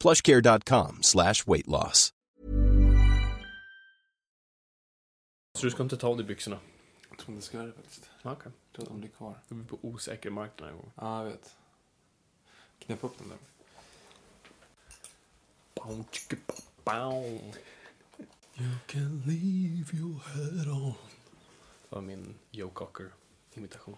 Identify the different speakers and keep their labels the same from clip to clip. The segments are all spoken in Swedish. Speaker 1: plushcare.com slash weight loss.
Speaker 2: Så du ska inte ta av dig byxorna?
Speaker 3: Jag tror inte jag ska göra det faktiskt.
Speaker 2: Ja, Okej.
Speaker 3: Jag tror att de blir kvar.
Speaker 2: Då är vi på osäker mark den här gången.
Speaker 3: Ja, jag vet. Knäppa upp den där.
Speaker 2: Bow, chicka, bow.
Speaker 3: You can leave your head on.
Speaker 2: Det var min Joe Cocker-imitation.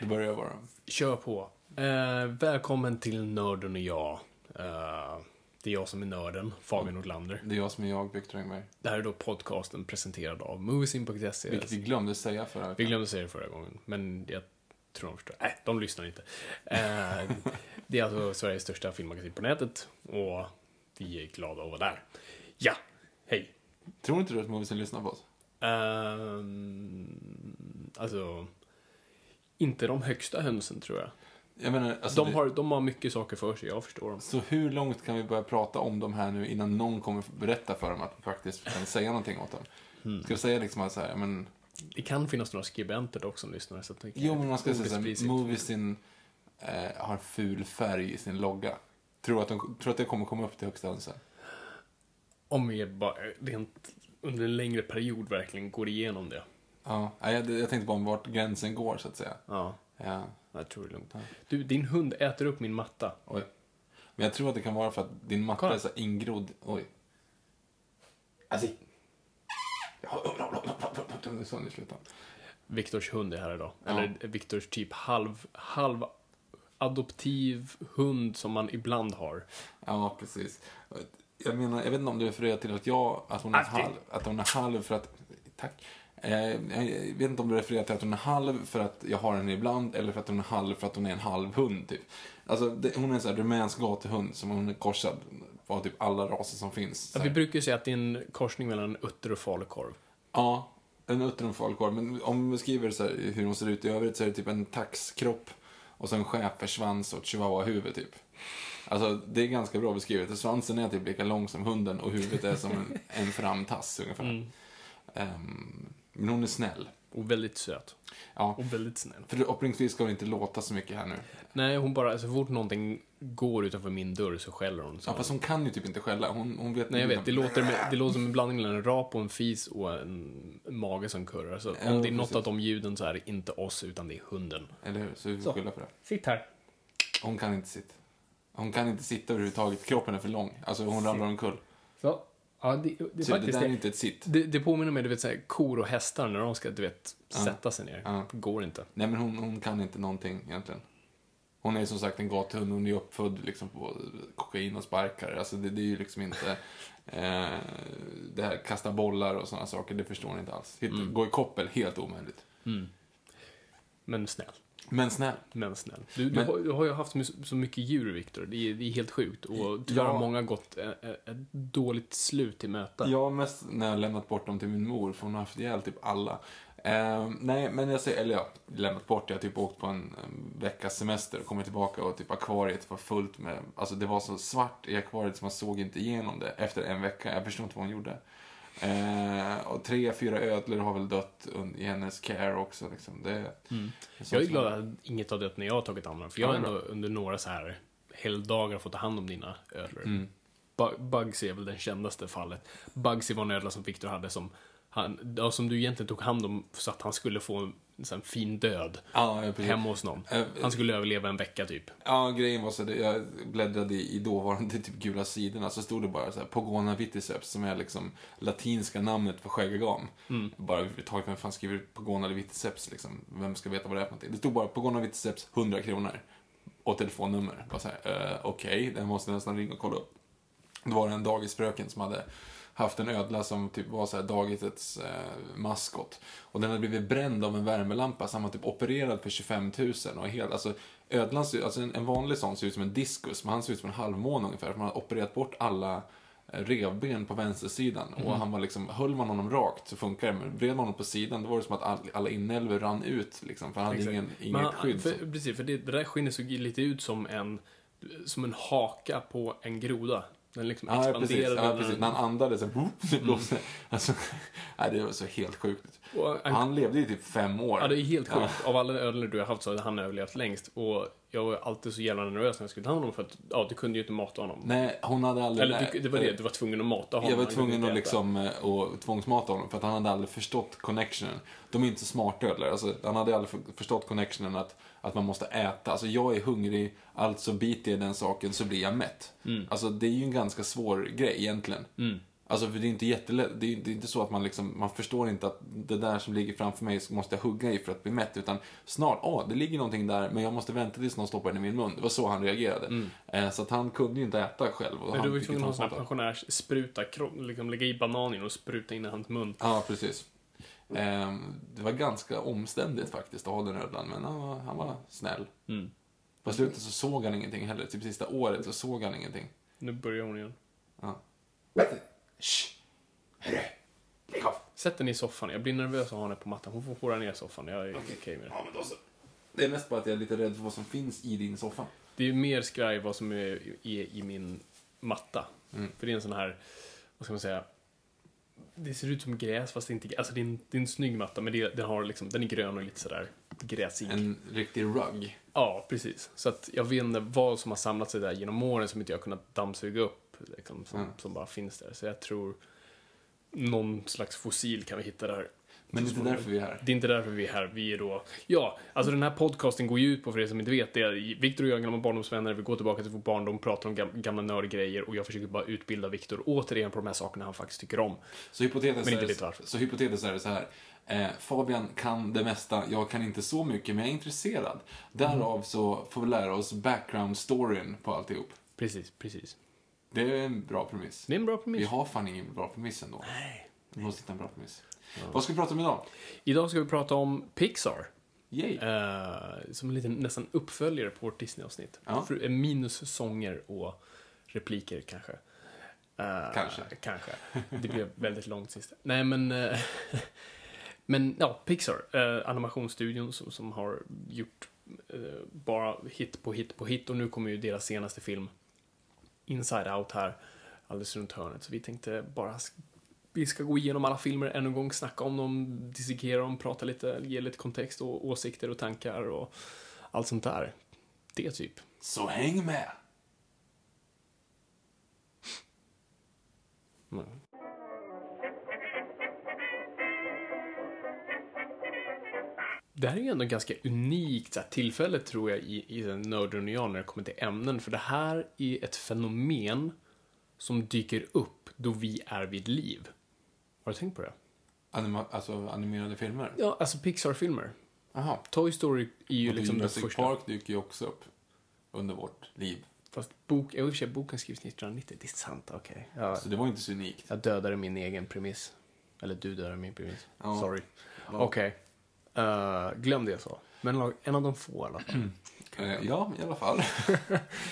Speaker 3: Det börjar jag vara.
Speaker 2: Kör på. Eh, välkommen till Nörden och jag. Eh, det är jag som är nörden, Fabian Nordlander.
Speaker 3: Det är jag som är jag, Viktor Engberg.
Speaker 2: Det här är då podcasten presenterad av Moviesin.se.
Speaker 3: Vilket vi glömde säga förra
Speaker 2: Vi
Speaker 3: veckan.
Speaker 2: glömde säga det förra gången, men jag tror de förstår. Nej, de lyssnar inte. Eh, det är alltså Sveriges största filmmagasin på nätet och vi är glada att vara där. Ja, hej.
Speaker 3: Tror inte du att Moviesen lyssnar på oss?
Speaker 2: Ehm, alltså, inte de högsta hönsen tror jag.
Speaker 3: Jag menar, alltså
Speaker 2: De
Speaker 3: det-
Speaker 2: har, de har mycket saker för sig, jag förstår dem.
Speaker 3: Så hur långt kan vi börja prata om dem här nu innan någon kommer berätta för dem att vi faktiskt kan säga någonting åt dem?
Speaker 2: Hmm.
Speaker 3: Ska vi säga liksom så här, men...
Speaker 2: Det kan finnas några skribenter dock som lyssnar. Så att det kan-
Speaker 3: Jo, men man ska säga så här,
Speaker 2: obesprisigt.
Speaker 3: Moviesin eh, har ful färg i sin logga. Tror att, de, tror att det kommer komma upp till högsta hönsen?
Speaker 2: Om vi bara rent under en längre period verkligen går igenom det.
Speaker 3: Ja, nej, jag, jag tänkte bara om vart gränsen går så att säga.
Speaker 2: Ja,
Speaker 3: Ja,
Speaker 2: jag tror det är lugnt. Du, din hund äter upp min matta.
Speaker 3: oj. Men jag tror att det kan vara för att din matta
Speaker 2: Kolla.
Speaker 3: är så här ingrodd. Oj. Alltså. Det är så ni slutar.
Speaker 2: Viktors hund är här idag. Eller Viktors typ halv, halv adoptiv hund som man ibland har.
Speaker 3: Ja, precis. Jag menar, jag vet inte om du refererar till att jag, att hon är
Speaker 2: Att det-
Speaker 3: halv, att hon är halv för att, tack. Eh, Jag vet inte om du refererar till att hon är halv för att jag har henne ibland, eller för att hon är halv för att hon är en halv hund, typ. Alltså, det, hon är en sån här rumänsk gatuhund som hon är korsad av typ alla raser som finns. Så
Speaker 2: Ja,
Speaker 3: här.
Speaker 2: vi brukar ju säga att det är en korsning mellan en utter och falukorv.
Speaker 3: Ja, en uttern falukorv. Men om vi skriver så här, hur hon ser ut i övrigt så är det typ en taxkropp och sen schäfersvans och chihuahua-huvud typ. Alltså det är ganska bra beskrivet. Svansen är typ lika lång som hunden och huvudet är som en, en framtass ungefär.
Speaker 2: Mm.
Speaker 3: Ehm, men hon är snäll.
Speaker 2: Och väldigt söt.
Speaker 3: Ja,
Speaker 2: Och väldigt snäll.
Speaker 3: för uppringningsvis ska det inte låta så mycket här nu.
Speaker 2: Nej, hon bara, så fort någonting går utanför min dörr så skäller hon. Så.
Speaker 3: Ja, fast hon kan ju typ inte skälla. Hon, hon vet
Speaker 2: Nej, jag vet. Det låter, med, det låter som en blandning mellan en rap och en fis och en mage som kurrar. Så om det är något
Speaker 3: precis.
Speaker 2: av de ljuden så är det inte oss, utan det är hunden.
Speaker 3: Eller hur? Så vi får
Speaker 2: Så.
Speaker 3: skylla på det.
Speaker 2: Sitt här.
Speaker 3: Hon kan inte sitta. Hon kan inte sitta överhuvudtaget. Kroppen är för lång. Alltså hon ramlar omkull.
Speaker 2: Så. Ja, det, det är
Speaker 3: Så det
Speaker 2: faktiskt
Speaker 3: där är
Speaker 2: det.
Speaker 3: inte ett sitt.
Speaker 2: Det, det påminner mig, du vet, så här, kor och hästar när de ska, du vet, sätta sig ner.
Speaker 3: Ja.
Speaker 2: Går inte.
Speaker 3: Nej, men hon, hon kan inte någonting egentligen. Hon är som sagt en gatuhund, hon är uppfödd liksom på kokain och sparkar. Alltså det, det är ju liksom inte... Eh, det här kasta bollar och sådana saker, det förstår hon inte alls. Hitta, Gå i koppel, helt omöjligt.
Speaker 2: Men snäll.
Speaker 3: Men snäll.
Speaker 2: Men snäll. Du, du,
Speaker 3: Men-
Speaker 2: har, du har ju haft my- så mycket djur, Viktor. Det, är- det är helt sjukt. Och tyvärr har
Speaker 3: Ja.
Speaker 2: många gått eh, eh, ett dåligt slut till möte.
Speaker 3: Jag har mest när jag lämnat bort dem till min mor, för hon har haft ihjäl typ alla. Eh, nej, men jag säger, eller ja, lämnat bort, jag har typ åkt på en, en veckas semester och kommit tillbaka och typ akvariet var fullt med, alltså det var så svart i akvariet så man såg inte igenom det efter en vecka. Jag förstår inte vad hon gjorde. Eh, och tre, fyra ödlor har väl dött un- i hennes care också liksom. Det,
Speaker 2: jag är glad att inget har dött när jag har tagit hand om dem. För jag har
Speaker 3: Ja, bra.
Speaker 2: ändå under några så här heldagar få ta hand om dina ödlor.
Speaker 3: Mm.
Speaker 2: Bu- Bugsy är väl den kändaste fallet. Bugsy var en ödla som Victor hade som, han, ja, som du egentligen tog hand om så att han skulle få en, så här, fin död
Speaker 3: Ja, ja, precis.
Speaker 2: hemma hos någon.
Speaker 3: Eh,
Speaker 2: Han skulle överleva en vecka typ.
Speaker 3: Ja, grejen var så att jag bläddrade i i dåvarande typ gula sidorna så stod det bara så här Pogona viticeps som är liksom latinska namnet för skäggagam. Bara överhuvudtaget, vem fan skriver Pogona eller viticeps liksom? Vem ska veta vad det är för någonting? Det stod bara Pogona viticeps 100 kronor. Och telefonnummer. Bara så här, eh, okej, den måste jag nästan ringa och kolla upp. Då var det en dagisfröken som hade haft en ödla som typ var så här dagisets eh, maskot. Och den hade blivit bränd av en värmelampa så han var typ opererad för 25 000. Och helt, alltså, ödlan, ser- alltså en, en vanlig sån ser ut som en diskus, men han ser ut som en halvmåne ungefär. För man har opererat bort alla eh, revben på vänstersidan. Och
Speaker 2: Mm.
Speaker 3: han var liksom, höll man honom rakt så funkar det, men vred man honom på sidan då var det som att all, alla inälvor rann ut liksom. För han hade
Speaker 2: Exakt.
Speaker 3: ingen,
Speaker 2: Men
Speaker 3: inget
Speaker 2: han-
Speaker 3: skydd.
Speaker 2: För, precis, för det, det där skinnet såg ju lite ut som en, som en haka på en groda. Den liksom
Speaker 3: Ja, ja, precis.
Speaker 2: expanderade.
Speaker 3: Ja,
Speaker 2: när
Speaker 3: precis.
Speaker 2: den- Mm.
Speaker 3: När han andades så boop, det blåste. Alltså, nej, det var så helt sjukt.
Speaker 2: Och han-
Speaker 3: han, levde ju typ fem år.
Speaker 2: Ja, det är helt sjukt. Av alla ödlor du har haft så har han överlevt längst. Och jag var alltid så jävla nervös när jag skulle ta hand om honom för att, ja, du kunde ju inte mata honom.
Speaker 3: Nej, hon hade aldrig...
Speaker 2: Eller
Speaker 3: nej,
Speaker 2: du, det var det, du var tvungen att mata honom. han
Speaker 3: Jag var
Speaker 2: kunde
Speaker 3: tvungen
Speaker 2: inte
Speaker 3: att
Speaker 2: äta.
Speaker 3: liksom, eh, och tvångsmata honom för att han hade aldrig förstått connectionen. De är inte så smarta eller? Alltså, han hade aldrig för- förstått connectionen att, att man måste äta. Alltså jag är hungrig, alltså biter jag i den saken så blir jag mätt.
Speaker 2: Mm.
Speaker 3: Alltså det är ju en ganska svår grej egentligen. Alltså för det är inte jättelätt, det är, det är inte så att man liksom, man förstår inte att det där som ligger framför mig så måste jag hugga i för att bli mätt. Utan snart, ja ah, det ligger någonting där men jag måste vänta tills någon stoppar den i min mun. Det var så han reagerade. Eh, så att han kunde ju inte äta själv. Och
Speaker 2: Mm. Men
Speaker 3: han
Speaker 2: du var ju
Speaker 3: fick
Speaker 2: tvungen att ha en sån här
Speaker 3: tvångsmata.
Speaker 2: pensionärsspruta, kro- liksom lägga i bananen och spruta in i hans mun.
Speaker 3: Ja, precis. Ehm, det var ganska omständigt faktiskt att ha den ödlan, men han var, han var snäll. Mm. På slutet så såg han ingenting heller. Typ sista året så såg han ingenting.
Speaker 2: Nu börjar hon igen.
Speaker 3: Shh! Hörru! Lägg av!
Speaker 2: Sätt den i soffan. Jag blir nervös av henne på mattan. Hon får håra ner soffan. Jag är okej med det.
Speaker 3: Ja, men då så. Det är mest bara att jag är lite rädd för vad som finns i din soffa.
Speaker 2: Det är ju mer skraj vad som är, är i min matta.
Speaker 3: Mm.
Speaker 2: För det är en sån här, vad ska man säga, det ser ut som gräs fast det är inte Alltså det är en, det är en snygg matta men det, den, har liksom, den är grön och lite sådär gräsig.
Speaker 3: En riktig rugg.
Speaker 2: Ja, precis. Så att jag vet inte vad som har samlat sig där genom åren som inte jag har kunnat dammsuga upp. Liksom, som,
Speaker 3: Mm.
Speaker 2: som bara finns där. Så jag tror någon slags fossil kan vi hitta där.
Speaker 3: Men det är inte därför vi är här.
Speaker 2: Det är inte därför vi är här. Vi är då... Ja, alltså den här podcasten går ju ut på, för er som inte vet, det är Viktor och jag är gamla barndomsvänner, vi går tillbaka till vår barndom, pratar om gam- gamla nördgrejer och jag försöker bara utbilda Viktor återigen på de här sakerna han faktiskt tycker om.
Speaker 3: Så hypotetiskt,
Speaker 2: Men inte
Speaker 3: är,
Speaker 2: vet
Speaker 3: det,
Speaker 2: varför.
Speaker 3: så hypotetiskt är det så här. Eh, Fabian kan det mesta, jag kan inte så mycket, men jag är intresserad. Därav så får vi lära oss background-storyn på alltihop.
Speaker 2: Precis, precis.
Speaker 3: Det är en bra premiss.
Speaker 2: Det är en bra premiss.
Speaker 3: Vi har fan ingen bra premiss ändå. Nej. Vi måste hitta en bra premiss. Vad ska vi prata om idag?
Speaker 2: Idag ska vi prata om Pixar.
Speaker 3: Yay!
Speaker 2: Eh, som en liten nästan uppföljare på vårt Disney-avsnitt.
Speaker 3: Ja.
Speaker 2: För- eh, Minus sånger och repliker kanske. Eh,
Speaker 3: Kanske.
Speaker 2: Kanske. Det blev väldigt långt sist. Nej men... eh, men ja, Pixar. Eh, animationsstudion som, som har gjort eh, bara hit på hit på hit och nu kommer ju deras senaste film Inside Out här alldeles runt hörnet. Så vi tänkte bara sk- vi ska gå igenom alla filmer än en gång, snacka om dem, dissekera dem, prata lite, ge lite kontext och åsikter och tankar och allt sånt där. Det typ.
Speaker 3: Så häng med!
Speaker 2: Det här är ju ändå ett ganska unikt så här, tillfälle tror jag i, i den nörden och jag när det kommer till ämnen. För det här är ett fenomen som dyker upp då vi är vid liv. Har du tänkt på det?
Speaker 3: Anima alltså animerade filmer?
Speaker 2: Ja, alltså Pixar-filmer.
Speaker 3: Jaha.
Speaker 2: Toy Story är ju
Speaker 3: Och
Speaker 2: liksom den
Speaker 3: Jurassic
Speaker 2: första.
Speaker 3: Park dyker ju också upp under vårt liv.
Speaker 2: Fast bok, i och för sig, boken skrevs 1990, det är sant, okej. Ja,
Speaker 3: Så det var inte så unikt.
Speaker 2: jag dödade min egen premiss. Eller du dödade min premiss.
Speaker 3: Ja.
Speaker 2: Sorry. Okej. Eh, glöm det jag sa. Men en av- en av de få i alla fall.
Speaker 3: Eh, Ja, i alla fall.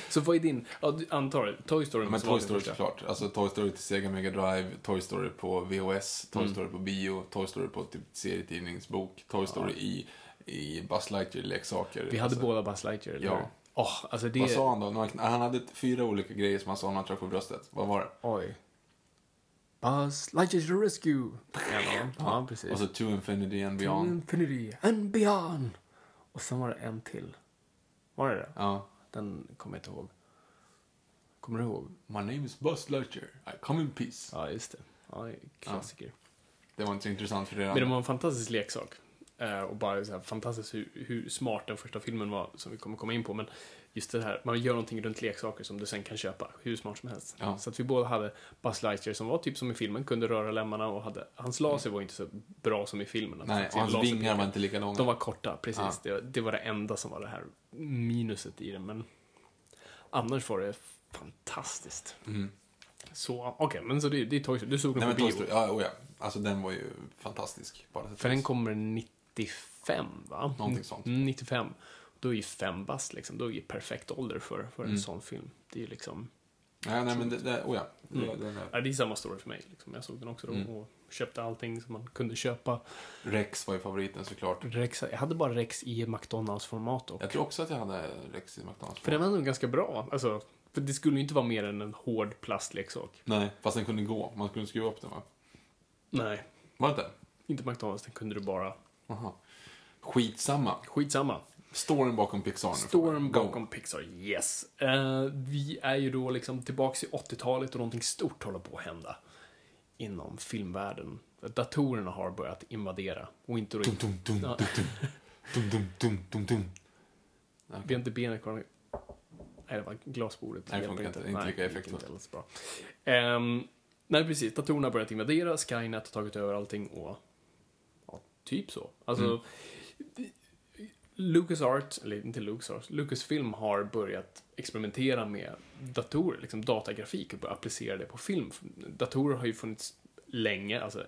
Speaker 2: Så vad är din... Ja, du antar det. Toy Story
Speaker 3: Men
Speaker 2: måste vara
Speaker 3: Toy
Speaker 2: din
Speaker 3: Story
Speaker 2: första.
Speaker 3: såklart. Alltså Toy Story till Sega Mega Drive, Toy Story på VHS, Toy
Speaker 2: Mm.
Speaker 3: Story på bio, Toy Story på typ serietidningsbok, Toy Story i, i Buzz Lightyear-leksaker.
Speaker 2: Vi hade
Speaker 3: alltså,
Speaker 2: båda Buzz Lightyear, eller
Speaker 3: Ja.
Speaker 2: hur? Åh, alltså det...
Speaker 3: Vad sa han då? När han- Han hade fyra olika grejer som han sa när han träffade på bröstet. Vad var det?
Speaker 2: Oj. Buzz Lightyear to rescue. Ja, ja precis.
Speaker 3: Och så To Infinity and Beyond.
Speaker 2: Typ. Infinity and beyond. Och sen var det en till. Var det det?
Speaker 3: Ja.
Speaker 2: Den kommer jag inte ihåg. Kommer du ihåg?
Speaker 3: My name is Buzz Lightyear. I come in peace.
Speaker 2: Ja, just det. Ja, klassiker.
Speaker 3: Det var inte så intressant för det
Speaker 2: Men det
Speaker 3: andra.
Speaker 2: var en fantastisk leksak. Eh, och bara så här fantastiskt hur, hur smart den första filmen var, som vi kommer komma in på. Men just det här, man gör någonting runt leksaker som du sen kan köpa, hur smart som helst.
Speaker 3: Ja.
Speaker 2: Så att vi båda hade Buzz Lightyear som var typ som i filmen, kunde röra lemmarna och hade, hans laser var inte så bra som i filmen. Att
Speaker 3: Mm. Nej,
Speaker 2: se
Speaker 3: och hans
Speaker 2: typ laser-
Speaker 3: vingar var inte lika långa.
Speaker 2: De var korta, precis. Det, det var det enda som var det här minuset i den, men annars var det fantastiskt. Så, okej, men så det, det är Toy Story. Du såg
Speaker 3: Mm. Nej
Speaker 2: den
Speaker 3: men
Speaker 2: på bio.
Speaker 3: Toy Story, ja, oh ja. Alltså den var ju fantastisk. Bara
Speaker 2: För den kommer 95, va?
Speaker 3: Någonting sånt.
Speaker 2: Mm, 95. Då är ju fem bast liksom. Då är ju perfekt ålder för, för en
Speaker 3: Mm.
Speaker 2: sån film. Det är ju liksom...
Speaker 3: Nej, nej men det, det, oh ja.
Speaker 2: Mm.
Speaker 3: Det, den är-
Speaker 2: Ja, det är samma story för mig. Liksom. Jag såg den också då
Speaker 3: Mm.
Speaker 2: och köpte allting som man kunde köpa.
Speaker 3: Rex var ju favoriten såklart.
Speaker 2: Rex, jag hade bara Rex i McDonalds-format och
Speaker 3: Jag tror också att jag hade Rex i McDonalds.
Speaker 2: För den var nog ganska bra. Alltså, för det skulle ju inte vara mer än en hård plastleksak.
Speaker 3: Nej, fast den kunde gå. Man kunde skruva upp den va?
Speaker 2: Nej,
Speaker 3: Var det inte?
Speaker 2: inte McDonalds. Den kunde du bara...
Speaker 3: Jaha. Skitsamma.
Speaker 2: Skitsamma.
Speaker 3: Storyn bakom Pixar nu.
Speaker 2: Storm
Speaker 3: Go.
Speaker 2: bakom Pixar, yes. Eh, vi är ju då liksom tillbaks i 80-talet och någonting stort håller på att hända inom filmvärlden. Datorerna har börjat invadera och inte...
Speaker 3: Dum, dum, dum,
Speaker 2: Ja.
Speaker 3: dum, dum. Dum, dum, dum, dum, dum.
Speaker 2: Vi har inte benen kvar. Nej, det var glasbordet.
Speaker 3: Nej, det
Speaker 2: hjälper
Speaker 3: funkar inte. Inte
Speaker 2: Nej,
Speaker 3: lika
Speaker 2: det gick
Speaker 3: effektfullt.
Speaker 2: inte alls bra. Ehm, nej, precis. Datorerna har börjat invadera, Skynet har tagit över allting och... Ja, typ så. Alltså...
Speaker 3: Mm.
Speaker 2: LucasArts, eller inte LucasArts, Lucasfilm har börjat experimentera med datorer, liksom datagrafik och börjat applicera det på film. Datorer har ju funnits länge, alltså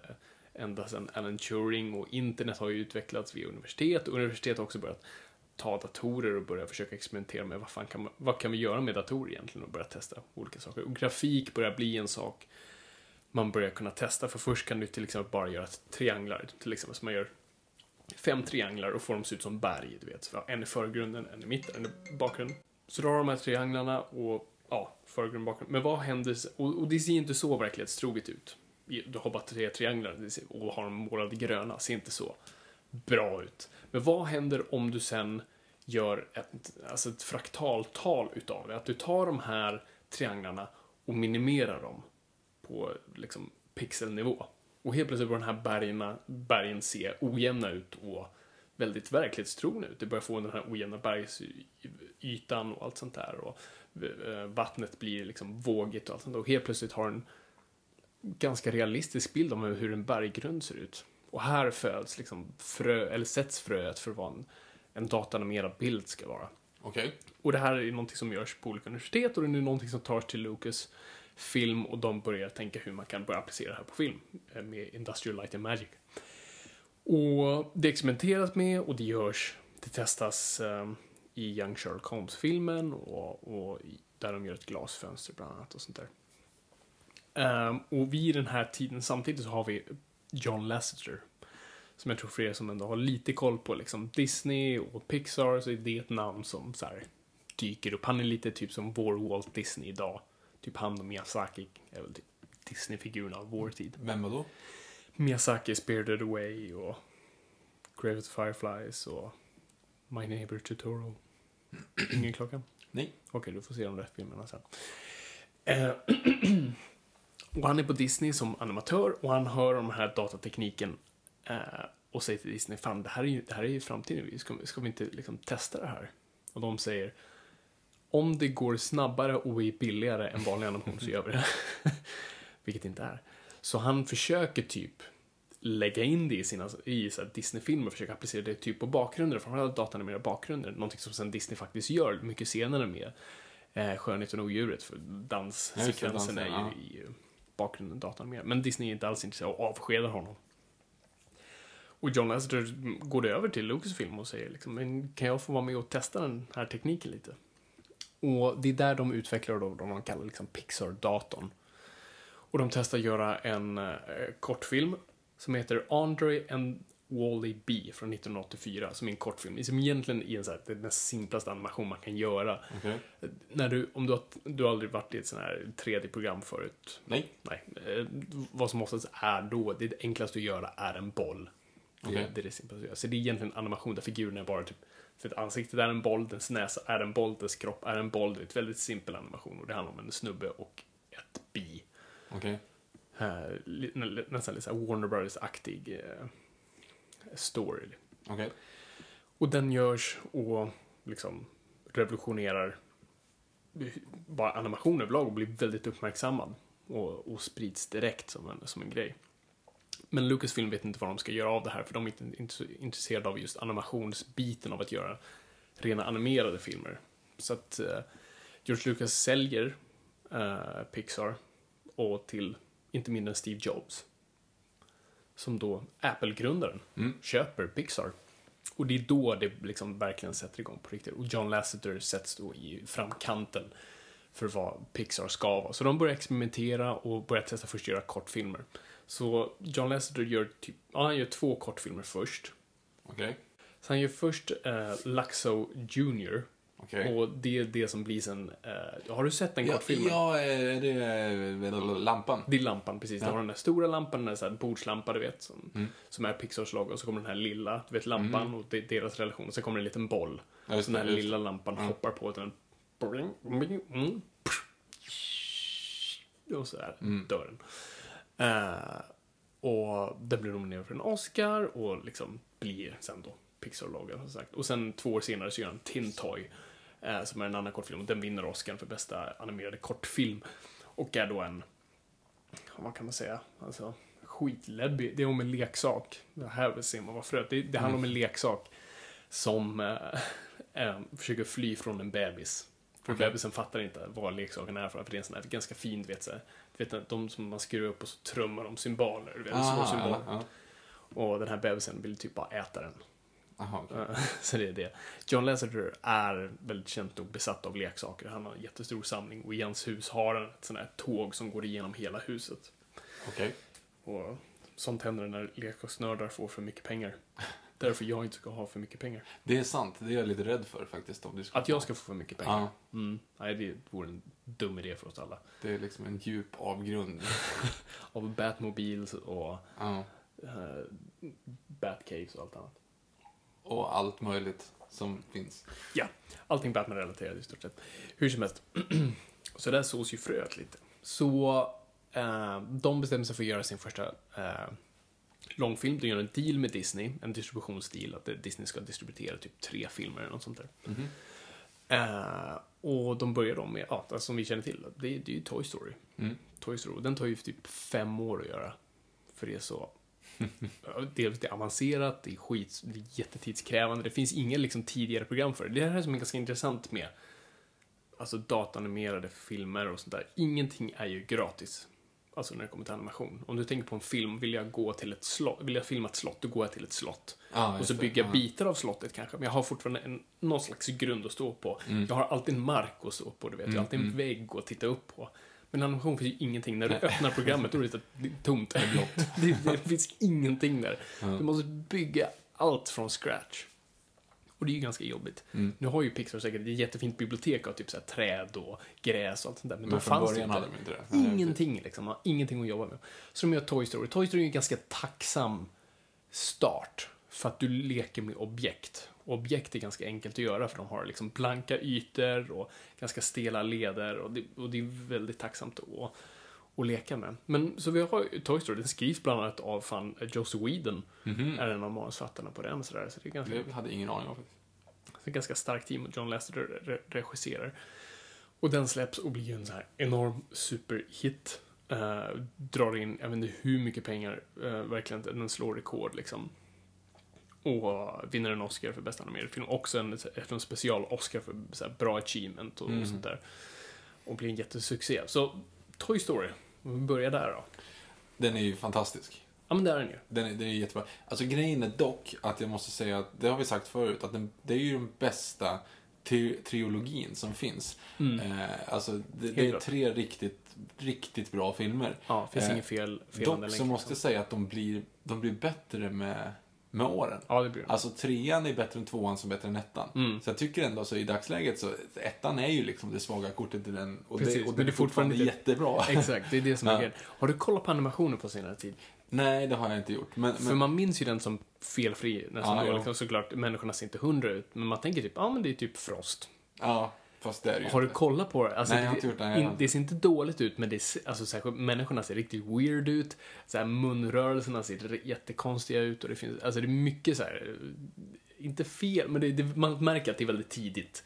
Speaker 2: ända sedan Alan Turing och internet har ju utvecklats via universitet och universitet har också börjat ta datorer och börja försöka experimentera med vad, fan kan, man, vad kan vi göra med datorer egentligen och börja testa olika saker. Och grafik börjar bli en sak man börjar kunna testa. För först kan du till exempel bara göra trianglar, till exempel som man gör fem trianglar och får dem se ut som berg, du vet. Så En i förgrunden, en i mitten, en i bakgrunden. Så du har de här trianglarna och ja, förgrund, bakgrund. Men vad händer, och, och det ser inte så verklighetstroget ut. Du har bara tre trianglar det ser- och har dem målade gröna, ser inte så bra ut. Men vad händer om du sen gör ett, alltså ett fraktaltal utav det? Att du tar de här trianglarna och minimerar dem på liksom pixelnivå. Och helt plötsligt börjar den här bergen, bergen se ojämna ut och väldigt verklighetstrogna ut. Du börjar få den här ojämna bergsytan och allt sånt där. Och eh, vattnet blir liksom vågigt och allt sånt där. Och helt plötsligt har den ganska realistisk bild om hur en berggrund ser ut. Och här föds liksom frö, eller sätts fröet för vad en, en datanimerad bild ska vara.
Speaker 3: Okej.
Speaker 2: Och det här är någonting som görs på olika universitet och det är någonting som tas till Lucas film och de börjar tänka hur man kan börja applicera det här på film eh, med Industrial Light and Magic. Och det experimenteras med och det görs, det testas eh, i Young Sherlock Holmes-filmen och, och i- där de gör ett glasfönster bland annat och sånt där. Ehm, och vid den här tiden samtidigt så har vi John Lasseter. Som jag tror för er som ändå har lite koll på liksom Disney och Pixar så är det ett namn som så här, dyker upp. Han är lite typ som vår Walt Disney idag. Typ han och Miyazaki är väl typ Disney-figuren av vår tid.
Speaker 3: Vem var då?
Speaker 2: Miyazaki, Spirited Away och Grave of the Fireflies och My Neighbor Totoro. Ingen klocka?
Speaker 3: Nej.
Speaker 2: Okej, du får se de där filmerna sen. Eh, och han är på Disney som animatör och han hör om den här datatekniken eh, och säger till Disney, fan det här är ju, det här är ju framtiden, Vi ska, ska vi inte liksom testa det här? Och de säger, om det går snabbare och är billigare än vanlig animation så gör vi det. Vilket det inte är. Så han försöker typ lägga in det i sina i så här Disney-filmer, försöka applicera det typ på bakgrunder, framförallt datanimerade bakgrunder, någonting som sen Disney faktiskt gör mycket senare med eh, Skönheten och odjuret, för danssekvensen
Speaker 3: dansen,
Speaker 2: är ju
Speaker 3: ja.
Speaker 2: i eh, bakgrunden datanimerad. Men Disney är inte alls intresserad och avskedar honom. Och John Lasseter går det över till Lucasfilm och säger liksom, men kan jag få vara med och testa den här tekniken lite? Och det är där de utvecklar då vad man kallar liksom Pixar-datorn. Och de testar att göra en eh, kortfilm som heter Andre and Wally B från 1984, som är en kortfilm. Som egentligen är en så här, det är den simplaste animation man kan göra.
Speaker 3: Okej.
Speaker 2: När du, om du, har, du har aldrig varit i ett sånt här 3D-program förut,
Speaker 3: Nej.
Speaker 2: Nej. Eh, vad som oftast är då, det enklaste att göra är en boll. Det,
Speaker 3: Okej.
Speaker 2: det är det simplaste att göra. Så det är egentligen animation där figurerna bara typ Så ett ansikte är en boll, dens näsa är en boll, dess kropp är en boll. Det är ett väldigt simpel animation och det handlar om en snubbe och ett bi.
Speaker 3: Okej.
Speaker 2: Eh, li- nä- nästan lite såhär Warner Brothers-aktig eh, story. liksom.
Speaker 3: Okej.
Speaker 2: Och den görs och liksom revolutionerar bara animation överlag och blir väldigt uppmärksammad och, och sprids direkt som en, som en grej. Men Lucasfilm vet inte vad de ska göra av det här för de är inte, inte så intresserade av just animationsbiten av att göra rena animerade filmer. Så att eh, George Lucas säljer eh, Pixar och till inte mindre än Steve Jobs. Som då Apple-grundaren
Speaker 3: Mm.
Speaker 2: köper Pixar. Och det är då det liksom verkligen sätter igång på riktigt. Och John Lasseter sätts då i framkanten för vad Pixar ska vara. Så de börjar experimentera och börjar testa först göra kortfilmer. Så John Lasseter gör typ, ja, han gör två kortfilmer först.
Speaker 3: Okej.
Speaker 2: Så han gör först eh, Laxo Junior.
Speaker 3: Okej.
Speaker 2: Och det är det som blir sen, eh, har du sett den
Speaker 3: Ja,
Speaker 2: kortfilmen?
Speaker 3: ja, eh, det är eh, lampan.
Speaker 2: Det är lampan, precis. Ja. har den där stora lampan, den där så här bordslampa, du vet, som,
Speaker 3: Mm.
Speaker 2: som är Pixars logo. Och så kommer den här lilla, du vet, lampan och det, deras relation. Och så kommer en liten boll.
Speaker 3: Ja, just
Speaker 2: så den
Speaker 3: det,
Speaker 2: här
Speaker 3: just
Speaker 2: lilla lampan hoppar på den. Boing, boing, mm, psh. Och så där
Speaker 3: Mm.
Speaker 2: dör den. Eh, och den blir nominerad för en Oscar och liksom blir sen då Pixar-loggan som sagt. Och sen två år senare så gör han Tin Toy eh, som är en annan kortfilm och den vinner Oscar för bästa animerade kortfilm. Och är då en, vad kan man säga, alltså skitläbbig, det är om en leksak. Det här ser man vad fröet, det, det handlar om en leksak som eh, eh, försöker fly från en bebis. För bebisen fattar inte vad leksaken är för, för det är en sån här ganska fin, du vet, så här, du vet de som man skruvar upp och så trummar de symboler, du vet, små
Speaker 3: Ah,
Speaker 2: symboler.
Speaker 3: ja, ja.
Speaker 2: Och den här bebisen vill typ bara äta den.
Speaker 3: Aha, okej.
Speaker 2: Eh, Så det är det. John Lasseter är väldigt känt och besatt av leksaker. Han har en jättestor samling och i hans hus har han ett sånt här tåg som går igenom hela huset.
Speaker 3: Okej.
Speaker 2: Och sånt händer när leksaksnördar får för mycket pengar. Därför jag inte ska ha för mycket pengar.
Speaker 3: Det är sant. Det är jag lite rädd för faktiskt. Om du ska...
Speaker 2: Att jag ska få för mycket pengar.
Speaker 3: Ja,
Speaker 2: Mm. Nej, det vore en dum idé för oss alla.
Speaker 3: det är liksom en djup avgrund.
Speaker 2: Av Batmobiles och
Speaker 3: ja.
Speaker 2: eh, Batcaves och allt annat.
Speaker 3: Och allt möjligt som finns.
Speaker 2: Ja, allting Batman-relaterat i stort sett. Hur som helst. så där sås ju fröet lite. Så eh, de bestämde sig för att göra sin första eh, långfilm. De gör en deal med Disney, en distributionsdeal, att eh, Disney ska distribuera typ tre filmer eller något sånt där. Eh, och de börjar då med, ja, alltså, som vi känner till, det, är- det är ju Toy Story. Toy Story, och den tar ju typ fem år att göra. För det är så Ja, Dels det är avancerat, det är skit, det är jättetidskrävande. Det finns inga liksom, tidigare program för det. Det här är som är ganska intressant med alltså datanimerade filmer och sånt där. Ingenting är ju gratis. Alltså när det kommer till animation. Om du tänker på en film, vill jag gå till ett slott, vill jag filma ett slott, då går jag till ett slott.
Speaker 3: Ja,
Speaker 2: och
Speaker 3: just
Speaker 2: så
Speaker 3: det.
Speaker 2: bygger jag
Speaker 3: Ja.
Speaker 2: bitar av slottet kanske, men jag har fortfarande en, någon slags grund att stå på.
Speaker 3: Mm.
Speaker 2: Jag har alltid en mark att stå på, du vet. Jag har alltid en vägg att titta upp på. Men animation finns ju ingenting. När du öppnar programmet, då är det så- det är tomt. Det, det, det finns ingenting där. Du måste bygga allt från scratch. Och det är ju ganska jobbigt.
Speaker 3: Mm.
Speaker 2: Nu har ju Pixar säkert ett jättefint bibliotek av typ så här träd och gräs och allt sånt där. Men,
Speaker 3: Men
Speaker 2: de
Speaker 3: från
Speaker 2: fanns
Speaker 3: början
Speaker 2: inte.
Speaker 3: hade de inte det. Nej, det är
Speaker 2: Ingenting liksom. Man har ingenting att jobba med. Så de gör Toy Story. Toy Story är ju en ganska tacksam start. För att du leker med objekt. Och objekt är ganska enkelt att göra för de har liksom blanka ytor och ganska stela leder. Och det, och det är väldigt tacksamt att, att leka med. Men så vi har ju Toy Story. Den skrivs bland annat av fan Joseph Whedon. Är en av manusförfattarna på den. Så, där, så det är ganska
Speaker 3: Mhm. Det hade jag ingen aning om faktiskt.
Speaker 2: ett ganska starkt team och John Lasseter re- regisserar. Och den släpps och blir ju en sån här enorm superhit. Eh, drar in, jag vet inte hur mycket pengar, eh, verkligen, den slår rekord liksom. Och vinner en Oscar för bästa animerade film. Också en, en special Oscar för så här, bra achievement och,
Speaker 3: Mm.
Speaker 2: sånt där. Och blir en jättesuccé. Så, Toy Story. Om vi börjar där då.
Speaker 3: Den är ju fantastisk.
Speaker 2: Ja men där är den ju.
Speaker 3: Den är, den är jättebra. Alltså grejen är dock att jag måste säga att, det har vi sagt förut, att den, det är ju den bästa tri trilogin som finns. Eh, alltså det, det är
Speaker 2: Mm. klart.
Speaker 3: tre riktigt, riktigt bra filmer.
Speaker 2: Ja, finns
Speaker 3: Eh,
Speaker 2: inget fel, fel
Speaker 3: Dock så måste jag säga att de blir, de blir bättre med, med åren.
Speaker 2: Ja, det blir de. Mm.
Speaker 3: Alltså trean är bättre än tvåan som är bättre än ettan. Så jag tycker ändå så i dagsläget så, ettan är ju liksom det svaga kortet i den. Och
Speaker 2: Precis,
Speaker 3: det, och
Speaker 2: men
Speaker 3: det är fortfarande,
Speaker 2: inte-
Speaker 3: jättebra.
Speaker 2: Exakt, det är det som är
Speaker 3: Ja.
Speaker 2: grejen. Har du kollat på animationer på senare tid?
Speaker 3: Nej, det har jag inte gjort. Men,
Speaker 2: För
Speaker 3: men
Speaker 2: man minns ju den som felfri nästan
Speaker 3: Ja,
Speaker 2: då.
Speaker 3: jo.
Speaker 2: Liksom, såklart, människorna ser inte hundra ut. Men man tänker typ, ja ah, men det är typ Frost.
Speaker 3: ja, fast det är det ju
Speaker 2: Har du
Speaker 3: inte.
Speaker 2: kollat på det? Alltså,
Speaker 3: Nej, jag har
Speaker 2: det-
Speaker 3: inte gjort det, jag har
Speaker 2: in-
Speaker 3: inte.
Speaker 2: Det ser inte dåligt ut, men det ser, alltså, särskilt, människorna ser riktigt weird ut. Så här, munrörelserna ser r- jättekonstiga ut och det finns, alltså det är mycket så här, eh, inte fel, men det, det, man märker att det är väldigt tidigt.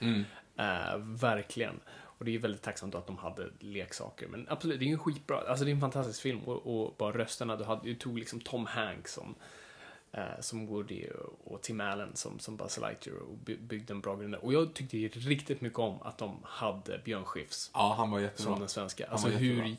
Speaker 2: Eh, verkligen. Och det är väldigt tacksamt att de hade leksaker. Men absolut, det är ju en skitbra, alltså det är en fantastisk film och, och bara rösterna, du, hade, du tog liksom Tom Hanks som eh, som Woody och Tim Allen som, som Buzz Lightyear och by, byggde en bra grund. där. Och jag tyckte ju riktigt mycket om att de hade Björn Skifs
Speaker 3: Ja, han var
Speaker 2: som
Speaker 3: jättebra.
Speaker 2: den svenska.
Speaker 3: Han
Speaker 2: Alltså
Speaker 3: var jättebra.
Speaker 2: hur...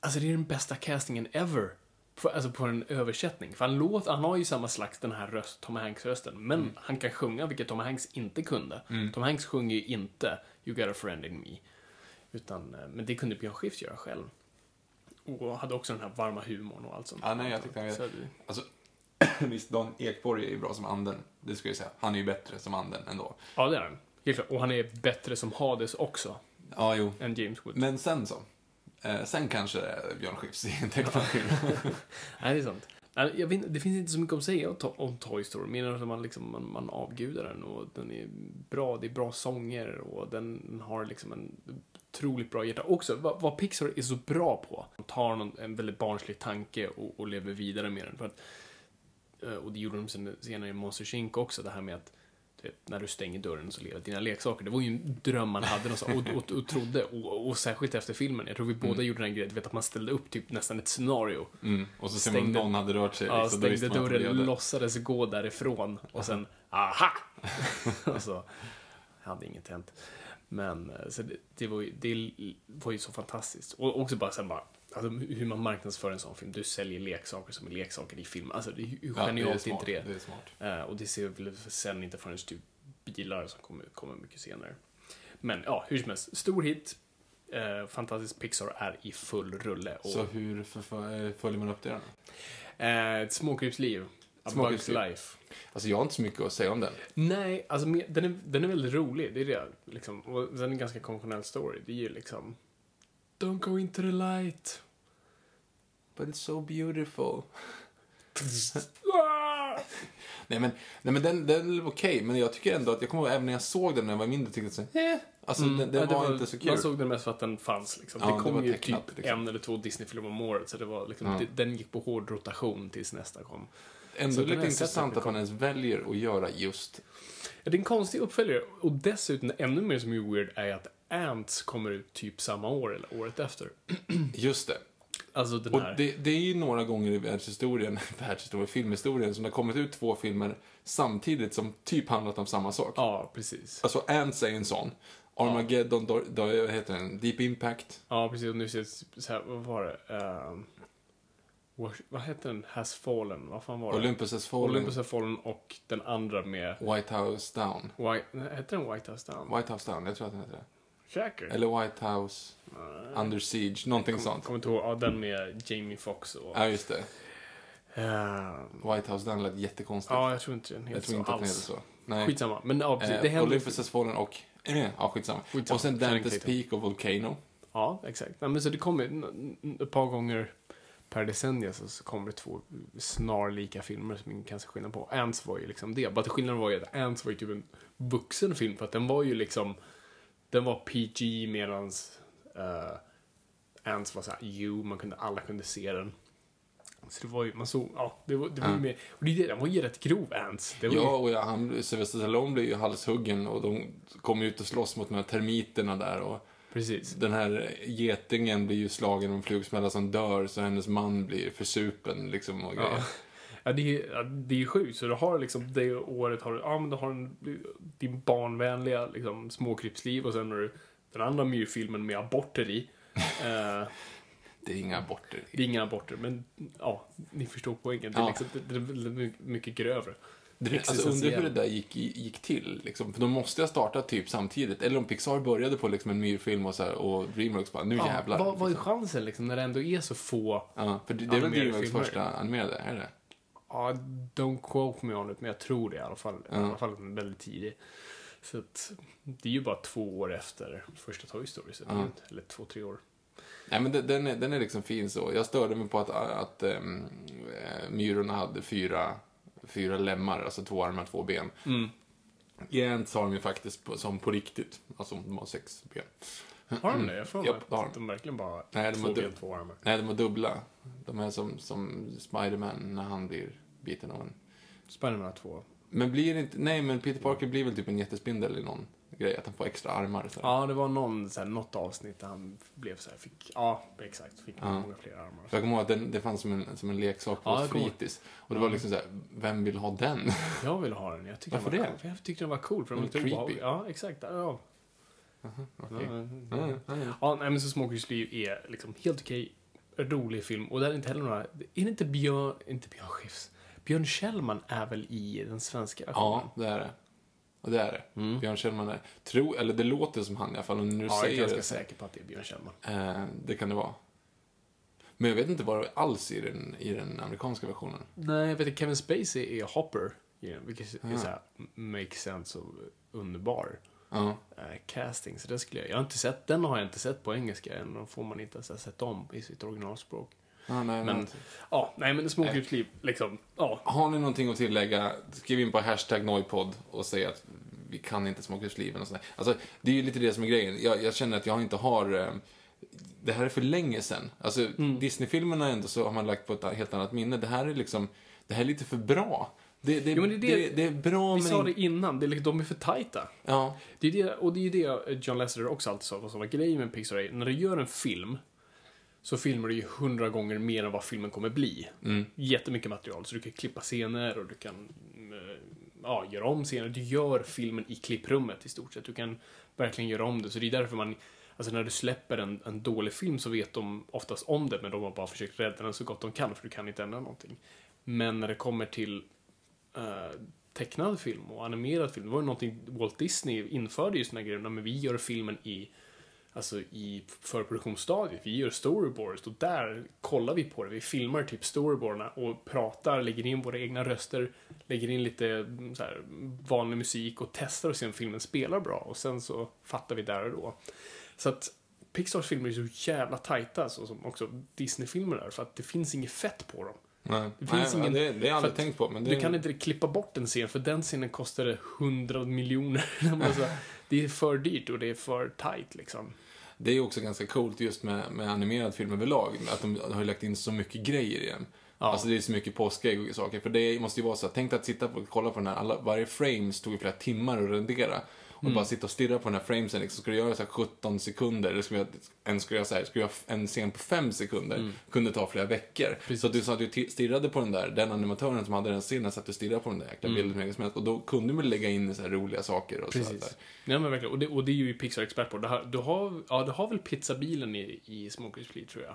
Speaker 2: Alltså det är den bästa castingen ever. På, alltså på en översättning. För han, låt, han har ju samma slags den här röst, Tom Hanks-rösten. Men
Speaker 3: Mm.
Speaker 2: han kan sjunga, vilket Tom Hanks inte kunde. Tom Hanks sjunger ju inte You got a friend in me. Utan, eh, men det kunde Björn Skifs göra själv. Och hade också den här varma humorn och allt sånt.
Speaker 3: Ja, nej, jag tyckte han
Speaker 2: Så
Speaker 3: var...
Speaker 2: att-
Speaker 3: Alltså, visst, Dan Ekborg är ju bra som anden. Det ska jag ju säga. Han är ju bättre som anden ändå.
Speaker 2: Ja, det är han. Helt klart. Och han är bättre som Hades också,
Speaker 3: Ja, jo.
Speaker 2: än James Woods.
Speaker 3: Men sen så. Eh, sen kanske det är Björn Skifs i en tecknad film.
Speaker 2: Nej, det är sant. Nej, Jag vet, inte- det finns inte så mycket att säga om To- om Toy Story, mer än att man, liksom, man, man avgudar den och den är bra, det är bra sånger och den har liksom en otroligt bra hjärta. Också, vad, vad Pixar är så bra på, de tar någon, en väldigt barnslig tanke och, och lever vidare med den. För att, eh, och det gjorde de sen- senare i Monsters Inc också, det här med att du vet, när du stänger dörren så lever dina leksaker. Det var ju en dröm man hade någonstans och, och, och trodde. Och, och särskilt efter filmen. Jag tror vi båda gjorde den här grejen, du vet att man ställde upp typ nästan ett scenario.
Speaker 3: Mm. Och så ser man att
Speaker 2: Stängde-
Speaker 3: någon hade rört sig.
Speaker 2: Ja,
Speaker 3: liksom. Då visste
Speaker 2: stängde
Speaker 3: man att det
Speaker 2: dörren,
Speaker 3: levde.
Speaker 2: låtsades gå därifrån och sen aha! och så hade inget hänt. Men eh, så det, det, var ju, det var ju så fantastiskt. Och också bara sen bara, alltså, hur man marknadsför en sån film. Du säljer leksaker som är leksaker i film. Alltså det, hur
Speaker 3: Ja,
Speaker 2: genialt
Speaker 3: det är smart.
Speaker 2: inte det?
Speaker 3: Det är smart.
Speaker 2: Eh, och det ser vi väl sen inte förrän typ bilar som kommer, kommer mycket senare. Men ja, hur som helst, stor hit. Eh, fantastisk Pixar är i full rulle. Och
Speaker 3: Så hur förfö- eh, följer man upp det då?
Speaker 2: Eh, ett småkrypsliv. A Bug's
Speaker 3: Småkrypsliv.
Speaker 2: Life.
Speaker 3: Alltså jag har inte så mycket att säga om den.
Speaker 2: Nej, alltså men- den är, den är väldigt rolig. Det är det. Liksom. Och sen är det en ganska konventionell story. Det är ju liksom... Don't go into the light.
Speaker 3: But it's so beautiful. Ah! nej men, nej, men den, den var okej, men jag tycker ändå att, jag kommer ihåg även när jag såg den när jag var mindre, tyckte jag så här, eh, alltså den, den
Speaker 2: Mm. Ja, det
Speaker 3: var, inte så kul.
Speaker 2: Man såg den mest för att den fanns. Liksom.
Speaker 3: Ja,
Speaker 2: det
Speaker 3: det
Speaker 2: kom
Speaker 3: var
Speaker 2: ju
Speaker 3: tecknat,
Speaker 2: typ
Speaker 3: liksom.
Speaker 2: en eller två Disney-filmer om året. Så det var liksom, det, den gick på hård rotation tills nästa kom. så
Speaker 3: ändå
Speaker 2: den
Speaker 3: lite
Speaker 2: här
Speaker 3: intressant
Speaker 2: sättet
Speaker 3: att man ens väljer att göra just,
Speaker 2: Ja, det är en konstig uppföljare. Och dessutom, ännu mer som är weird, är att Ants kommer ut typ samma år eller året efter.
Speaker 3: just det.
Speaker 2: Alltså den
Speaker 3: Och
Speaker 2: här...
Speaker 3: det, det är ju några gånger i världshistorien, världshistorien, filmhistorien, som det har kommit ut två filmer samtidigt som typ handlat om samma sak.
Speaker 2: Ja, precis.
Speaker 3: Alltså Ants är en sån. Armageddon, då, då, vad heter den? Deep Impact.
Speaker 2: Ja, precis. Och nu ser jag typ så här, vad var det? Ehm, Wash- vad hette den? Has fallen? Vad fan var det?
Speaker 3: Olympus has fallen.
Speaker 2: Olympus has fallen och den andra med...
Speaker 3: White House Down.
Speaker 2: White, nej, hette den White House Down?
Speaker 3: White House Down, jag tror att den heter det.
Speaker 2: Säker?
Speaker 3: Eller White House Under Siege, någonting sånt.
Speaker 2: Kommer inte ihåg. Ja, den med Jamie Foxx och...
Speaker 3: Ja, just det.
Speaker 2: Ehm,
Speaker 3: White House Down lät jättekonstigt.
Speaker 2: ja, jag tror inte den
Speaker 3: jag
Speaker 2: heter
Speaker 3: tror
Speaker 2: så
Speaker 3: inte att den
Speaker 2: alls.
Speaker 3: heter så. Nej.
Speaker 2: Skitsamma. Men ja, precis.
Speaker 3: Eh,
Speaker 2: det händer...
Speaker 3: Olympus has fallen och... Eh, ja, skitsamma.
Speaker 2: Skitsamma.
Speaker 3: Och sen Dantes
Speaker 2: Channing
Speaker 3: Peak och Volcano.
Speaker 2: Ja, exakt. Nej, men så det kommer n- n- ett par gånger per decennium så, så kommer det två snarlika filmer som ingen kan se skillnad på. Ants var ju liksom det. Bara att skillnaden var ju att Ants var ju typ en vuxen film för att den var ju liksom, den var PG medans eh, Ants var såhär, jo, man kunde, alla kunde se den. Så det var ju, man såg, ja, det var, det var ju mer, och det, är det, den var ju rätt grov Ants. Det var
Speaker 3: Ja,
Speaker 2: ju,
Speaker 3: och ja, han, Sylvester Stallone blir ju halshuggen och de kommer ut och slåss mot de här termiterna där och
Speaker 2: precis.
Speaker 3: den här getingen blir ju slagen av en flugsmälla som dör så hennes man blir försupen liksom och grejer.
Speaker 2: Ja. Ja, det är, ja, det är ju sjukt. Så du har liksom det året har du, ja men du har en, din barnvänliga liksom, småkrypsliv och sen har du den andra myrfilmen med aborter i. Eh,
Speaker 3: Det är inga aborter.
Speaker 2: det är inga aborter, men ja, ni förstår poängen. Det är,
Speaker 3: Ja.
Speaker 2: liksom, det, det är väldigt my- mycket grövre.
Speaker 3: Det, alltså undrar hur det där gick, gick till liksom. För de måste ha startat typ samtidigt. Eller om Pixar började på liksom en myrfilm och så här, och Dreamworks bara, nu
Speaker 2: Ja,
Speaker 3: jävlar.
Speaker 2: vad, vad är
Speaker 3: liksom.
Speaker 2: chansen liksom, när det ändå är så få?
Speaker 3: Ja, för det, det är väl
Speaker 2: Animerade
Speaker 3: Dreamworks
Speaker 2: filmer.
Speaker 3: första animerade, är det
Speaker 2: Ja, don't quote me on it, men jag tror det i alla fall. I alla fall väldigt tidig. Så att, det är ju bara två år efter första Toy Story. Så det är ju inte- Eller två, tre år.
Speaker 3: Nej, men den- den är, den är liksom fin så. Jag störde mig på att, att ehm, eh, myrorna hade fyra, fyra lemmar, alltså två armar, två ben. Mm. Jämt har de ju faktiskt på, som på riktigt, alltså de har sex ben.
Speaker 2: Har de Mm. det? Jag får mig
Speaker 3: Japp, det har
Speaker 2: att
Speaker 3: de.
Speaker 2: de verkligen bara
Speaker 3: Nej, de
Speaker 2: två
Speaker 3: har
Speaker 2: ben,
Speaker 3: dubbla.
Speaker 2: två armar.
Speaker 3: Nej, de är dubbla. De är som, som Spiderman när han blir biten av en.
Speaker 2: Spiderman har två.
Speaker 3: Men blir det inte, nej men Peter Parker blir väl typ en jättespindel i någon grej, att han får extra armar. Så. här.
Speaker 2: Ja, det var någon, så här, något avsnitt där han blev så här, fick, ja exakt, fick många fler armar.
Speaker 3: För jag kommer ihåg att den, det fanns som en, som en leksak på
Speaker 2: Ja,
Speaker 3: ja,
Speaker 2: jag kommer ihåg.
Speaker 3: fritids. Och det var liksom så här, vem vill ha den?
Speaker 2: Jag vill ha den. Jag tyckte
Speaker 3: Varför
Speaker 2: den var
Speaker 3: det?
Speaker 2: Cool. För Jag tyckte den var cool. För den
Speaker 3: Den
Speaker 2: var
Speaker 3: är
Speaker 2: lite obehaglig.
Speaker 3: creepy.
Speaker 2: Ja, exakt. Ja.
Speaker 3: Okej.
Speaker 2: Ja, nej, men så Småkryss liv är liksom helt okej, rolig film. Och där är inte heller några... Är det inte Björn... Inte Björn Skifs? Björn Kjellman är väl i den svenska versionen?
Speaker 3: Ja, det är det. Och det är det. Björn Kjellman är, tro, eller det låter som han i alla fall, och när du
Speaker 2: jag Mm. är
Speaker 3: säger
Speaker 2: ganska
Speaker 3: det.
Speaker 2: säker på att det är Björn Kjellman.
Speaker 3: Eh, det kan det vara. Men jag vet inte vad det är alls i den, i den amerikanska versionen.
Speaker 2: Nej, vet du, Kevin Spacey är Hopper. Yeah, vilket är såhär, makes sense och underbar
Speaker 3: Ja.
Speaker 2: eh, casting. Så det skulle jag... jag har inte sett, den har jag inte sett på engelska än. Den får man inte ens ha sett om i sitt originalspråk.
Speaker 3: Ah, nej,
Speaker 2: Men,
Speaker 3: men...
Speaker 2: ja, nej men Småkryss liv, liksom, ja.
Speaker 3: Har ni någonting att tillägga, skriv in på hashtag nojpodd och säg att vi kan inte småkryssliven och sådär. Alltså, det är ju lite det som är grejen. Jag, jag känner att jag inte har... eh, Det här är för länge sedan. Alltså,
Speaker 2: Mm.
Speaker 3: Disney-filmerna ändå så har man lagt på ett helt annat minne. Det här är liksom... Det här är lite för bra. Det, det,
Speaker 2: Jo, men
Speaker 3: det,
Speaker 2: det är
Speaker 3: det,
Speaker 2: det-
Speaker 3: är bra
Speaker 2: Vi
Speaker 3: men...
Speaker 2: sa det innan, det är, liksom- de är för tajta.
Speaker 3: Ja.
Speaker 2: Det är det, och det är ju det John Lasseter också alltid sa var sådana grejer med Pixar. är, När du gör en film så filmar du ju hundra gånger mer än vad filmen kommer bli. Jättemycket material, så du kan klippa scener och du kan eh, ja, göra om scener. Du gör filmen i klipprummet i stort sett. Du kan verkligen göra om det. Så det är därför man, alltså när du släpper en, en dålig film så vet de oftast om det, men de har bara försökt rädda den så gott de kan, för du kan inte ändra någonting. Men när det kommer till eh, tecknad film och animerad film. Det var ju någonting Walt Disney införde just den här grejen. "Nej, Men vi gör filmen i, alltså i förproduktionsstadiet. Vi gör storyboards och där kollar vi på det. Vi filmar typ storyboardarna och pratar, lägger in våra egna röster, lägger in lite mm, så här, vanlig musik och testar och ser om filmen spelar bra. Och sen så fattar vi där och då. Så att Pixars filmer är så jävla tajta, så som också Disney-filmer är, för att det finns inget fett på dem.
Speaker 3: Nej.
Speaker 2: Det finns
Speaker 3: nej,
Speaker 2: ingen...
Speaker 3: det, det har jag
Speaker 2: för
Speaker 3: aldrig
Speaker 2: att
Speaker 3: tänkt på. Men det,
Speaker 2: Du kan inte klippa bort en scen, för den scenen kostade 100 miljoner. Alltså, det är för dyrt och det är för tight liksom.
Speaker 3: Det är ju också ganska coolt just med, med animerad film överlag, att de har ju lagt in så mycket grejer igen. Alltså det är så mycket påskägg och saker, för det måste ju vara så att, tänk dig att sitta på, kolla på den här, alla, varje frame tog ju flera timmar att rendera. Och bara sitta och stirra på den här framesen, liksom, ska du göra så här 17 sekunder, eller ska du göra, en, ska du göra så här, ska du göra en scen på 5 sekunder, kunde ta flera veckor. Så att du sa att du ti- stirrade på den där, den animatören som hade den scenen satt och stirrade på den där jäkla bilden hur länge som helst. Och då kunde man lägga in så här roliga saker och så där.
Speaker 2: Ja, men verkligen. Och det, och det är ju Pixar expert på. Det har, du, har, ja, du har väl pizzabilen i, i Småkryss Fleet, tror jag.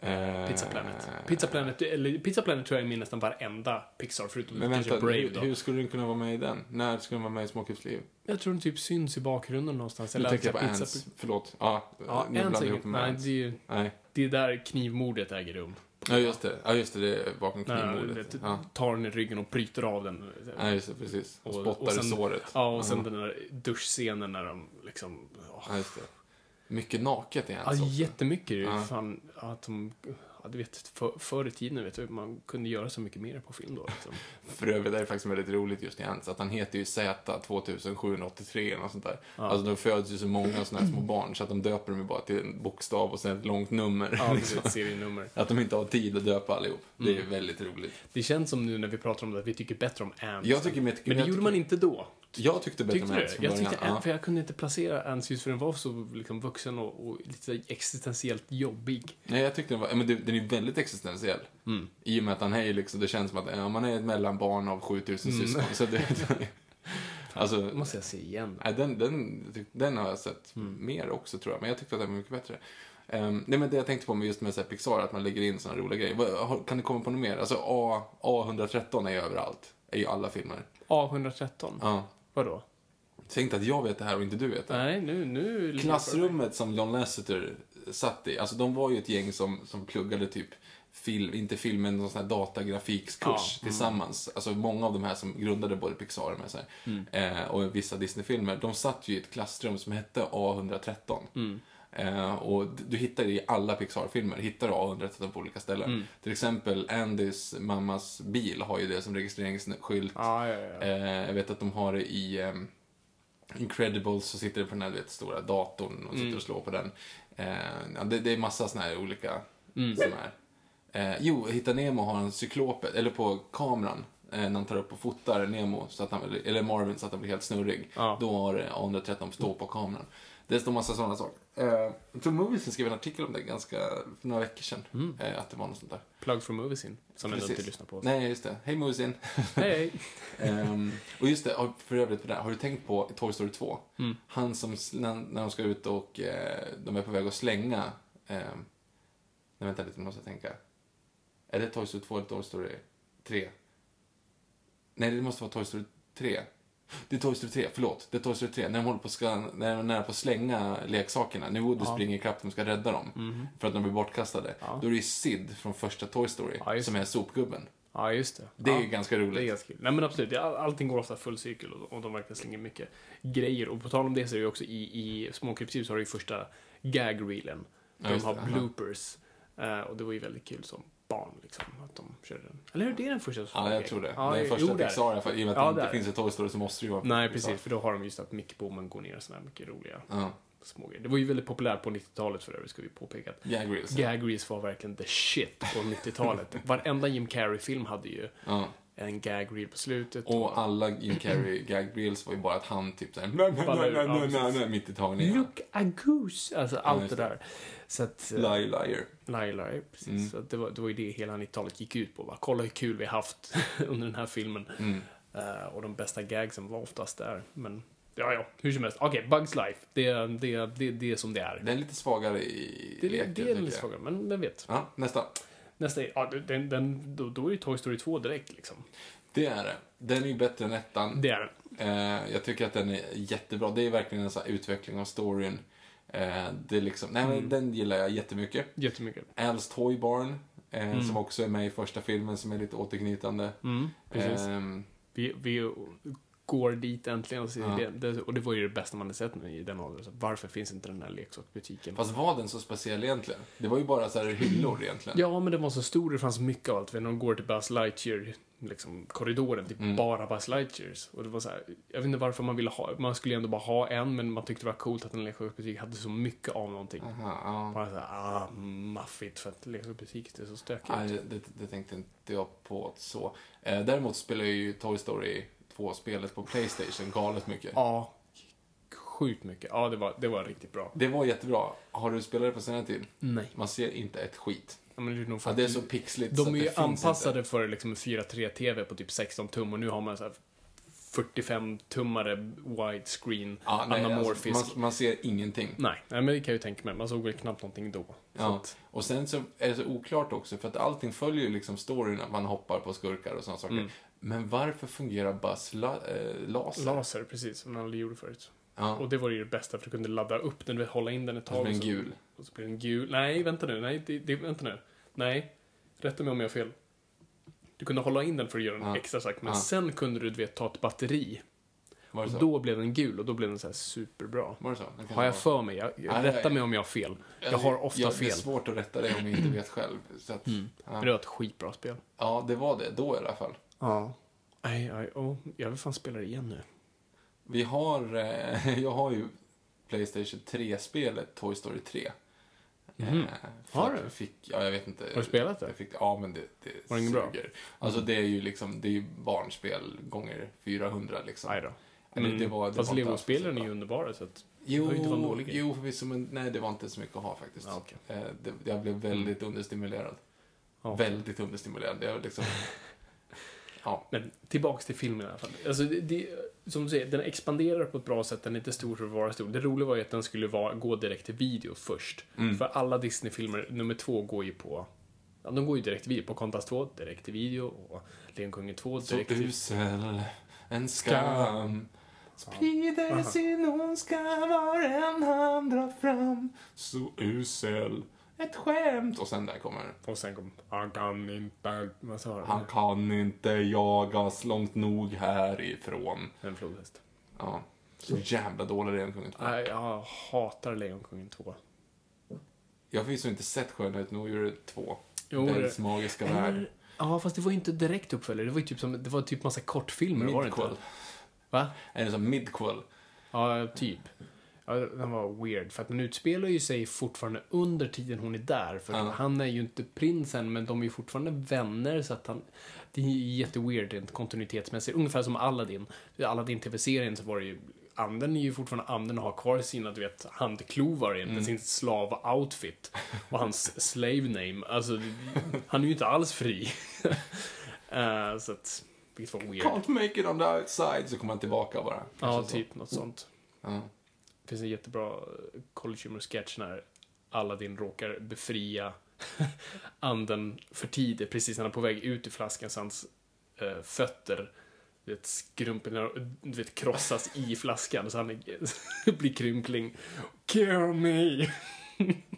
Speaker 3: Eh,
Speaker 2: Pizza Planet. Pizza Planet, eller, Pizza Planet tror jag är med i nästan varenda Pixar, förutom
Speaker 3: Men
Speaker 2: kanske
Speaker 3: vänta,
Speaker 2: Brave då.
Speaker 3: hur skulle den kunna vara med i den? När skulle den vara med i Småkryps liv?
Speaker 2: Jag tror den typ syns i bakgrunden någonstans.
Speaker 3: Nu
Speaker 2: Eller
Speaker 3: tänkte jag på
Speaker 2: att pizza-
Speaker 3: Ants, förlåt. Ja,
Speaker 2: Ja,
Speaker 3: nu blandar
Speaker 2: Ants är
Speaker 3: jag
Speaker 2: ju-
Speaker 3: ihop med
Speaker 2: Nej,
Speaker 3: Ants.
Speaker 2: det är ju...
Speaker 3: Nej.
Speaker 2: Det är där knivmordet äger rum.
Speaker 3: Ja, just det. Ja, just det. Det är bakom
Speaker 2: När
Speaker 3: knivmordet.
Speaker 2: du
Speaker 3: Ja.
Speaker 2: tar den i ryggen och bryter av den.
Speaker 3: ja, just det. Precis. Och, spottar i
Speaker 2: sen-
Speaker 3: såret.
Speaker 2: Ja, och sen den där duschscenen när de liksom...
Speaker 3: Ja,
Speaker 2: Oh,
Speaker 3: just det. Mycket naket i
Speaker 2: ja,
Speaker 3: Ants också.
Speaker 2: jättemycket. Ja. Fan, att de, ja, du vet, för, förr i tiden vet du, man kunde göra så mycket mer på film då. Liksom.
Speaker 3: För övrigt är det faktiskt väldigt roligt just i Ants att han heter ju Z2783 eller något sånt där. Alltså de föds ju så många sådana här små barn så att de döper dem ju bara till en bokstav och sen ett långt nummer.
Speaker 2: Ja,
Speaker 3: liksom.
Speaker 2: precis, Mm. serienummer.
Speaker 3: Att de inte har tid att döpa allihop. Det är ju väldigt roligt.
Speaker 2: Det känns som nu när vi pratar om det att vi tycker bättre om Ants.
Speaker 3: Jag tycker-
Speaker 2: men
Speaker 3: jag
Speaker 2: det
Speaker 3: tycker- jag
Speaker 2: gjorde
Speaker 3: tycker-
Speaker 2: man inte då.
Speaker 3: Jag tyckte bättre
Speaker 2: Tyckte
Speaker 3: om
Speaker 2: du?
Speaker 3: Ants från
Speaker 2: Jag
Speaker 3: början.
Speaker 2: tyckte
Speaker 3: Ja.
Speaker 2: Ants, för jag kunde inte placera Ants just för den var så liksom, vuxen och, och lite existentiellt jobbig.
Speaker 3: Nej, jag tyckte den var, men det- den är väldigt existentiell.
Speaker 2: Mm.
Speaker 3: I och med att han är liksom, det känns som att ja, man är ett mellanbarn av 7000
Speaker 2: Mm.
Speaker 3: syskon. Så det,
Speaker 2: Det
Speaker 3: alltså,
Speaker 2: måste jag se igen.
Speaker 3: nej, den, den, tyck- den har jag sett
Speaker 2: Mm.
Speaker 3: mer också tror jag, men jag tyckte att den var mycket bättre. Ehm, nej, men det jag tänkte på med just med så här Pixar, att man lägger in sådana roliga grejer. Vad- har- Kan du komma på något mer? Alltså A, A113 är ju överallt, är ju alla filmer.
Speaker 2: A113?
Speaker 3: Ja.
Speaker 2: Vadå?
Speaker 3: Säg inte att jag vet det här och inte du vet det.
Speaker 2: Nej, nu... nu
Speaker 3: Klassrummet som John Lasseter satt i, alltså de var ju ett gäng som, som pluggade typ film, inte film, men någon sån här datagrafikskurs tillsammans. Alltså många av de här som grundade både Pixar och, de här så här, eh, och vissa Disney-filmer, de satt ju i ett klassrum som hette A113. Eh, och d- du hittar det i alla Pixar-filmer, hittar du A113 på olika ställen. Till exempel Andys mammas bil har ju det som registreringsskylt.
Speaker 2: Ja, ja, ja.
Speaker 3: Eh, jag vet att de har det i ehm, Incredibles så sitter det på den här du vet, stora datorn och
Speaker 2: Mm.
Speaker 3: sitter och slår på den. Eh, ja, det, det är massa såna här olika
Speaker 2: Mm.
Speaker 3: som är. Eh, jo, Hitta Nemo har en cyklopet, eller på kameran, eh, när han tar upp och fotar Nemo, så att han, eller Marvin, så att han blir helt snurrig. Då har eh, A113 står på kameran. Det står massa sådana saker. Eh, jag tror Moviesen skrev en artikel om det ganska, för några veckor sedan.
Speaker 2: Mm.
Speaker 3: Eh, att det var något sånt där.
Speaker 2: Plug for Movies in, som ändå inte lyssnar på oss.
Speaker 3: Nej, just det. Hej Moviesen!
Speaker 2: Hej, hej.
Speaker 3: Ehm, och just det, har- för övrigt på det här, har du tänkt på i Toy Story 2?
Speaker 2: Mm.
Speaker 3: Han som, s- när, när de ska ut och eh, de är på väg att slänga... ehm, nej, vänta lite, nu måste jag tänka. Är det Toy Story 2 eller Toy Story 3? Nej, det måste vara Toy Story 3. Det är Toy Story 3, förlåt. Det är Toy Story 3. När de håller på att ska, när de är nära på att slänga leksakerna. När Woody springer ikapp de ska rädda dem.
Speaker 2: Mhm.
Speaker 3: För att de blir bortkastade. Då är det ju Sid från första Toy Story
Speaker 2: Ja, just
Speaker 3: som är sopgubben.
Speaker 2: Ja, just det.
Speaker 3: Det är
Speaker 2: ja.
Speaker 3: ganska roligt.
Speaker 2: Det är ganska kul. Nej men absolut, all, allting går ofta full cirkel och, och de verkligen slänger mycket grejer. Och på tal om det så är det ju också i, i Småkrypsljus har du ju första gag-reelen. Där de
Speaker 3: just
Speaker 2: har
Speaker 3: det, aha.
Speaker 2: bloopers. Eh, och det var ju väldigt kul som barn liksom, att de körde den. Eller hur, det är den första som
Speaker 3: Ja, jag tror det. det är
Speaker 2: jo,
Speaker 3: första
Speaker 2: det är det.
Speaker 3: Pixar i alla fall. I och med att
Speaker 2: Ja,
Speaker 3: det
Speaker 2: det
Speaker 3: inte
Speaker 2: är
Speaker 3: finns
Speaker 2: det.
Speaker 3: ett Toy Story så måste det ju vara
Speaker 2: Nej,
Speaker 3: Pixar.
Speaker 2: precis. För då har de just att mickbommen går ner och sådana här mycket roliga
Speaker 3: Ja.
Speaker 2: smågrejer. Det var ju väldigt populärt på 90-talet för övrigt, ska vi påpeka. Att
Speaker 3: Gag reels.
Speaker 2: Gag reels var verkligen the shit på 90-talet. Varenda Jim Carrey-film hade ju
Speaker 3: Ja.
Speaker 2: en gag reel på slutet.
Speaker 3: Och alla Jim Carrey gag reels var ju bara att han typ såhär, nej, nej,
Speaker 2: Ballar
Speaker 3: nej,
Speaker 2: ur,
Speaker 3: nej,
Speaker 2: ja,
Speaker 3: nej, nej,
Speaker 2: precis.
Speaker 3: nej, mitt i tagningen.
Speaker 2: Look a goose! Alltså allt
Speaker 3: just
Speaker 2: det
Speaker 3: det.
Speaker 2: där. Så att... eh,
Speaker 3: Liar, liar.
Speaker 2: Liar, liar, precis. Så att det, var, det var ju det hela 90-talet gick ut på. Bara, kolla hur kul vi har haft under den här filmen. Eh, och de bästa gagsen var oftast där. Men ja, ja, hur som helst. Okej, Bugs Life. Det, är- det, är- det, det är som det är.
Speaker 3: Den är lite svagare i
Speaker 2: Det, det,
Speaker 3: leken,
Speaker 2: det är
Speaker 3: tycker
Speaker 2: en
Speaker 3: jag.
Speaker 2: viss fråga, men vem vet.
Speaker 3: Ja, nästa.
Speaker 2: Nästa är, ja, den, den, då, då är ju Toy Story 2 direkt liksom.
Speaker 3: Det är det. Den är ju bättre än ettan.
Speaker 2: Det är den.
Speaker 3: Eh, jag tycker att den är jättebra. Det är verkligen en sån här utveckling av storyn. Eh, det är liksom, nej,
Speaker 2: Mm.
Speaker 3: men den gillar jag jättemycket.
Speaker 2: Jättemycket.
Speaker 3: Al's Toy Barn, eh,
Speaker 2: Mm.
Speaker 3: som också är med i första filmen, som är lite återknytande.
Speaker 2: precis.
Speaker 3: Ehm,
Speaker 2: Vi, vi går dit äntligen och, ser det, det, och det var ju det bästa man hade sett nu i den åldern. Så Varför finns inte den här leksaksbutiken?
Speaker 3: Fast var den så speciell egentligen? Det var ju bara så här hyllor egentligen.
Speaker 2: Ja, men den var så stor det fanns mycket av allt. När de går till Buzz Lightyear, liksom korridoren, typ
Speaker 3: Mm.
Speaker 2: bara Buzz Lightyears. Och det var så här, jag vet inte varför man ville ha, man skulle ju ändå bara ha en, men man tyckte det var coolt att en leksaksbutik hade så mycket av någonting.
Speaker 3: Aha, ja.
Speaker 2: Bara så här, ah, maffigt för att leksaksbutik är så stökigt.
Speaker 3: Nej, det, det, det tänkte inte jag på så. Eh, däremot spelar ju Toy Story 2-spelet på Playstation galet mycket.
Speaker 2: Ja, sjukt mycket. Ja, det var, det var riktigt bra.
Speaker 3: Det var jättebra. Har du spelat det på senare tid?
Speaker 2: Nej.
Speaker 3: Man ser inte ett skit.
Speaker 2: Ja, men det är nog för
Speaker 3: Ja,
Speaker 2: att
Speaker 3: det är så pixligt så
Speaker 2: De
Speaker 3: att
Speaker 2: är
Speaker 3: det
Speaker 2: ju
Speaker 3: finns
Speaker 2: anpassade
Speaker 3: Inte.
Speaker 2: för liksom 4.3-TV på typ 16 tum och nu har man så här 45-tummare widescreen,
Speaker 3: Ja, nej,
Speaker 2: anamorfisk.
Speaker 3: Alltså, man, man ser ingenting.
Speaker 2: Nej, nej, men det kan jag ju tänka mig. Man såg väl knappt någonting då. Så
Speaker 3: Ja.
Speaker 2: att,
Speaker 3: Och sen så är det så oklart också, för att allting följer ju liksom storyn att man hoppar på skurkar och sådana saker.
Speaker 2: Mm.
Speaker 3: Men varför fungerar Buzz la, eh, laser?
Speaker 2: laser, precis, som man aldrig gjorde förut.
Speaker 3: Ja.
Speaker 2: Och det var ju det bästa, för du kunde ladda upp den, du vet, hålla in den ett tag.
Speaker 3: blir den
Speaker 2: och så-
Speaker 3: gul.
Speaker 2: Och så blir den gul. Nej, vänta nu. Nej, det, det, vänta nu. Nej, rätta mig om jag har fel. Du kunde hålla in den för att göra den extra stark, men
Speaker 3: Ja.
Speaker 2: sen kunde du, du vet, ta ett batteri.
Speaker 3: Var det så?
Speaker 2: Och då blev den gul och då blev den så här superbra.
Speaker 3: Var det så? Det kanske
Speaker 2: Har
Speaker 3: var-
Speaker 2: jag för mig? Jag,
Speaker 3: Ja,
Speaker 2: jag,
Speaker 3: det-
Speaker 2: rätta mig om jag har fel. Jag har ofta
Speaker 3: Ja, Det är
Speaker 2: fel. Mm.
Speaker 3: svårt att rätta det om jag inte vet själv. Så att,
Speaker 2: Men
Speaker 3: ja.
Speaker 2: det var ett skitbra spel.
Speaker 3: ja, det var det då i alla fall.
Speaker 2: Ja. Aj, aj, oh. Jag vill fan spela det igen nu.
Speaker 3: Vi har, eh, jag har ju Playstation 3-spelet Toy Story 3. Eh, för
Speaker 2: Mhm. Har
Speaker 3: att
Speaker 2: du?
Speaker 3: jag Fick, ja, jag vet inte.
Speaker 2: Har du spelat det?
Speaker 3: Jag fick, ja, men det, det
Speaker 2: Var det ingen bra? Mhm.
Speaker 3: Alltså det är ju liksom, det är ju barnspel gånger 400 liksom.
Speaker 2: Aj då.
Speaker 3: Ja, det- det var- det
Speaker 2: Mm. Fast
Speaker 3: var inte
Speaker 2: legospelen
Speaker 3: alls
Speaker 2: är ju underbara så att... det
Speaker 3: Jo,
Speaker 2: behöver inte vara en dålig grej.
Speaker 3: jo förvisso, men nej, det var inte så mycket att ha faktiskt.
Speaker 2: Ja, okej. Mm.
Speaker 3: Eh, det, jag blev väldigt understimulerad.
Speaker 2: Ja.
Speaker 3: Väldigt understimulerad. Jag liksom, ja.
Speaker 2: Men tillbaks till filmen i alla fall. Alltså, det, det, som du säger, den expanderar på ett bra sätt, den är inte stor för att vara stor. Det roliga var ju att den skulle vara, gå direkt till video först.
Speaker 3: Mm.
Speaker 2: För alla Disney-filmer, nummer två går ju på... Ja, de går ju direkt till video. På Kontas 2, direkt till video. Och Lejonkungen 2,
Speaker 3: Så
Speaker 2: direkt till...
Speaker 3: usel en skam sprider sin ondska var än han drar fram. Så usel ett skämt. Och sen där kommer
Speaker 2: Och sen kom... Han kan inte... Vad sa
Speaker 3: Han
Speaker 2: han?
Speaker 3: kan inte jagas långt nog härifrån.
Speaker 2: En flodhäst.
Speaker 3: Ja. Så jävla dålig Lejonkungen.
Speaker 2: Nej, jag hatar Lejonkungen 2.
Speaker 3: Jag har förvisso inte sett Skönhet och odjuret 2.
Speaker 2: Jo,
Speaker 3: Bells
Speaker 2: det-
Speaker 3: magiska värld.
Speaker 2: Eller, ja, fast det var ju inte direkt uppföljare. Det var ju typ som, det var typ massa kortfilmer, var det
Speaker 3: Midquel.
Speaker 2: inte? Va?
Speaker 3: Eller som midquel.
Speaker 2: Ja, typ. Ja, den var weird, för att den utspelar ju sig fortfarande under tiden hon är där. För
Speaker 3: Ja.
Speaker 2: han är ju inte prinsen, men de är ju fortfarande vänner, så att han... Det är ju jätteweird rent kontinuitetsmässigt. Ungefär som Aladdin. I Aladdin-tv-serien så var det ju... Anden är ju fortfarande anden och har kvar sina, du vet, handklovar egentligen, sin slav-outfit. Och hans slave name. Alltså, det- han är ju inte alls fri. Eh, så att... Vilket var weird.
Speaker 3: Can't make it on the outside, så kommer han tillbaka bara.
Speaker 2: Ja,
Speaker 3: Kanske så.
Speaker 2: typ något sånt.
Speaker 3: Ja.
Speaker 2: Det finns en jättebra eh, College Humor-sketch när Aladdin råkar befria anden för tidigt, precis när han är på väg ut ur flaskan, så hans eh, fötter du vet, skrumpen, du vet, krossas i flaskan, så han är, blir krympling. Kill me!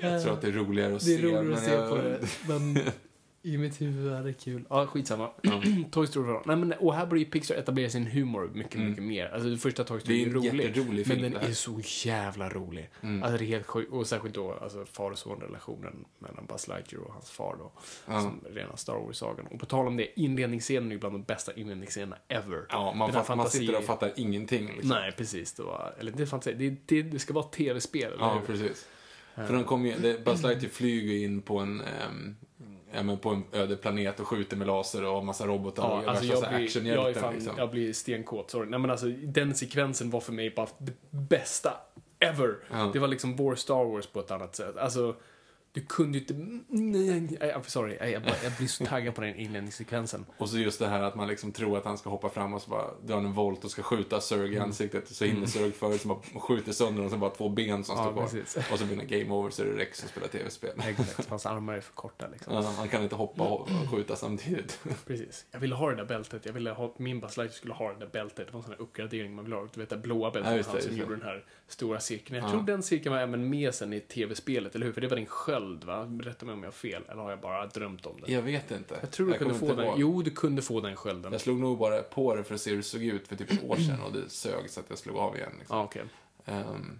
Speaker 3: Jag tror att det är roligare att
Speaker 2: Det är
Speaker 3: se.
Speaker 2: roligt att
Speaker 3: men
Speaker 2: se
Speaker 3: jag-
Speaker 2: på det, men i mitt huvud är det kul. Ja, skitsamma. Toy Story var Nej, men, och här börjar ju Pixar etablera sin humor mycket, mycket mer. Alltså, det första Toy Story
Speaker 3: Mm. Det är en
Speaker 2: rolig,
Speaker 3: jätterolig film,
Speaker 2: men
Speaker 3: det
Speaker 2: den
Speaker 3: här. Mm.
Speaker 2: är så jävla rolig. Alltså, det är helt sjukt. Och särskilt då alltså, far och son-relationen mellan Buzz Lightyear och hans far då. Som rena Star Wars-sagan. Och på tal om det, inledningsscenen är ju bland de bästa inledningsscenerna ever.
Speaker 3: Ja, man,
Speaker 2: Den här
Speaker 3: fatt, man sitter där och fattar ingenting. Liksom.
Speaker 2: Nej, precis. Det var, eller det är fantasi. Det, det, det ska vara tv-spel, eller
Speaker 3: Ja,
Speaker 2: hur?
Speaker 3: precis. För de kommer ju, det- Buzz Lightyear flyger in på en, ehm, ja, men på en öde planet och skjuter med laser och har massa robotar och
Speaker 2: Ja,
Speaker 3: är
Speaker 2: alltså
Speaker 3: värsta
Speaker 2: jag
Speaker 3: så här
Speaker 2: blir, jag, är
Speaker 3: actionhjälten.
Speaker 2: fan,
Speaker 3: liksom.
Speaker 2: jag blir stenkåt, sorry. Nej men alltså den sekvensen var för mig bara det bästa ever. Det var liksom vår Star Wars på ett annat sätt. Alltså, du kunde ju inte... Nej, nej, I'm sorry, jag, jag, bara, jag blir så taggad på den inledningssekvensen.
Speaker 3: Och så just det här att man liksom tror att han ska hoppa fram och så bara drar han en volt och ska skjuta Zurg i
Speaker 2: Mm.
Speaker 3: ansiktet. Så hinner Zurg förut, så bara skjuter sönder och så bara två ben som
Speaker 2: Ja,
Speaker 3: står kvar.
Speaker 2: precis.
Speaker 3: Och så blir det game over så är det Rex som spelar tv-spel.
Speaker 2: Exakt, hans armar är för korta liksom.
Speaker 3: Ja, han kan inte hoppa och och skjuta samtidigt.
Speaker 2: Mm. Precis. Jag ville ha det där bältet, jag ville ha, min Buzz Lightyear skulle ha det där bältet. Det var en sån här uppgradering man ville ha. Du vet det där blåa bältet,
Speaker 3: Ja,
Speaker 2: med
Speaker 3: just det,
Speaker 2: han som
Speaker 3: just det.
Speaker 2: gjorde den här stora cirkeln. Jag tror den cirkeln var även med sen i tv-spelet, eller hur? För det var din sköld, va? Berätta mig om jag har fel, eller har jag bara drömt om det?
Speaker 3: Jag vet inte.
Speaker 2: Jag tror du kunde
Speaker 3: kommer
Speaker 2: få
Speaker 3: inte
Speaker 2: den.
Speaker 3: ihåg.
Speaker 2: Jo, du kunde få den skölden.
Speaker 3: Jag slog nog bara på det för att se hur det såg ut för typ ett år sedan och det sög så att jag slog av igen. Liksom.
Speaker 2: Ja, Mm. okej.
Speaker 3: Ehm,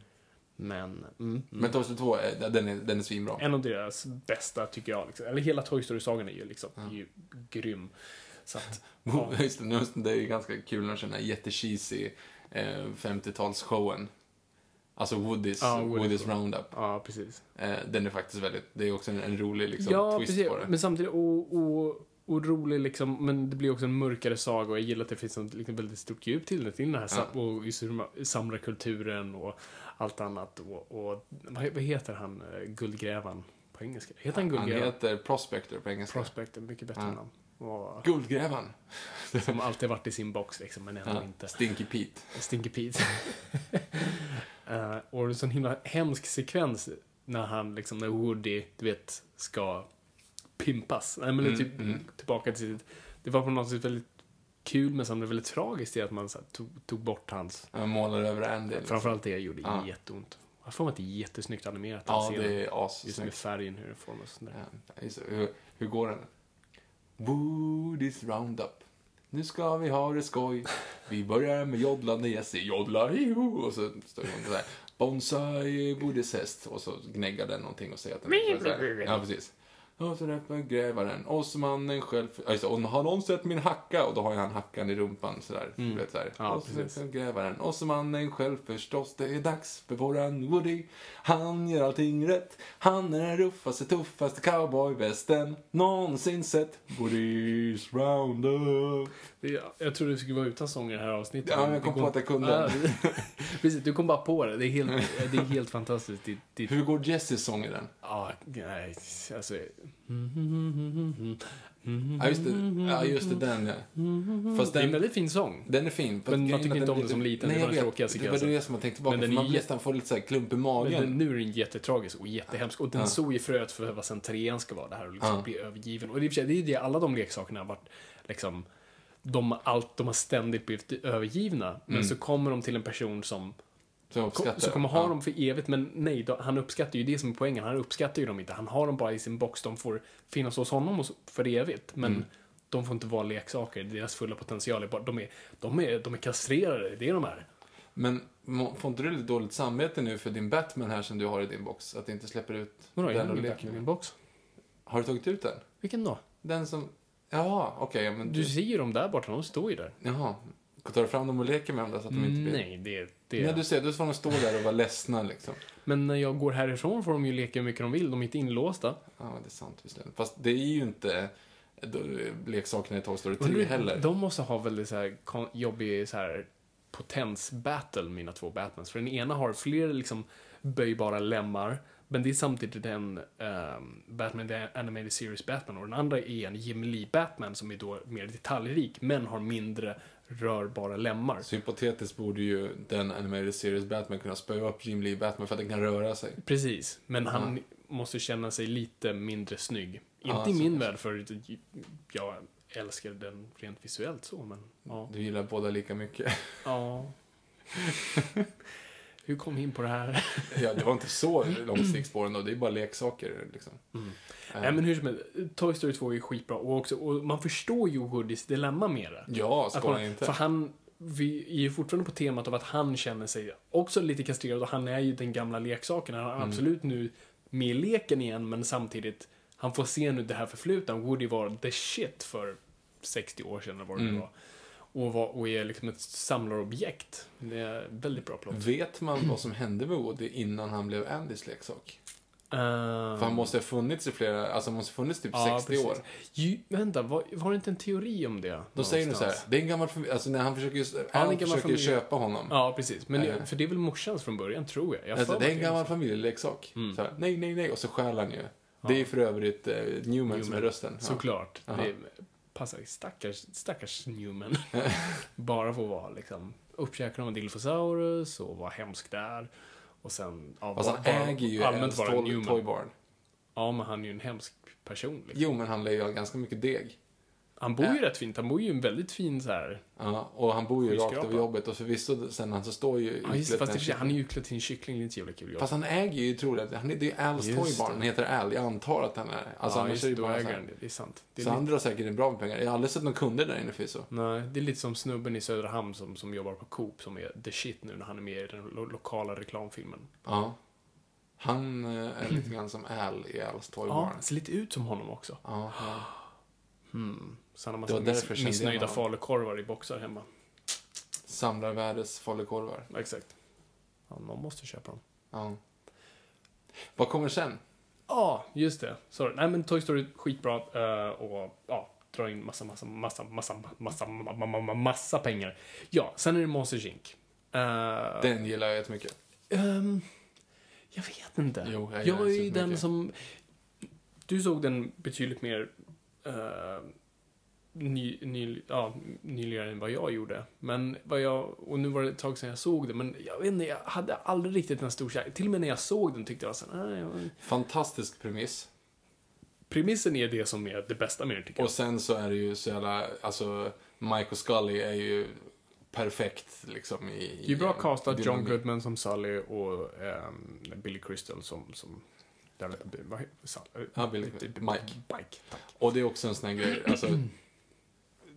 Speaker 2: Men, mm.
Speaker 3: men Toy Story 2, eh, den är, den är svinbra.
Speaker 2: En av deras bästa, tycker jag. Liksom. Eller hela Toy Story-sagan är ju liksom, är ju grym. Så att, ja.
Speaker 3: Just det, just det, det är ju ganska kul när den här jättecheesy eh, 50-talsshowen. Alltså Woodys,
Speaker 2: Ja, Woodys
Speaker 3: Woodys, Roundup.
Speaker 2: ja, precis.
Speaker 3: Eh, den är faktiskt väldigt, det är också en, en rolig liksom,
Speaker 2: ja,
Speaker 3: twist
Speaker 2: precis.
Speaker 3: på det.
Speaker 2: Men samtidigt, och, och, och rolig liksom, men det blir också en mörkare saga och jag gillar att det finns ett liksom, väldigt stort djup till det, till den här sam- och just hur man samlar kulturen och allt annat. Och, och vad, vad heter han, eh, Guldgrävaren, på engelska? Heter han
Speaker 3: Han
Speaker 2: Guldgrävaren?
Speaker 3: heter Prospector på engelska.
Speaker 2: Prospector, mycket bättre namn. Och,
Speaker 3: Guldgrävaren.
Speaker 2: som alltid varit i sin box liksom, men ändå inte.
Speaker 3: Stinky Pete.
Speaker 2: Stinky Pete. Eh, och det är en sån himla hemsk sekvens när han liksom, när Woody, du vet, ska pimpas. Nej men det är
Speaker 3: Mm,
Speaker 2: typ tillbaka till sitt, det var på något sätt väldigt kul men samtidigt väldigt tragiskt i att man så här, tog, tog bort hans,
Speaker 3: Han målar över Andy. liksom.
Speaker 2: framförallt det gjorde jätteont. Jag får mig att det är jättesnyggt animerat den
Speaker 3: Ja,
Speaker 2: scenen.
Speaker 3: det är
Speaker 2: Just med
Speaker 3: assnyggt.
Speaker 2: färgen, hur den formas. och sånt där.
Speaker 3: Ja, just det. hur, hur går den? Woodys Roundup. Nu ska vi ha det skoj. Vi börjar med joddlande Jesse. Joddla, hiho! Och så står det så här. Bonsai Woodys häst. Och så gnäggar den någonting och säger att den är så här. Ja, precis. Och så räppar grävaren. Och så mannen själv. Ja, just det. Och har någon sett min hacka? Och då har ju han hackan i rumpan sådär. Mm. Vet, så här.
Speaker 2: Ja,
Speaker 3: och så
Speaker 2: precis.
Speaker 3: räppar grävaren. Och så mannen själv förstås. Det är dags för våran Woody. Han gör allting rätt. Han är den ruffaste, tuffaste cowboyvästen någonsin sett. Woody's roundup.
Speaker 2: Det- Jag trodde vi skulle vara utan sånger i det här avsnittet.
Speaker 3: Ja,
Speaker 2: men
Speaker 3: jag
Speaker 2: det
Speaker 3: kom på att jag kunde.
Speaker 2: Ja, Precis, du kom bara på det. Det är helt, det är helt fantastiskt. Det, det,
Speaker 3: Hur går Jessys sång i den?
Speaker 2: Ja, nej, alltså...
Speaker 3: Ja, just det. Ja, just det. Den, ja. Fast
Speaker 2: Det är en
Speaker 3: den,
Speaker 2: väldigt fin sång.
Speaker 3: den är fin. fast
Speaker 2: Men man
Speaker 3: grejen är
Speaker 2: tycker
Speaker 3: att
Speaker 2: inte
Speaker 3: den
Speaker 2: om
Speaker 3: är
Speaker 2: det
Speaker 3: lite-
Speaker 2: som liten,
Speaker 3: Nej,
Speaker 2: det
Speaker 3: jag
Speaker 2: var det
Speaker 3: vet.
Speaker 2: tråkiga
Speaker 3: Det var
Speaker 2: sekvensen.
Speaker 3: det som jag tänkte tillbaka
Speaker 2: Men
Speaker 3: på.
Speaker 2: den
Speaker 3: för Man
Speaker 2: är
Speaker 3: blir nästan får lite så här klump i magen.
Speaker 2: Men den, nu är den jättetragisk och jättehemsk. Och den såg ju fröet för vad sen trean ska vara, det här och liksom bli övergiven. Och det är i och för sig- det är ju det alla de leksakerna har varit, liksom, de, har allt, de har ständigt blivit övergivna.
Speaker 3: Mm.
Speaker 2: Men så kommer de till en person som
Speaker 3: Som jag uppskattar.
Speaker 2: så kommer ha
Speaker 3: Ja.
Speaker 2: dem för evigt, men nej, då, han uppskattar ju det som är poängen. Han uppskattar ju dem inte. Han har dem bara i sin box. De får finnas hos honom och så- för evigt, men
Speaker 3: Mm.
Speaker 2: de får inte vara leksaker. Deras fulla potential är bara, de är, de är, de är kastrerade, det är de är.
Speaker 3: Men må- får inte du lite dåligt samvete nu för din Batman här som du har i din box? Att du inte släpper ut
Speaker 2: Vadå, jag
Speaker 3: den
Speaker 2: har
Speaker 3: och
Speaker 2: ingen
Speaker 3: leker
Speaker 2: Batman i min
Speaker 3: med?
Speaker 2: box.
Speaker 3: Har du tagit ut den?
Speaker 2: Vilken då?
Speaker 3: Den som... Jaha, okej. men
Speaker 2: Du ser ju dem där borta, de står ju där.
Speaker 3: Jaha. Tar du fram dem och leker med dem där så att de inte blir...
Speaker 2: Nej, det... det
Speaker 3: Nej, du ser, då får de stå där och vara ledsna liksom.
Speaker 2: Men när jag går härifrån får de ju leka hur mycket de vill, de är inte inlåsta.
Speaker 3: Ja, det är sant visserligen. Fast det är ju inte då- leksakerna i Toy Story 3
Speaker 2: Men du,
Speaker 3: heller.
Speaker 2: De måste ha väldigt så här kon- jobbig så här potensbattle, mina två Batmans. För den ena har fler liksom böjbara lemmar, men det är samtidigt en ehm, Batman The Animated Series Batman och den andra är en Jim Lee Batman som är då mer detaljrik, men har mindre rörbara lemmar.
Speaker 3: Så hypotetiskt borde ju den animated series Batman kunna spöa upp Jim Lee Batman för att den kan röra sig.
Speaker 2: Precis, men han måste känna sig lite mindre snygg. Inte
Speaker 3: Ja,
Speaker 2: i
Speaker 3: så
Speaker 2: min värld, för jag älskar den rent visuellt så, men ja.
Speaker 3: Du gillar båda lika mycket.
Speaker 2: Ja. Hur kom vi in på det här?
Speaker 3: ja, det var inte så långsiktigt spåren då. Det är bara leksaker liksom.
Speaker 2: Nej, men hur som helst. Toy Story 2 är skitbra och, också, och man förstår ju Woodys dilemma med det.
Speaker 3: Ja,
Speaker 2: Att
Speaker 3: skoja
Speaker 2: man,
Speaker 3: inte.
Speaker 2: för han, vi är ju fortfarande på temat av att han känner sig också lite kastrerad och han är ju den gamla leksaken. Han är absolut nu med i leken igen men samtidigt, han får se nu det här förflutna. Woody var the shit för 60 år sedan eller vad det nu var. Och, var, och är liksom ett samlarobjekt. Det är väldigt bra plott.
Speaker 3: Vet man vad som hände med Woody innan han blev Andys leksak?
Speaker 2: Ehm,
Speaker 3: För han måste ha funnits i flera, alltså han måste ha funnits typ 60
Speaker 2: precis.
Speaker 3: år.
Speaker 2: Ju, vänta, var, var det inte en teori om det?
Speaker 3: Då säger du så här, det är en gammal familj, alltså när han försöker ju,
Speaker 2: är en
Speaker 3: Al
Speaker 2: gammal
Speaker 3: försöker ju
Speaker 2: familj.
Speaker 3: köpa honom.
Speaker 2: Ja, precis. Men
Speaker 3: Eh.
Speaker 2: det, för det är väl morsans från början, tror jag. jag har
Speaker 3: Alltså,
Speaker 2: för
Speaker 3: det
Speaker 2: mig
Speaker 3: är en
Speaker 2: att
Speaker 3: gammal familjeleksak.
Speaker 2: Mm.
Speaker 3: Så här, nej, nej, nej. Och så stjäl han ju. Det är ju för övrigt eh, Newman, som är rösten. Ja.
Speaker 2: Såklart. Det passar stackars, stackars Newman. Bara för att vara liksom, uppkäkad av en Dilophosaurus och vara hemsk där. Och sen, ja,
Speaker 3: Fast han
Speaker 2: bara- bara-
Speaker 3: äger ju en
Speaker 2: allmänt vara
Speaker 3: stål
Speaker 2: Newman.
Speaker 3: Toy Barn.
Speaker 2: Ja, men han är ju en hemsk person. Liksom.
Speaker 3: Jo, men han lär ju ha ganska mycket deg.
Speaker 2: Han bor ju rätt fint. Han bor ju i en väldigt fin så här...
Speaker 3: Ja, och han bor ju rakt
Speaker 2: Skyskrapa.
Speaker 3: över jobbet. Och förvisso sen han så står ju
Speaker 2: Ja, just, det, fast
Speaker 3: utklädd till
Speaker 2: det,
Speaker 3: en
Speaker 2: är för sig,
Speaker 3: kyckling.
Speaker 2: han är ju utklädd till en kyckling. Det är inte så jävla kul jobb.
Speaker 3: Fast han äger ju troligen, han är, det är ju Als
Speaker 2: Just
Speaker 3: Toy Barn. Han heter Al. Jag antar att han är, alltså
Speaker 2: ja,
Speaker 3: annars
Speaker 2: just,
Speaker 3: är det ju
Speaker 2: då
Speaker 3: bara så
Speaker 2: äger
Speaker 3: här.
Speaker 2: han det. Det är sant. Det är
Speaker 3: Så han drar säkert in bra med pengar. Jag har aldrig sett några kunder där inne förvisso.
Speaker 2: Nej, det är lite som snubben i Söderhamn som, som jobbar på Coop som är the shit nu när han är med i den lo- lokala reklamfilmen.
Speaker 3: Ja. Han eh, är lite grann som Al i Als Toy
Speaker 2: Ja,
Speaker 3: Barn.
Speaker 2: ser lite ut som honom också.
Speaker 3: Ja, ja.
Speaker 2: Så han har
Speaker 3: Det
Speaker 2: massa
Speaker 3: var därför kände
Speaker 2: miss,
Speaker 3: jag
Speaker 2: missnöjda
Speaker 3: honom.
Speaker 2: falukorvar i boxar hemma.
Speaker 3: Samlar världens falukorvar.
Speaker 2: Ja, Exakt. Ja, någon måste köpa dem.
Speaker 3: Ja. Vad kommer sen?
Speaker 2: Ja, just det. Sorry. Nej, men Toy Story är skitbra eh, och ja, drar in massa, massa, massa, massa, massa, ma- ma- ma- ma- massa pengar. Ja, sen är det Monsters Inc. Eh,
Speaker 3: Den gillar jag jättemycket.
Speaker 2: Ehm, jag vet inte.
Speaker 3: Jo,
Speaker 2: jag
Speaker 3: jag gillar
Speaker 2: är
Speaker 3: den
Speaker 2: ju den
Speaker 3: supermycket.
Speaker 2: som... Du såg den betydligt mer eh, ny, ny, ja, nyligare än vad jag gjorde. Men vad jag, och nu var det ett tag sedan jag såg den, men jag vet inte, jag hade aldrig riktigt en stor kärlek. Till och med när jag såg den tyckte jag så här, nej, jag-
Speaker 3: Fantastisk premiss.
Speaker 2: Premissen är det som är det bästa med den tycker jag.
Speaker 3: Och sen så är det ju så jävla, alltså, Michael Scully är ju perfekt liksom i... i
Speaker 2: Det är ju bra castat John
Speaker 3: dynamik.
Speaker 2: Goodman som Sully och ehm, Billy Crystal som... som där, vad heter Sully?
Speaker 3: Ja, Billy- Mike.
Speaker 2: Mike, tack.
Speaker 3: Och det är också en sån här grej, alltså,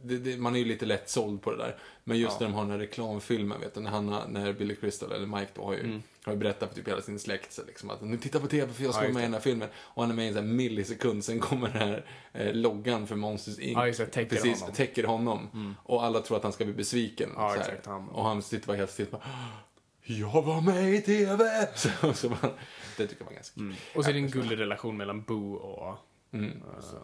Speaker 3: det, det, man är ju lite lätt såld på det där. Men just när de har den här reklamfilmen, vet du, när, han, har- när Billy Crystal, eller Mike då, har ju, har ju berättat för typ hela sin släkt så liksom, att nu titta på TV för jag ska
Speaker 2: Mm. Ja, just
Speaker 3: vara med i
Speaker 2: det.
Speaker 3: den här filmen. Och han är med i en sån här millisekund, sen kommer den här eh, loggan för Monsters Inc.
Speaker 2: Ja, just det, täcker
Speaker 3: Precis,
Speaker 2: honom. Mm.
Speaker 3: täcker honom. Och alla tror att han ska bli besviken.
Speaker 2: Ja,
Speaker 3: så här.
Speaker 2: exakt, han-
Speaker 3: Och han sitter bara helt still bara, jag var med i TV! Så, så man, det tycker man är ganska kul.
Speaker 2: Och så är det en gullig relation mellan Boo och...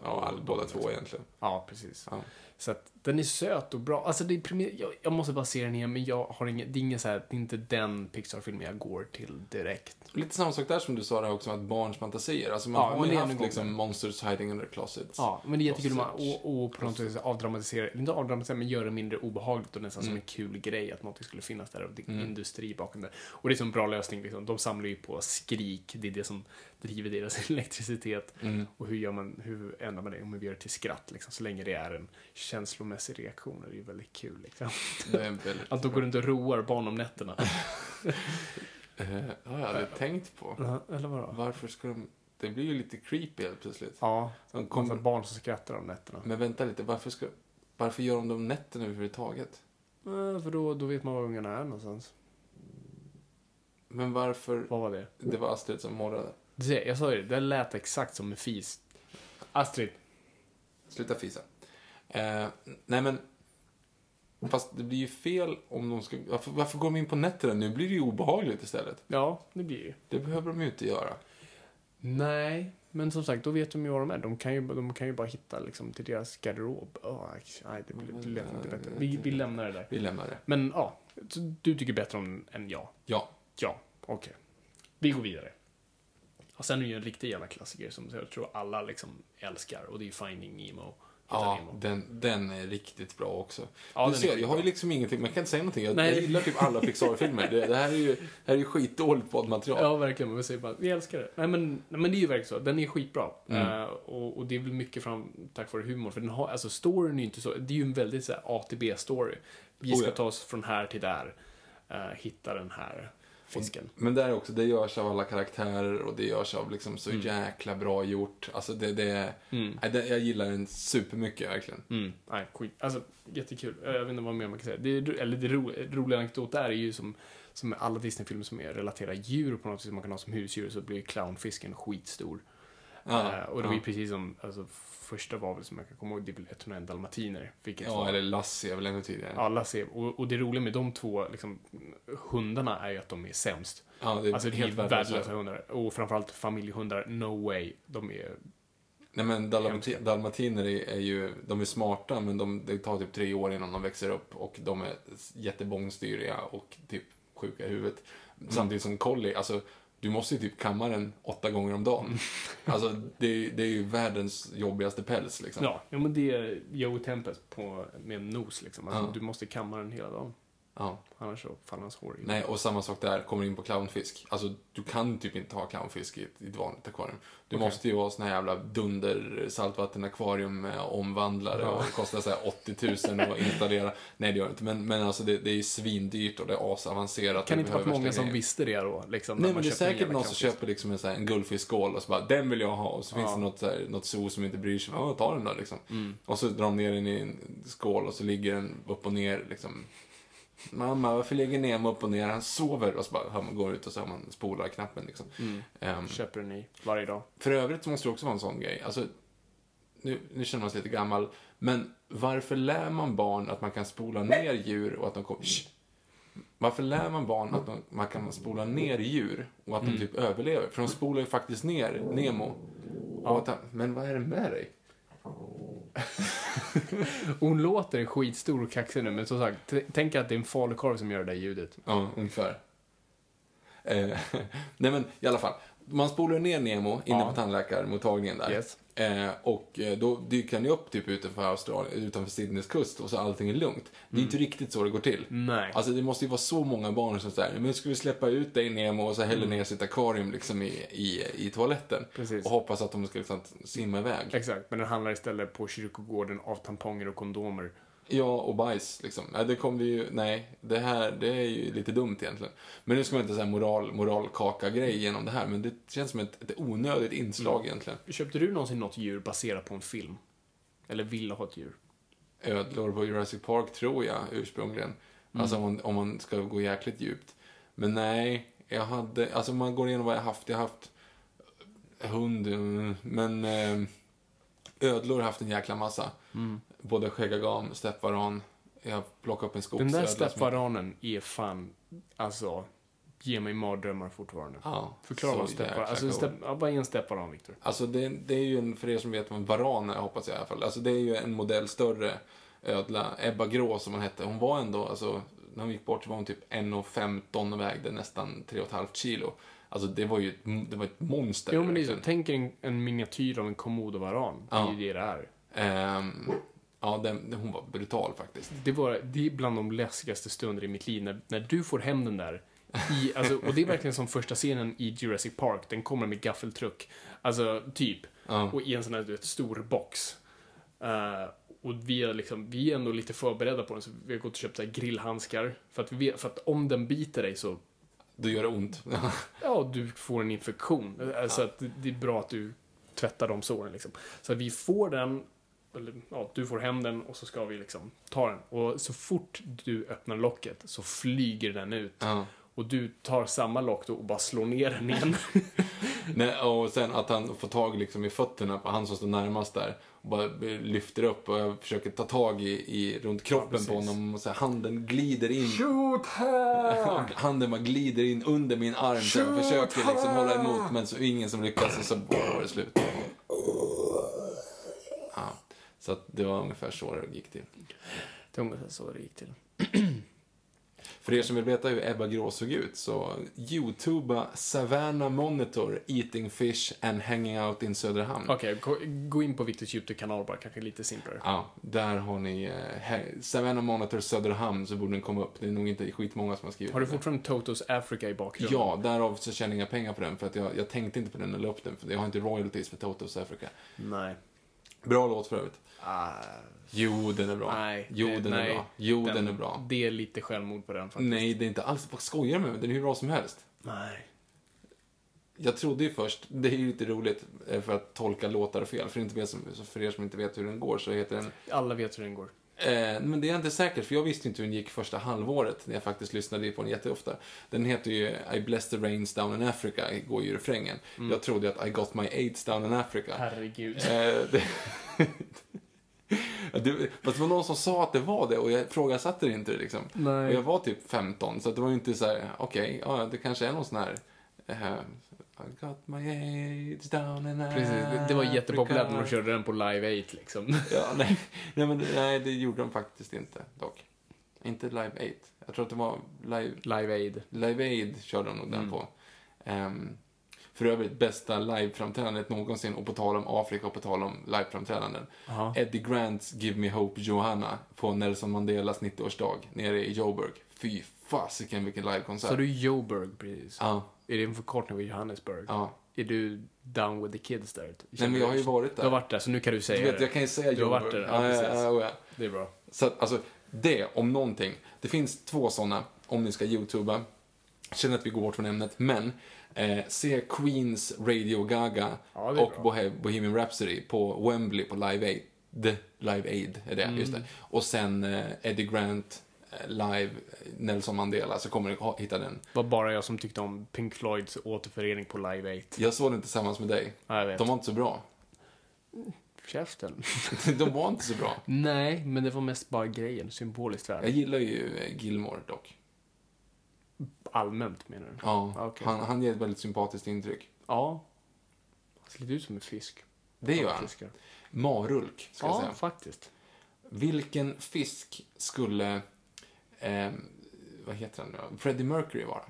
Speaker 3: Ja, all, båda två egentligen.
Speaker 2: Ja, precis.
Speaker 3: Ja.
Speaker 2: Så att den är söt och bra. Alltså, det är primi- jag, jag måste bara se den igen, men jag har ingen, det är ingen så här, det är inte den Pixar-filmen jag går till direkt.
Speaker 3: Lite samma sak där som du sa där också, att barns fantasier. Alltså man
Speaker 2: Ja,
Speaker 3: har
Speaker 2: men
Speaker 3: ju
Speaker 2: det är en
Speaker 3: haft
Speaker 2: gång.
Speaker 3: liksom Monsters Hiding Under Closets.
Speaker 2: Ja, men det är jättekul om man,
Speaker 3: Closets.
Speaker 2: och, och på något sätt avdramatisera, inte avdramatisera, men göra det mindre obehagligt och nästan som en kul grej att något skulle finnas där och det är industri bakom det. Och det är som en bra lösning, liksom. de samlar ju på skrik, det är det som driver deras elektricitet. Och hur, gör man, hur ändrar man det? Om vi gör det till skratt, liksom. så länge det är en känslomässig reaktion, det är ju väldigt kul. Liksom.
Speaker 3: Det är en väldigt...
Speaker 2: Att de går runt och roar barn om nätterna.
Speaker 3: Eh, har jag aldrig tänkt på.
Speaker 2: Eller vadå?
Speaker 3: Varför ska de... Det blir ju lite creepy helt plötsligt.
Speaker 2: Ja,
Speaker 3: De
Speaker 2: kommer Mm.
Speaker 3: kommer...
Speaker 2: barn som skrattar om nätterna.
Speaker 3: Men vänta lite, varför ska... Varför gör de det om nätterna överhuvudtaget?
Speaker 2: Eh, för då, då vet man var ungarna är någonstans.
Speaker 3: Men varför?
Speaker 2: Vad var det?
Speaker 3: Det var Astrid som morrade.
Speaker 2: Du ser, jag sa ju det, det lät exakt som en fis. Astrid.
Speaker 3: Sluta fisa. Eh, nej men. Fast det blir ju fel om de ska... Varför, varför går de in på nätterna? Nu blir det ju obehagligt istället.
Speaker 2: Ja, det blir ju.
Speaker 3: Det behöver de ju inte göra.
Speaker 2: Nej, men som sagt, då vet de ju vad de är. De kan ju, de kan ju bara hitta liksom, till deras garderob. Oh, nej, det blir- det lät inte bättre. Vi, vi lämnar det där.
Speaker 3: Vi lämnar det.
Speaker 2: Men ja, så du tycker bättre om än jag.
Speaker 3: Ja.
Speaker 2: Ja, okej. Vi går vidare. Och sen är det ju en riktig jävla klassiker som jag tror alla liksom älskar och det är Finding Nemo. Hitta
Speaker 3: Ja,
Speaker 2: Nemo.
Speaker 3: den, den är riktigt bra också.
Speaker 2: Ja,
Speaker 3: du
Speaker 2: den är
Speaker 3: ser, jag
Speaker 2: skitbra.
Speaker 3: har ju liksom ingenting, man kan inte säga någonting. Jag,
Speaker 2: Nej.
Speaker 3: jag gillar typ alla Pixar-filmer. Det, det här är ju, det här är ju skitdåligt poddmaterial.
Speaker 2: Ja, verkligen. Men vi säger bara, vi älskar det. Nej, men, nej, men det är ju verkligen så. Den är skitbra.
Speaker 3: Mm.
Speaker 2: Eh, och, och det är väl mycket fram, tack vare humorn. För den har, alltså storyn är ju inte så, det är ju en väldigt så här ATB-story. Vi
Speaker 3: Oh,
Speaker 2: ska
Speaker 3: ja.
Speaker 2: ta oss från här till där. eh, hitta den här fisken.
Speaker 3: Men där också, det görs av alla karaktärer och det görs av liksom så
Speaker 2: Mm.
Speaker 3: jäkla bra gjort. Alltså det, det, nej, det, jag gillar den supermycket verkligen.
Speaker 2: Mm, nej, skit. Alltså, jättekul. Jag vet inte vad mer man kan säga. Det, är- eller det ro, roliga anekdot där är ju som, som med alla Disney-filmer som är relaterar djur på något sätt, som man kan ha som husdjur, så blir ju clownfisken skitstor.
Speaker 3: Ja,
Speaker 2: Eh, och det var ju precis som, alltså första var väl som jag kan komma ihåg, det är väl 101 dalmatiner. Vilket
Speaker 3: Ja,
Speaker 2: var,
Speaker 3: eller Lassie är väl ännu tidigare. Ja,
Speaker 2: alla ser, och, och det roliga med de två liksom, hundarna är ju att de är sämst.
Speaker 3: det är
Speaker 2: Alltså det är
Speaker 3: helt
Speaker 2: värdelösa
Speaker 3: värdelöst.
Speaker 2: hundar. Och framförallt familjehundar, no way. De är
Speaker 3: Nej men dalmati- dalmatiner är, är ju, de är smarta men de, det tar typ tre år innan de växer upp och de är jättebångstyriga och typ sjuka i huvudet. Samtidigt som collie, alltså du måste ju typ kamma den åtta gånger om dagen. Alltså det, det är ju världens jobbigaste päls liksom.
Speaker 2: Ja, ja men det är Joe Tempest på, med en nos liksom. Alltså,
Speaker 3: Ja.
Speaker 2: Du måste kamma den hela dagen.
Speaker 3: Ja.
Speaker 2: Annars så faller hans hår i.
Speaker 3: Nej, och samma sak där, kommer in på clownfisk. Alltså, du kan typ inte ha clownfisk i ett, i ett vanligt akvarium. Du måste ju ha såna här jävla dunder saltvattenakvarium med omvandlare och det kostar så här 80 000 att installera. Nej, det gör det inte. Men, men alltså, det, det är ju svindyrt och det är asavancerat.
Speaker 2: kan
Speaker 3: Det
Speaker 2: det inte ha varit
Speaker 3: behöver
Speaker 2: många
Speaker 3: värsta
Speaker 2: som
Speaker 3: grejer.
Speaker 2: visste det då. Liksom, när
Speaker 3: Nej,
Speaker 2: man
Speaker 3: men det är
Speaker 2: köper en
Speaker 3: säkert
Speaker 2: jävla
Speaker 3: någon som
Speaker 2: clownfisk.
Speaker 3: köper liksom en, så här, en guldfiskskål och så bara, den vill jag ha. Och så finns det något, så här, något zoo som inte bryr sig. Ja, ta den då liksom.
Speaker 2: Mm.
Speaker 3: Och så drar de ner den i en skål och så ligger den upp och ner liksom. Mamma, varför ligger Nemo upp och ner? Han sover. Och så bara hör man går ut och så hör man spolar knappen liksom.
Speaker 2: Mm.
Speaker 3: Ehm,
Speaker 2: Köper den i varje dag.
Speaker 3: för övrigt så måste det också vara en sån grej. Alltså, nu, nu känner man sig lite gammal. Men varför lär man barn att man kan spola ner djur och att de kommer... Shh! Varför lär man barn att de, man kan spola ner djur och att de typ överlever? För de spolar ju faktiskt ner Nemo. Och att, han- men vad är det med dig?
Speaker 2: Och hon låter skitstor och kaxig nu, men som sagt, t- tänk att det är en falukorv som gör det där ljudet.
Speaker 3: Ja, ungefär. Eh, nej men i alla fall. Man spolar ner Nemo inne på tandläkarmottagningen där.
Speaker 2: Yes.
Speaker 3: Eh, och eh, då dyker han ju upp typ utanför, Australien, utanför Sydneys kust och så allting är lugnt. Det är inte riktigt så det går till.
Speaker 2: Mm. Nej.
Speaker 3: Alltså det måste ju vara så många barn som säger men ska vi släppa ut dig Nemo och så häller ner sitt akvarium liksom i, i, i toaletten.
Speaker 2: Mm. Precis.
Speaker 3: Och hoppas att de ska liksom simma iväg.
Speaker 2: Exakt, men den handlar istället på kyrkogården av tamponger och kondomer.
Speaker 3: Ja, och bajs liksom. Nej, det kommer vi ju... Nej, det här det är ju lite dumt egentligen. Men nu ska man inte säga moral, moralkaka-grej genom det här, men det känns som ett, ett onödigt inslag
Speaker 2: Mm.
Speaker 3: egentligen.
Speaker 2: Köpte du någonsin något djur baserat på en film? Eller ville ha ett djur?
Speaker 3: Ödlor på Jurassic Park tror jag ursprungligen.
Speaker 2: Mm.
Speaker 3: Alltså om man, om man ska gå jäkligt djupt. Men nej, jag hade... Alltså om man går igenom vad jag haft. Jag har haft hund, mm, men eh, ödlor har haft en jäkla massa.
Speaker 2: Mm.
Speaker 3: Både skäggagam, steppvaran. Jag plockade upp en
Speaker 2: Den
Speaker 3: skogsödla.
Speaker 2: där
Speaker 3: som jag-
Speaker 2: stepparanen är fan, alltså, ger mig mardrömmar fortfarande.
Speaker 3: Ja,
Speaker 2: Förklara
Speaker 3: så
Speaker 2: vad stepparan,
Speaker 3: jäkla
Speaker 2: alltså,
Speaker 3: cool.
Speaker 2: stepp, ja, vad är en stepparan, Viktor?
Speaker 3: Alltså det, det är ju en, för er som vet vad en varan är, hoppas jag i alla fall. Alltså det är ju en modell större ödla, Ebba Grå som hon hette. Hon var ändå, alltså när hon gick bort så var hon typ 1,15 och vägde nästan 3,5 kilo. Alltså det var ju ett, det var ett monster.
Speaker 2: Jo, men det är så.
Speaker 3: verkligen.
Speaker 2: Tänk er en, en miniatyr av en komodovaran. Det är ju det det är.
Speaker 3: Ehm, ja, den, hon var brutal faktiskt.
Speaker 2: Det, var, det är bland de läskigaste stunder i mitt liv när, när du får hem den där. I, alltså, och det är verkligen som första scenen i Jurassic Park. Den kommer med gaffeltruck. Alltså, typ. Och i en sån här du vet, stor box. Eh, och vi är, liksom, vi är ändå lite förberedda på den, så vi har gått och köpt så här grillhandskar. För att, vi, vet- för att om den biter dig så
Speaker 3: Det gör det ont.
Speaker 2: Ja, du får en
Speaker 3: Mm.
Speaker 2: infektion. Så att det- det är bra att du tvättar de såren. Liksom. Så att vi får den, eller ja, du får hem den och så ska vi liksom ta den. Och så fort du öppnar locket så flyger den ut.
Speaker 3: Ja.
Speaker 2: Och Och du tar samma lock då och bara slår ner den igen.
Speaker 3: Nej, och sen att han får tag liksom i fötterna på han som står närmast där. Och bara lyfter upp och jag försöker ta tag i, i runt kroppen på honom. Och så här, handen glider in.
Speaker 2: Shoot her!
Speaker 3: Handen bara glider in under min arm. Så jag försöker liksom hålla emot men så är ingen som lyckas och så bara var det slut. Ja, så att det var ungefär så det gick till.
Speaker 2: Det var ungefär så det gick till.
Speaker 3: För er som vill veta hur Ebba Grå såg ut så youtuba Savannah Monitor Eating Fish and Hanging Out in Söderhamn.
Speaker 2: Okej, gå- gå in på Viktors YouTube-kanal bara, kanske lite simplare.
Speaker 3: Ja, där har ni eh, He- Savannah Monitor Söderhamn så borde den komma upp. Det är nog inte skitmånga som har skrivit
Speaker 2: Har du
Speaker 3: det.
Speaker 2: fortfarande Totos Africa i bakgrunden?
Speaker 3: Ja, därav så tjänar jag inga pengar på den för att jag, jag tänkte inte på den när jag la upp den. För jag har inte royalties för Totos Africa.
Speaker 2: Nej.
Speaker 3: Bra låt för övrigt. Jo, den är bra.
Speaker 2: Ah. Nej.
Speaker 3: jo,
Speaker 2: det-
Speaker 3: den
Speaker 2: nej.
Speaker 3: är bra. Jo, den, är bra.
Speaker 2: Det är lite självmord på den faktiskt.
Speaker 3: Nej, det är inte alls. Vad skojar du med mig? Den är hur bra som helst.
Speaker 2: Nej.
Speaker 3: Jag trodde ju först, det är ju lite roligt eh, för att tolka låtar fel. För, inte vet som, så för er som inte vet hur den går så heter den
Speaker 2: Alla vet hur den går.
Speaker 3: Eh, men det är jag inte säker för jag visste inte hur den gick första halvåret när jag faktiskt lyssnade på den jätteofta. Den heter ju I bless the rains down in Africa, går ju i refrängen.
Speaker 2: Mm.
Speaker 3: Jag trodde ju att I got my aids down in Africa.
Speaker 2: Herregud.
Speaker 3: Eh, det... Ja, det, fast det var någon som sa att det var det och jag ifrågasatte det inte liksom.
Speaker 2: Nej.
Speaker 3: Och jag var typ 15 så att det var ju inte så här: okej, ja, det kanske är någon sån här eh, I got my aids down in Africa.
Speaker 2: Precis, det- det var jättepopulärt när de körde den på Live 8 liksom.
Speaker 3: Ja, nej. Nej, men, nej, det gjorde de faktiskt inte dock. Inte Live 8. Jag tror att det var Live,
Speaker 2: Live Aid.
Speaker 3: live Aid körde de nog den
Speaker 2: Mm.
Speaker 3: på. Ehm, för övrigt, bästa liveframträdandet någonsin. Och på tal om Afrika och på tal om liveframträdanden. Eddie Grants Give Me Hope Johanna på Nelson Mandelas 90-årsdag nere i Joburg. Fy fasiken vilken livekonsert.
Speaker 2: Så du Joburg precis?
Speaker 3: Ja,
Speaker 2: Är det en förkortning av Johannesburg?
Speaker 3: ja.
Speaker 2: Är du down with the kids där?
Speaker 3: Nej, men jag har ju varit
Speaker 2: Du
Speaker 3: där.
Speaker 2: har varit där, så nu kan du säga
Speaker 3: du vet,
Speaker 2: det.
Speaker 3: jag kan ju säga
Speaker 2: Du har varit
Speaker 3: Joburg.
Speaker 2: där, ja,
Speaker 3: ja,
Speaker 2: precis.
Speaker 3: ja, oh ja, ja.
Speaker 2: Det är bra.
Speaker 3: Så att, alltså, det om någonting. Det finns två sådana om ni ska youtuba. Känner att vi går bort från ämnet, men eh, se Queens Radio Gaga
Speaker 2: Ja, det är
Speaker 3: och Bohe- Bohemian Rhapsody på Wembley på Live Aid. The Live Aid är det, just
Speaker 2: Mm.
Speaker 3: det. Och sen eh, Eddie Grant eh, live eh, Nelson Mandela, så kommer ni ha- hitta den.
Speaker 2: Det var bara jag som tyckte om Pink Floyds återförening på Live 8.
Speaker 3: Jag såg den tillsammans med dig.
Speaker 2: Ja, jag vet.
Speaker 3: De var inte så bra.
Speaker 2: Käften.
Speaker 3: De var inte så bra.
Speaker 2: Nej, men det var mest bara grejen. Symboliskt
Speaker 3: Jag
Speaker 2: värde.
Speaker 3: gillar ju eh, Gilmore dock.
Speaker 2: Allmänt menar du?
Speaker 3: Ja,
Speaker 2: Okej.
Speaker 3: han, han ger ett väldigt sympatiskt intryck.
Speaker 2: Ja. Han ser lite ut som en fisk.
Speaker 3: Det gör
Speaker 2: Som
Speaker 3: han.
Speaker 2: fiskar.
Speaker 3: Marulk, ska jag
Speaker 2: Ja,
Speaker 3: säga.
Speaker 2: faktiskt.
Speaker 3: Vilken fisk skulle, ehm, vad heter han nu då? Freddie Mercury vara?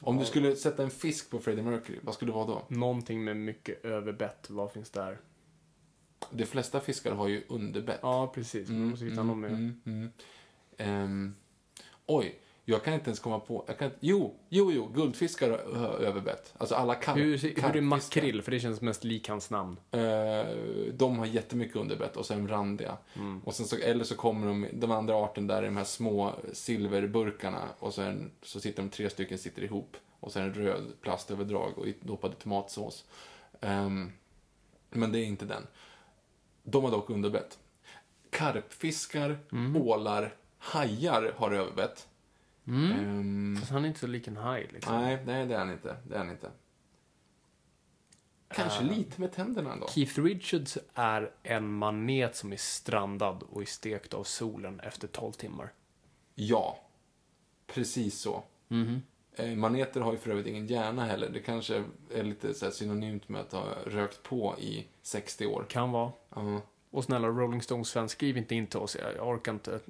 Speaker 3: Om du skulle sätta en fisk på Freddie Mercury, vad skulle det vara då?
Speaker 2: Någonting med mycket överbett. Vad finns där?
Speaker 3: De flesta fiskar har ju underbett.
Speaker 2: Ja, precis. Man måste hitta någon med.
Speaker 3: Mm, mm. Ehm, oj, jag kan inte ens komma på. Jag kan, jo, jo, jo, guldfiskar har har överbett. Alltså alla karp.
Speaker 2: Hur, hur är
Speaker 3: karpfiskar.
Speaker 2: makrill? För det känns mest lik hans namn.
Speaker 3: Eh, de har jättemycket underbett och sen randiga. Och sen så, eller så kommer de, de andra arten där i de här små silverburkarna och sen så sitter de tre stycken sitter ihop och sen en röd plastöverdrag och doppade tomatsås. Ehm, men det är inte den. De har dock underbett. Karpfiskar, ålar, hajar har överbett. Ehm,
Speaker 2: Fast han är inte så lik en haj liksom.
Speaker 3: nej, nej det är han inte. Det är han inte. Ehm. Kanske lite med tänderna ändå.
Speaker 2: Keith Richards är en manet som är strandad och är stekt av solen efter 12 timmar.
Speaker 3: Ja, precis så. Eh, Maneter har ju för övrigt ingen hjärna heller. Det kanske är lite så här synonymt med att ha rökt på i 60 år.
Speaker 2: Kan vara.
Speaker 3: Ja.
Speaker 2: Och snälla Rolling Stones-fans, skriv inte in till oss. Jag jag orkar inte.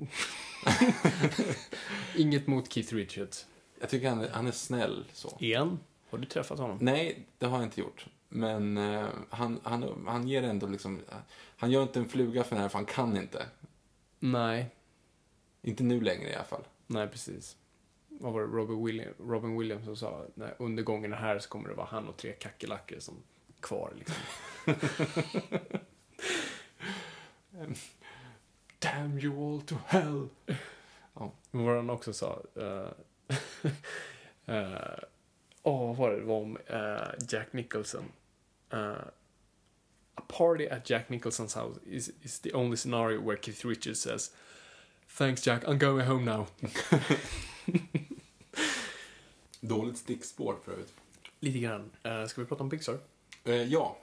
Speaker 2: Inget mot Keith Richards.
Speaker 3: Jag tycker han är, han är snäll så.
Speaker 2: Igen? Har du träffat honom?
Speaker 3: Nej, det har jag inte gjort. Men eh, han, han, han ger ändå liksom... Han gör inte en fluga för den här, för han kan inte.
Speaker 2: Nej.
Speaker 3: Inte nu längre i alla fall.
Speaker 2: Nej, precis. Vad var det Robin, William, Robin Williams som sa? När undergången är här så kommer det vara han och tre kackerlackor som kvar liksom.
Speaker 3: Damn you all to hell!
Speaker 2: Men vad han också sa... eh, eh, Åh, vad var det? Det var om eh, Jack Nicholson. Eh, a party at Jack Nicholsons house is, is the only scenario where Keith Richards says Thanks Jack, I'm going home now.
Speaker 3: Dåligt stickspår för övrigt.
Speaker 2: Lite grann. Eh, ska vi prata om Pixar?
Speaker 3: Eh, ja,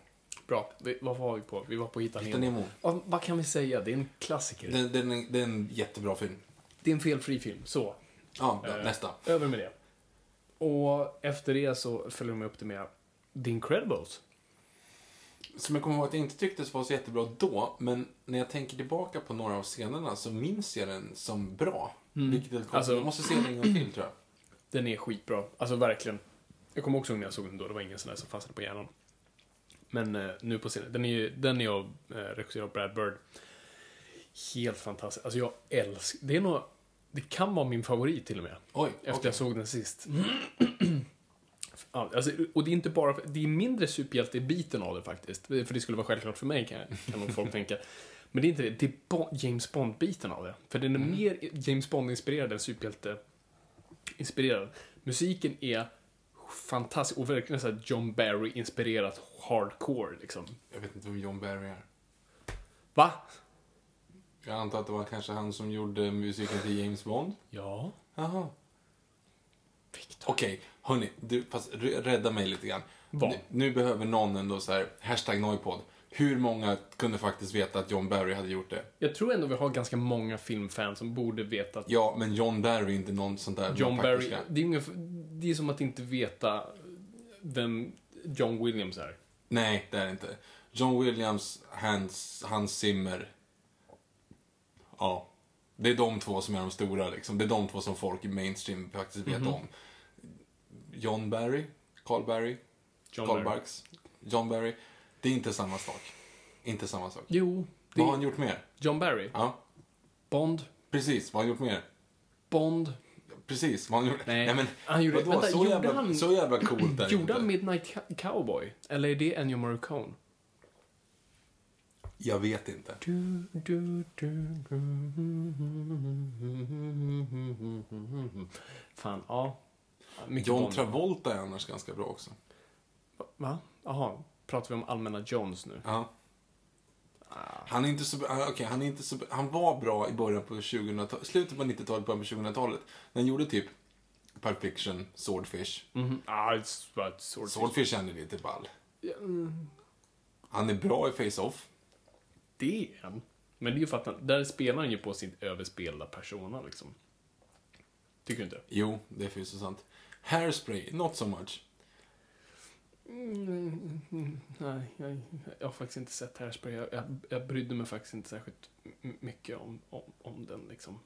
Speaker 2: Bra. Vi, vad var vi på? Vi var på Hitta
Speaker 3: Hitta
Speaker 2: Nemo.
Speaker 3: Nemo.
Speaker 2: Ja, vad kan vi säga? Det är en klassiker.
Speaker 3: den, den, det är en jättebra film.
Speaker 2: Det är en felfri film. Så.
Speaker 3: Ja, bra,
Speaker 2: Eh,
Speaker 3: nästa.
Speaker 2: Över med det. Och efter det så följer de upp det med The Incredibles.
Speaker 3: Som jag kommer ihåg att jag inte tycktes var så jättebra då, men när jag tänker tillbaka på några av scenerna så minns jag den som bra. Vilket är lite konstigt.
Speaker 2: Alltså-
Speaker 3: Jag måste se den en gång till tror jag.
Speaker 2: Den är skitbra. Alltså verkligen. Jag kommer också ihåg när jag såg den då. Det var ingen sån där som fastnade på hjärnan. Men eh, nu på scenen. Den är ju, den är ju eh, regisserad av Brad Bird. Helt fantastisk. Alltså jag älskar, det är nog, det kan vara min favorit till och med.
Speaker 3: Oj,
Speaker 2: Efter
Speaker 3: okej.
Speaker 2: jag såg den sist. Ja, alltså, och det är inte bara, det är mindre superhjälte-biten av det faktiskt. För det skulle vara självklart för mig kan, kan nog folk tänka. Men det är inte det, det är Bo- James Bond-biten av det. För den är
Speaker 3: Mm.
Speaker 2: mer James Bond-inspirerad än superhjälte-inspirerad. Musiken är fantastisk och verkligen så här John Barry-inspirerat hardcore liksom.
Speaker 3: Jag vet inte vem John Barry är.
Speaker 2: Va?
Speaker 3: Jag antar att det var kanske han som gjorde musiken till James Bond.
Speaker 2: Ja.
Speaker 3: Jaha. Okej, hörni. Du, fast r- rädda mig lite grann.
Speaker 2: Vad?
Speaker 3: Nu, nu behöver någon ändå så här, hashtag nojpodd. Hur många kunde faktiskt veta att John Barry hade gjort det?
Speaker 2: Jag tror ändå vi har ganska många filmfans som borde veta att
Speaker 3: Ja, men John Barry är inte någon sån där man
Speaker 2: John Barry,
Speaker 3: faktiskt kan-
Speaker 2: det är, ingen, det är som att inte veta vem John Williams är.
Speaker 3: Nej, det är det inte. John Williams, Hans, Hans Zimmer. Ja. Det är de två som är de stora liksom. Det är de två som folk i mainstream faktiskt vet
Speaker 2: Mhm.
Speaker 3: om. John Barry, Carl Barry,
Speaker 2: John Barry.
Speaker 3: Carl Barks, John Barry. Det är inte samma sak. Inte samma sak.
Speaker 2: Jo, det
Speaker 3: Vad har
Speaker 2: är
Speaker 3: han gjort mer?
Speaker 2: John Barry.
Speaker 3: Ja,
Speaker 2: Bond.
Speaker 3: precis. Vad har han gjort mer?
Speaker 2: Bond.
Speaker 3: Precis, vad han gjorde.
Speaker 2: Nej.
Speaker 3: men,
Speaker 2: Han gjorde-
Speaker 3: vadå,
Speaker 2: vänta,
Speaker 3: så,
Speaker 2: gjorde
Speaker 3: jävla,
Speaker 2: han-
Speaker 3: så jävla coolt är det
Speaker 2: Gjorde
Speaker 3: inte.
Speaker 2: han Midnight Ca- Cowboy? Eller är det Ennio Morricone?
Speaker 3: Jag vet inte.
Speaker 2: Du, du, du, du. Fan, ja. Mycket
Speaker 3: John
Speaker 2: Bond.
Speaker 3: Travolta är annars ganska bra också.
Speaker 2: Va? Jaha, pratar vi om allmänna Johns nu?
Speaker 3: Ja. Han är inte så han- okej, han är inte så han var bra i början på 2000-talet, slutet på 90-talet, början på 2000-talet. Den gjorde typ Pulp Fiction, Swordfish.
Speaker 2: Mhm. Ah, it's, it's sort of-
Speaker 3: Swordfish är lite ball.
Speaker 2: mm.
Speaker 3: Han är bra i Face-Off.
Speaker 2: det är han. Men det är ju för att han, där spelar han ju på sin överspelda persona liksom. Tycker du inte?
Speaker 3: Jo, det är förvisso sant. Hairspray, not so much.
Speaker 2: Nej, jag, jag har faktiskt inte sett Hairspray. Jag, jag, jag brydde mig faktiskt inte särskilt m- mycket om, om, om den liksom.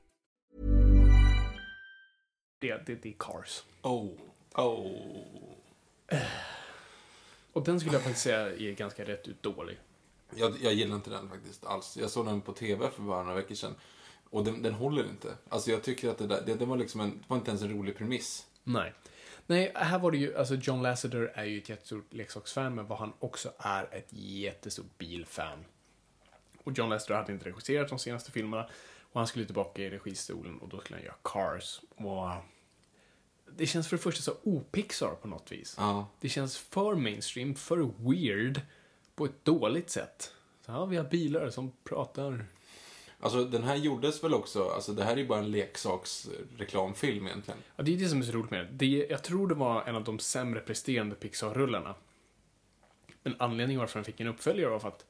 Speaker 2: Det, det, det är Cars.
Speaker 3: Oh. Oh.
Speaker 2: Och den skulle jag faktiskt säga är ganska rätt ut dålig.
Speaker 3: Jag, jag gillar inte den faktiskt alls. Jag såg den på TV för bara några veckor sedan. Och den, den håller inte. Alltså jag tycker att det där, det, det var liksom en, det var inte ens en rolig premiss.
Speaker 2: Nej. Nej, här var det ju, alltså John Lasseter är ju ett jättestort leksaksfan, men vad han också är ett jättestort bilfan. Och John Lasseter hade inte regisserat de senaste filmerna och han skulle tillbaka i registolen och då skulle han göra Cars. Och eh, det känns för det första så opixar på något vis.
Speaker 3: Ja.
Speaker 2: Det känns för mainstream, för weird, på ett dåligt sätt. Så här, vi har bilar som pratar.
Speaker 3: Alltså den här gjordes väl också, alltså det här är ju bara en leksaksreklamfilm egentligen.
Speaker 2: Ja, det är det som är så roligt med det. det. Jag tror det var en av de sämre presterande Pixar-rullarna. Men anledningen varför den fick en uppföljare var för att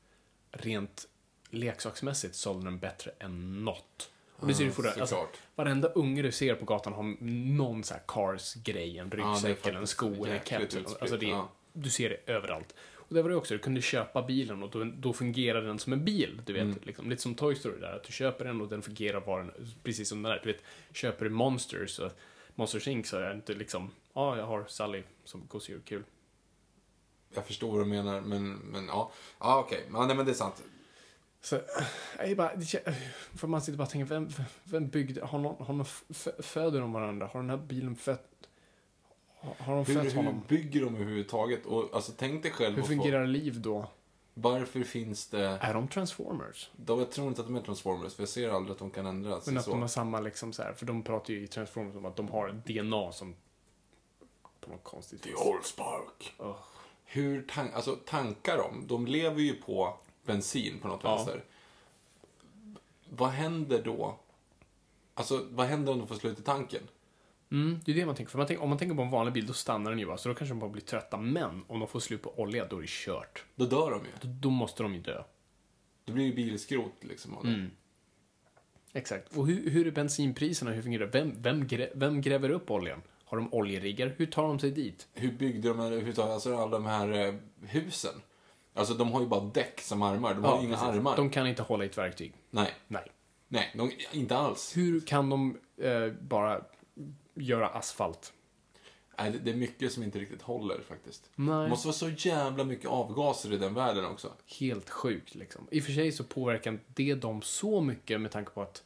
Speaker 2: rent leksaksmässigt sålde den bättre än något. Och det ser du fortfarande. Alltså,
Speaker 3: såklart.
Speaker 2: varenda unge du ser på gatan har någon så här Cars-grej, en
Speaker 3: det är
Speaker 2: ryggsäck eller en
Speaker 3: faktiskt
Speaker 2: sko eller en
Speaker 3: jäkligt
Speaker 2: keps.
Speaker 3: utspritt,
Speaker 2: Alltså det,
Speaker 3: ja.
Speaker 2: Du ser det överallt. Och det var det också, du kunde köpa bilen och då, då fungerar den som en bil. Du vet, liksom, lite som Toy Story där, att du köper den och den fungerar bara precis som den är. Du vet, köper du Monsters, så, Monsters Inc så är det inte liksom, ja, ah, jag har Sally som gosedjur, kul.
Speaker 3: Jag förstår vad du menar, men, men ja. Ja, okej. Ja, nej men det är sant.
Speaker 2: Så, jag är bara, det kän- för man sitter bara och tänker, vem, vem byggde, har någon, har någon f- f- föder de varandra? Har den här bilen fött, har, har de
Speaker 3: Hur,
Speaker 2: fött
Speaker 3: hur
Speaker 2: honom?
Speaker 3: bygger de överhuvudtaget? Och alltså tänk dig själv
Speaker 2: Hur
Speaker 3: att få-
Speaker 2: fungerar liv då?
Speaker 3: Varför finns det...
Speaker 2: Är de transformers?
Speaker 3: Då, jag tror inte att de är Transformers, för jag ser aldrig att de kan ändras.
Speaker 2: Men att
Speaker 3: så.
Speaker 2: de har samma liksom så här, för de pratar ju i transformers om att de har ett DNA som på något konstigt vis.
Speaker 3: Allspark. Hur tan- alltså, tankar de? De lever ju på bensin på något vänster. Vad händer då? Alltså, vad händer om de får slut i tanken?
Speaker 2: Mm, det är det man tänker. För man tänker, om man tänker på en vanlig bil, då stannar den ju bara. Så då kanske de bara blir trötta. Men om de får slut på olja, då är det kört.
Speaker 3: Då dör de ju.
Speaker 2: Då, då måste de ju dö.
Speaker 3: Då blir det ju bilskrot liksom. av det.
Speaker 2: Exakt. Och hur, hur är bensinpriserna? Hur fungerar det? Vem, vem, grä, vem gräver upp oljan? Har de oljeriggar? Hur tar de sig dit?
Speaker 3: Hur byggde de överhuvudtaget alltså, alla de här eh, husen? Alltså, de har ju bara däck som armar. De har ju inga armar.
Speaker 2: De kan inte hålla i ett verktyg.
Speaker 3: Nej.
Speaker 2: Nej.
Speaker 3: Nej, de, inte alls.
Speaker 2: Hur kan de eh, bara göra asfalt?
Speaker 3: Nej, det- det är mycket som inte riktigt håller faktiskt.
Speaker 2: Nej.
Speaker 3: Det måste vara så jävla mycket avgaser i den världen också.
Speaker 2: Helt sjukt liksom. I och för sig så påverkar det dem så mycket med tanke på att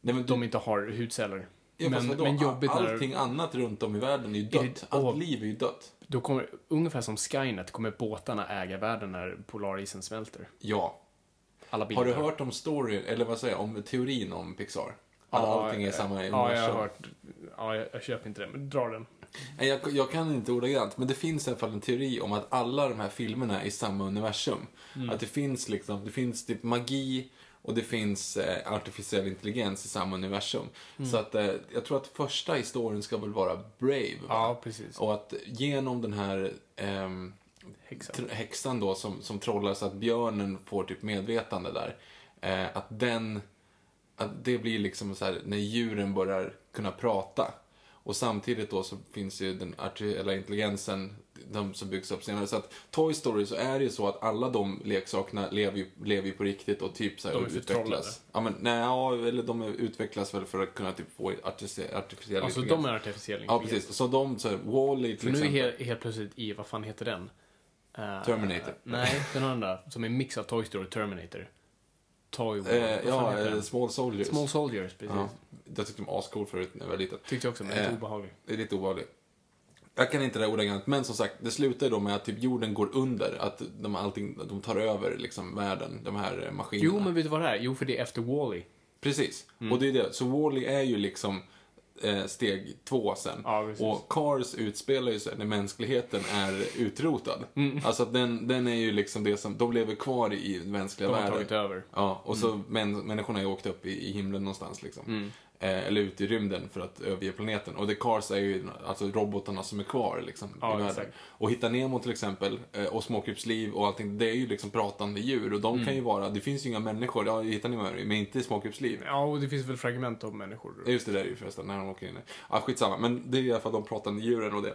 Speaker 3: Nej, men
Speaker 2: de inte har hudceller.
Speaker 3: Ja,
Speaker 2: men,
Speaker 3: men, vadå?
Speaker 2: men jobbigt när
Speaker 3: Allting annat runt om i världen är ju dött.
Speaker 2: det-
Speaker 3: Allt
Speaker 2: åh.
Speaker 3: liv är ju dött.
Speaker 2: då kommer, ungefär som Skynet, kommer båtarna äga världen när polarisen smälter.
Speaker 3: Ja.
Speaker 2: Alla bilar.
Speaker 3: Har du hört om storyn, eller vad säger jag, om teorin om Pixar? Att allting är
Speaker 2: Ja,
Speaker 3: samma
Speaker 2: jag har
Speaker 3: universum?
Speaker 2: hört. Ja, jag, jag köper inte det, men dra den.
Speaker 3: Nej, jag, jag kan inte ordagrant, men det finns i alla fall en teori om att alla de här filmerna är i samma universum. Att det finns liksom, det finns typ magi Och det finns eh, artificiell intelligens i samma universum. Så att eh, jag tror att första historien ska väl vara Brave. va?
Speaker 2: Ja, precis.
Speaker 3: Och att genom den här ehm,
Speaker 2: Häxan.
Speaker 3: tr- häxan då som, som trollar så att björnen får typ medvetande där. Eh, att den, att det blir liksom så här när djuren börjar kunna prata. Och samtidigt då så finns ju den artificiella intelligensen, de som byggs upp senare. Så att Toy Story så är det ju så att alla de leksakerna lever ju, lever ju på riktigt och typ så här
Speaker 2: De är förtrollade.
Speaker 3: utvecklas. Ja men nej, ja, eller de är- utvecklas väl för att kunna typ få artifici- artificiell
Speaker 2: Alltså
Speaker 3: intelligens.
Speaker 2: de är artificiella
Speaker 3: Ja precis, så de så här, Wall-E
Speaker 2: För
Speaker 3: till
Speaker 2: nu är
Speaker 3: exempel.
Speaker 2: helt, helt plötsligt i, vad fan heter den? Eh,
Speaker 3: Terminator.
Speaker 2: Nej, den andra som är en mix av Toy Story och Terminator. Toy World.
Speaker 3: Eh,
Speaker 2: vad fan
Speaker 3: ja,
Speaker 2: heter
Speaker 3: eh,
Speaker 2: den?
Speaker 3: Small Soldiers.
Speaker 2: Small Soldiers, precis.
Speaker 3: Ja. Jag tyckte de var ascool förut när jag var liten.
Speaker 2: Tyckte jag också, men lite
Speaker 3: Eh,
Speaker 2: obehaglig.
Speaker 3: Det är lite obehaglig. Jag kan inte det där ordagrant, men som sagt, det slutar ju då med att typ jorden går under. Att de, allting, de tar över liksom världen, de här eh, maskinerna.
Speaker 2: Jo, men Mm. vet du vad det är? Jo, för det är efter Wall-E.
Speaker 3: Precis, och det är det. Så Wall-E är ju liksom eh, steg två sen.
Speaker 2: Ja, precis.
Speaker 3: och Cars utspelar ju sig när mänskligheten är utrotad.
Speaker 2: Mm.
Speaker 3: Alltså att den, den är ju liksom det som, de lever kvar i den mänskliga
Speaker 2: De har
Speaker 3: världen.
Speaker 2: tagit över.
Speaker 3: Ja, och
Speaker 2: Mm.
Speaker 3: så män, människorna har ju åkt upp i, i himlen någonstans liksom. Eh, eller ut i rymden för att överge planeten. Och The Cars är ju alltså robotarna som är kvar liksom.
Speaker 2: Ja,
Speaker 3: i världen.
Speaker 2: exakt.
Speaker 3: Och Hitta Nemo till exempel, eh, och Småkrypsliv och allting, det är ju liksom pratande djur. Och de
Speaker 2: Mm.
Speaker 3: kan ju vara, det finns ju inga människor, ja Hitta Nemo är det ju, men inte i Småkrypsliv.
Speaker 2: Ja, och det finns väl fragment av människor.
Speaker 3: Just det, där är ju förresten när de åker in. Ja, skitsamma. Men det är i alla fall de pratande djuren och det.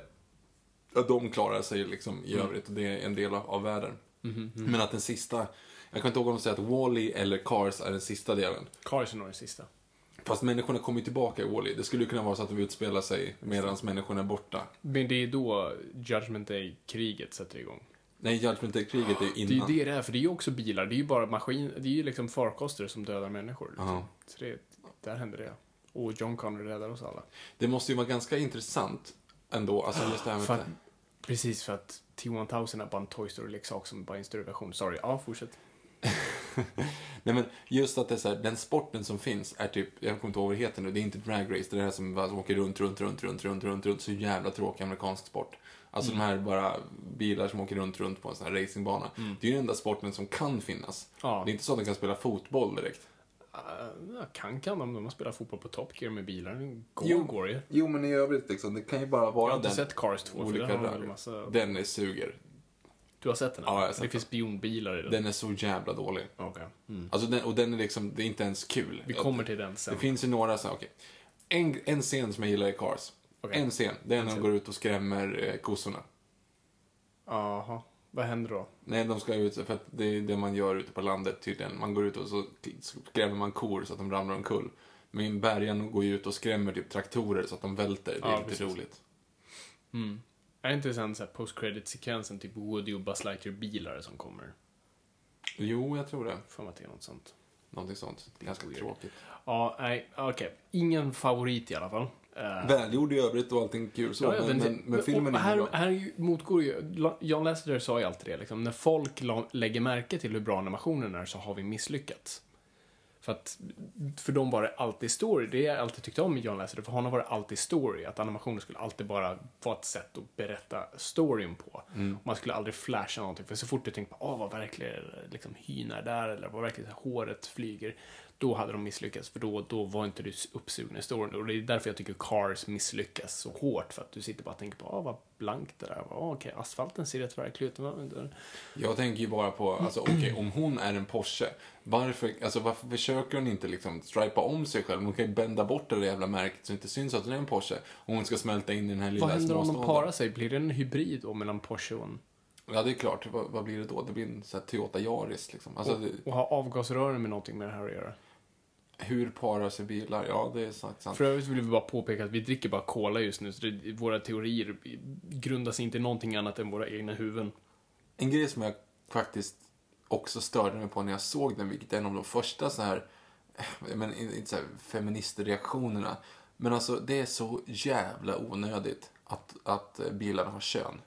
Speaker 3: Att de klarar sig liksom i
Speaker 2: Mm.
Speaker 3: övrigt och det är en del av, av världen.
Speaker 2: Mhm,
Speaker 3: Men att den sista, jag kan inte ihåg om de säger att Wall-E eller Cars är den sista delen.
Speaker 2: Cars är nog den sista.
Speaker 3: Fast människorna kommer ju tillbaka i Wall-E. Det skulle ju kunna vara så att de utspelar sig medan människorna är borta.
Speaker 2: Men det är då Judgment Day-kriget sätter igång.
Speaker 3: Nej, Judgment Day-kriget är ju
Speaker 2: Det är
Speaker 3: innan.
Speaker 2: ju det det är, för det är ju också bilar. Det är ju bara maskin, det är ju liksom farkoster som dödar människor. Liksom.
Speaker 3: Ja.
Speaker 2: Så det, där händer det. Och John Connor räddar oss alla.
Speaker 3: Det måste ju vara ganska intressant ändå. Alltså just det här med...
Speaker 2: För att, precis, för att T-1000 är bara en Toy Story-leksak som bara är en större version. Sorry, ja, fortsätt.
Speaker 3: Nej men just att det är så här, den sporten som finns är typ, jag kommer inte ihåg vad det heter nu, det är inte drag race, det är det här som bara åker runt, runt, runt, runt, runt, runt, runt, så jävla tråkig amerikansk sport. Alltså
Speaker 2: Mm.
Speaker 3: de här bara bilar som åker runt, runt på en sån här racingbana. Det är ju den enda sporten som kan finnas.
Speaker 2: Mm. Ja.
Speaker 3: Det är inte så att de kan spela fotboll direkt.
Speaker 2: Ja, kan kan om de har spelat fotboll på Top Gear med bilar. Går, går ju.
Speaker 3: jo, men i övrigt liksom, det kan ju bara vara
Speaker 2: Jag har inte
Speaker 3: den.
Speaker 2: sett Cars 2, för där
Speaker 3: olika
Speaker 2: har de väl
Speaker 3: rally.
Speaker 2: massa...
Speaker 3: Den är suger.
Speaker 2: Du har sett den?
Speaker 3: Ja, jag har sett
Speaker 2: Det finns spionbilar i den.
Speaker 3: Den är så jävla dålig.
Speaker 2: Okej. Mm.
Speaker 3: Alltså den, och den är liksom, det är inte ens kul.
Speaker 2: Vi kommer till den sen.
Speaker 3: Det finns ju några så här, okej. En, en scen som jag gillar i Cars.
Speaker 2: Okej.
Speaker 3: En scen, det är när de går ut och skrämmer eh, kossorna.
Speaker 2: Jaha. Vad händer då?
Speaker 3: Nej, de ska ut, för att det är det man gör ute på landet tydligen. Man går ut och så skrämmer man kor så att de ramlar omkull. Men bärgaren går ju ut och skrämmer typ traktorer så att de välter. Det är
Speaker 2: Ja,
Speaker 3: lite
Speaker 2: precis.
Speaker 3: roligt.
Speaker 2: Är det inte sen såhär post-credit-sekvensen, typ Woody och Buzz Lightyear-bilar som kommer?
Speaker 3: Jo, jag tror det.
Speaker 2: För att det är något sånt.
Speaker 3: Någonting sånt. Ganska
Speaker 2: weird.
Speaker 3: tråkigt.
Speaker 2: Ja, nej, okej. Ingen favorit i alla fall. Eh,
Speaker 3: Välgjord i övrigt och allting kul så.
Speaker 2: Ja, ja,
Speaker 3: men,
Speaker 2: den-
Speaker 3: men, men filmen
Speaker 2: och
Speaker 3: är
Speaker 2: här,
Speaker 3: bra.
Speaker 2: här är ju- motgår ju... La- John Lasseter sa ju alltid det, liksom. När folk la, lägger märke till hur bra animationen är så har vi misslyckats. För att för dem var det alltid story. Det jag alltid tyckte om med John Lasseter, för honom var det alltid story. Att animationen skulle alltid bara vara ett sätt att berätta storyn på.
Speaker 3: Mm.
Speaker 2: Och man skulle aldrig flasha någonting. För så fort du tänkte på, ah vad verkligen liksom, hyn är där, eller vad verkligen håret flyger. Då hade de misslyckats, för då, då var inte du uppsugen i storyn. Och det är därför jag tycker Cars misslyckas så hårt. För att du sitter bara och tänker på, ah vad blankt det där var. Ah, Okej, asfalten ser rätt verklig ut. Men-
Speaker 3: Jag tänker ju bara på, alltså okej, om hon är en Porsche, varför, alltså, varför försöker hon inte liksom stripa om sig själv? Hon kan ju bända bort det där jävla märket så det inte syns att hon är en Porsche. Om hon ska smälta in i den här lilla
Speaker 2: Vad händer om de
Speaker 3: småstaden.
Speaker 2: parar sig? Blir det en hybrid då mellan Porsche och en
Speaker 3: Ja, det är klart. Vad, vad blir det då? Det blir en sån här Toyota Yaris liksom. Alltså, det,
Speaker 2: Och ha avgasrören med någonting med det här att göra.
Speaker 3: hur parar sig bilar? Ja, det är sant. sant.
Speaker 2: För övrigt vill vi bara påpeka att vi dricker bara cola just nu, så det, våra teorier grundas inte i någonting annat än våra egna huvuden.
Speaker 3: En grej som jag faktiskt också störde mig på när jag såg den, vilket är en av de första så här, eh, men inte så här feministreaktionerna. Men alltså, det är så jävla onödigt att, att bilarna har kön.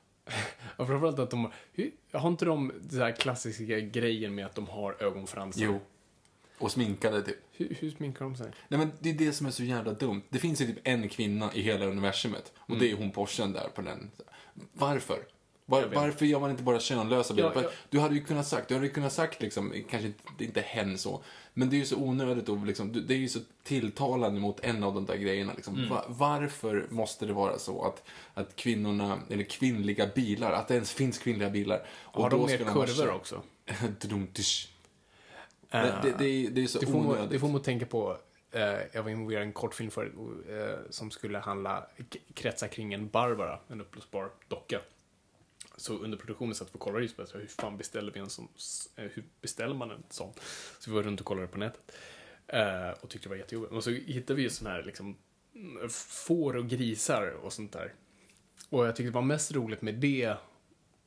Speaker 2: Och framförallt att de har... hur- Har inte de den här klassiska grejen med att de har ögonfransar?
Speaker 3: Jo. Och sminkade typ.
Speaker 2: Hur, hur sminkar de sig?
Speaker 3: Nej men det är det som är så jävla dumt. Det finns ju typ en kvinna i hela universumet. Och det är hon Porschen där på den. Varför? Var,
Speaker 2: Mm. Jag vet.
Speaker 3: varför gör man inte bara könlösa bilder?
Speaker 2: Ja, ja.
Speaker 3: Du hade ju kunnat sagt, du hade ju kunnat sagt liksom, kanske inte, inte hen så, men det är ju så onödigt och liksom, du- det är ju så tilltalande mot en av de där grejerna. Liksom.
Speaker 2: Mm.
Speaker 3: Va, varför måste det vara så att, att kvinnorna, eller kvinnliga bilar, att det ens finns kvinnliga bilar? Och
Speaker 2: Har de mer
Speaker 3: ska vara
Speaker 2: kurvor
Speaker 3: kön-
Speaker 2: också?
Speaker 3: Dudum-tsch. Men det, det, är- det är så
Speaker 2: Det får, man,
Speaker 3: onödigt.
Speaker 2: det får man tänka på. eh, jag var involverad i en kortfilm för, eh, som skulle handla, k- kretsa kring en Barbara, en uppblåsbar docka. Så under produktionen satt vi och kollade just på det, så hur fan beställer vi en sån, s- eh, hur beställer man en sån? Så vi var runt och kollade på nätet. eh, och tyckte det var jättejobbigt. Och så hittade vi ju sån här liksom, mm, får och grisar och sånt där. Och jag tyckte det var mest roligt med det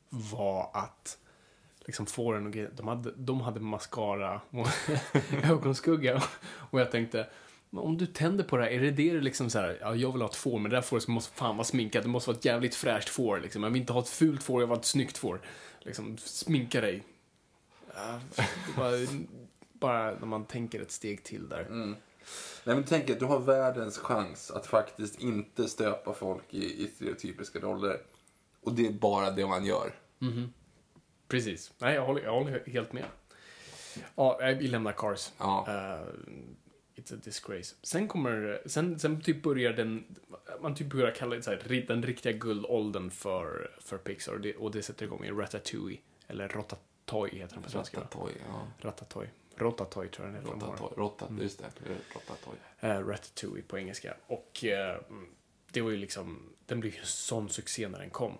Speaker 2: var att liksom fåren och grejer, de hade, de hade mascara och ögonskugga. Och jag tänkte, "Men om du tänder på det här, är det det du liksom så här, ja, jag vill ha ett får, men det där fåret måste fan vara sminkat, det måste vara ett jävligt fräscht får liksom. Jag vill inte ha ett fult får, jag vill ha ett snyggt får. Liksom, sminka dig. Ja, det var, bara när man tänker ett steg till där.
Speaker 3: Nej men tänk att du har världens chans att faktiskt inte stöpa folk i, i stereotypiska roller. Och det är bara det man gör.
Speaker 2: Precis. Nej, jag håller, jag håller helt med. Ja, eh, vi lämnar Cars.
Speaker 3: Ja.
Speaker 2: Eh, it's a disgrace. Sen kommer, sen, sen typ börjar den, man typ börjar kalla det så här, ri- den riktiga guldåldern för, för Pixar. Och det, och det sätter igång i Ratatouille, eller Rotatouille heter den på svenska. va?
Speaker 3: Ratatouille, ja.
Speaker 2: Ratatouille. Rotatouille tror jag den heter. de har.
Speaker 3: Rotatouille, rotat,
Speaker 2: Mm.
Speaker 3: just det. Rotatouille.
Speaker 2: Eh, Ratatouille på engelska. Och eh, mm, det var ju liksom, den blev ju en sån succé när den kom.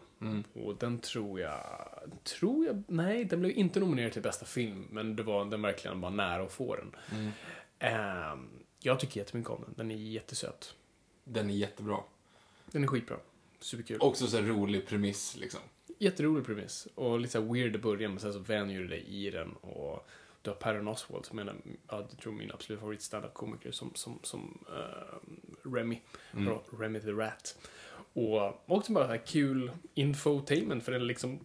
Speaker 2: Och den tror jag, tror jag, nej den blev inte nominerad till bästa film, men det var, den verkligen var nära att få den. Ehm, jag tycker jättemycket om den, den är jättesöt.
Speaker 3: Den är jättebra.
Speaker 2: Den är skitbra. Superkul.
Speaker 3: Också så här rolig premiss liksom.
Speaker 2: Jätterolig premiss. Och lite så här weird i början, men sen så vänjer du dig i den. Och du har Patton Oswalt, som är en, ja, jag tror min absolut favorit standup-komiker, som, som, som eh, Remy.
Speaker 3: Mm.
Speaker 2: Ra- Remy the Rat. Och också bara så här kul infotainment, för den liksom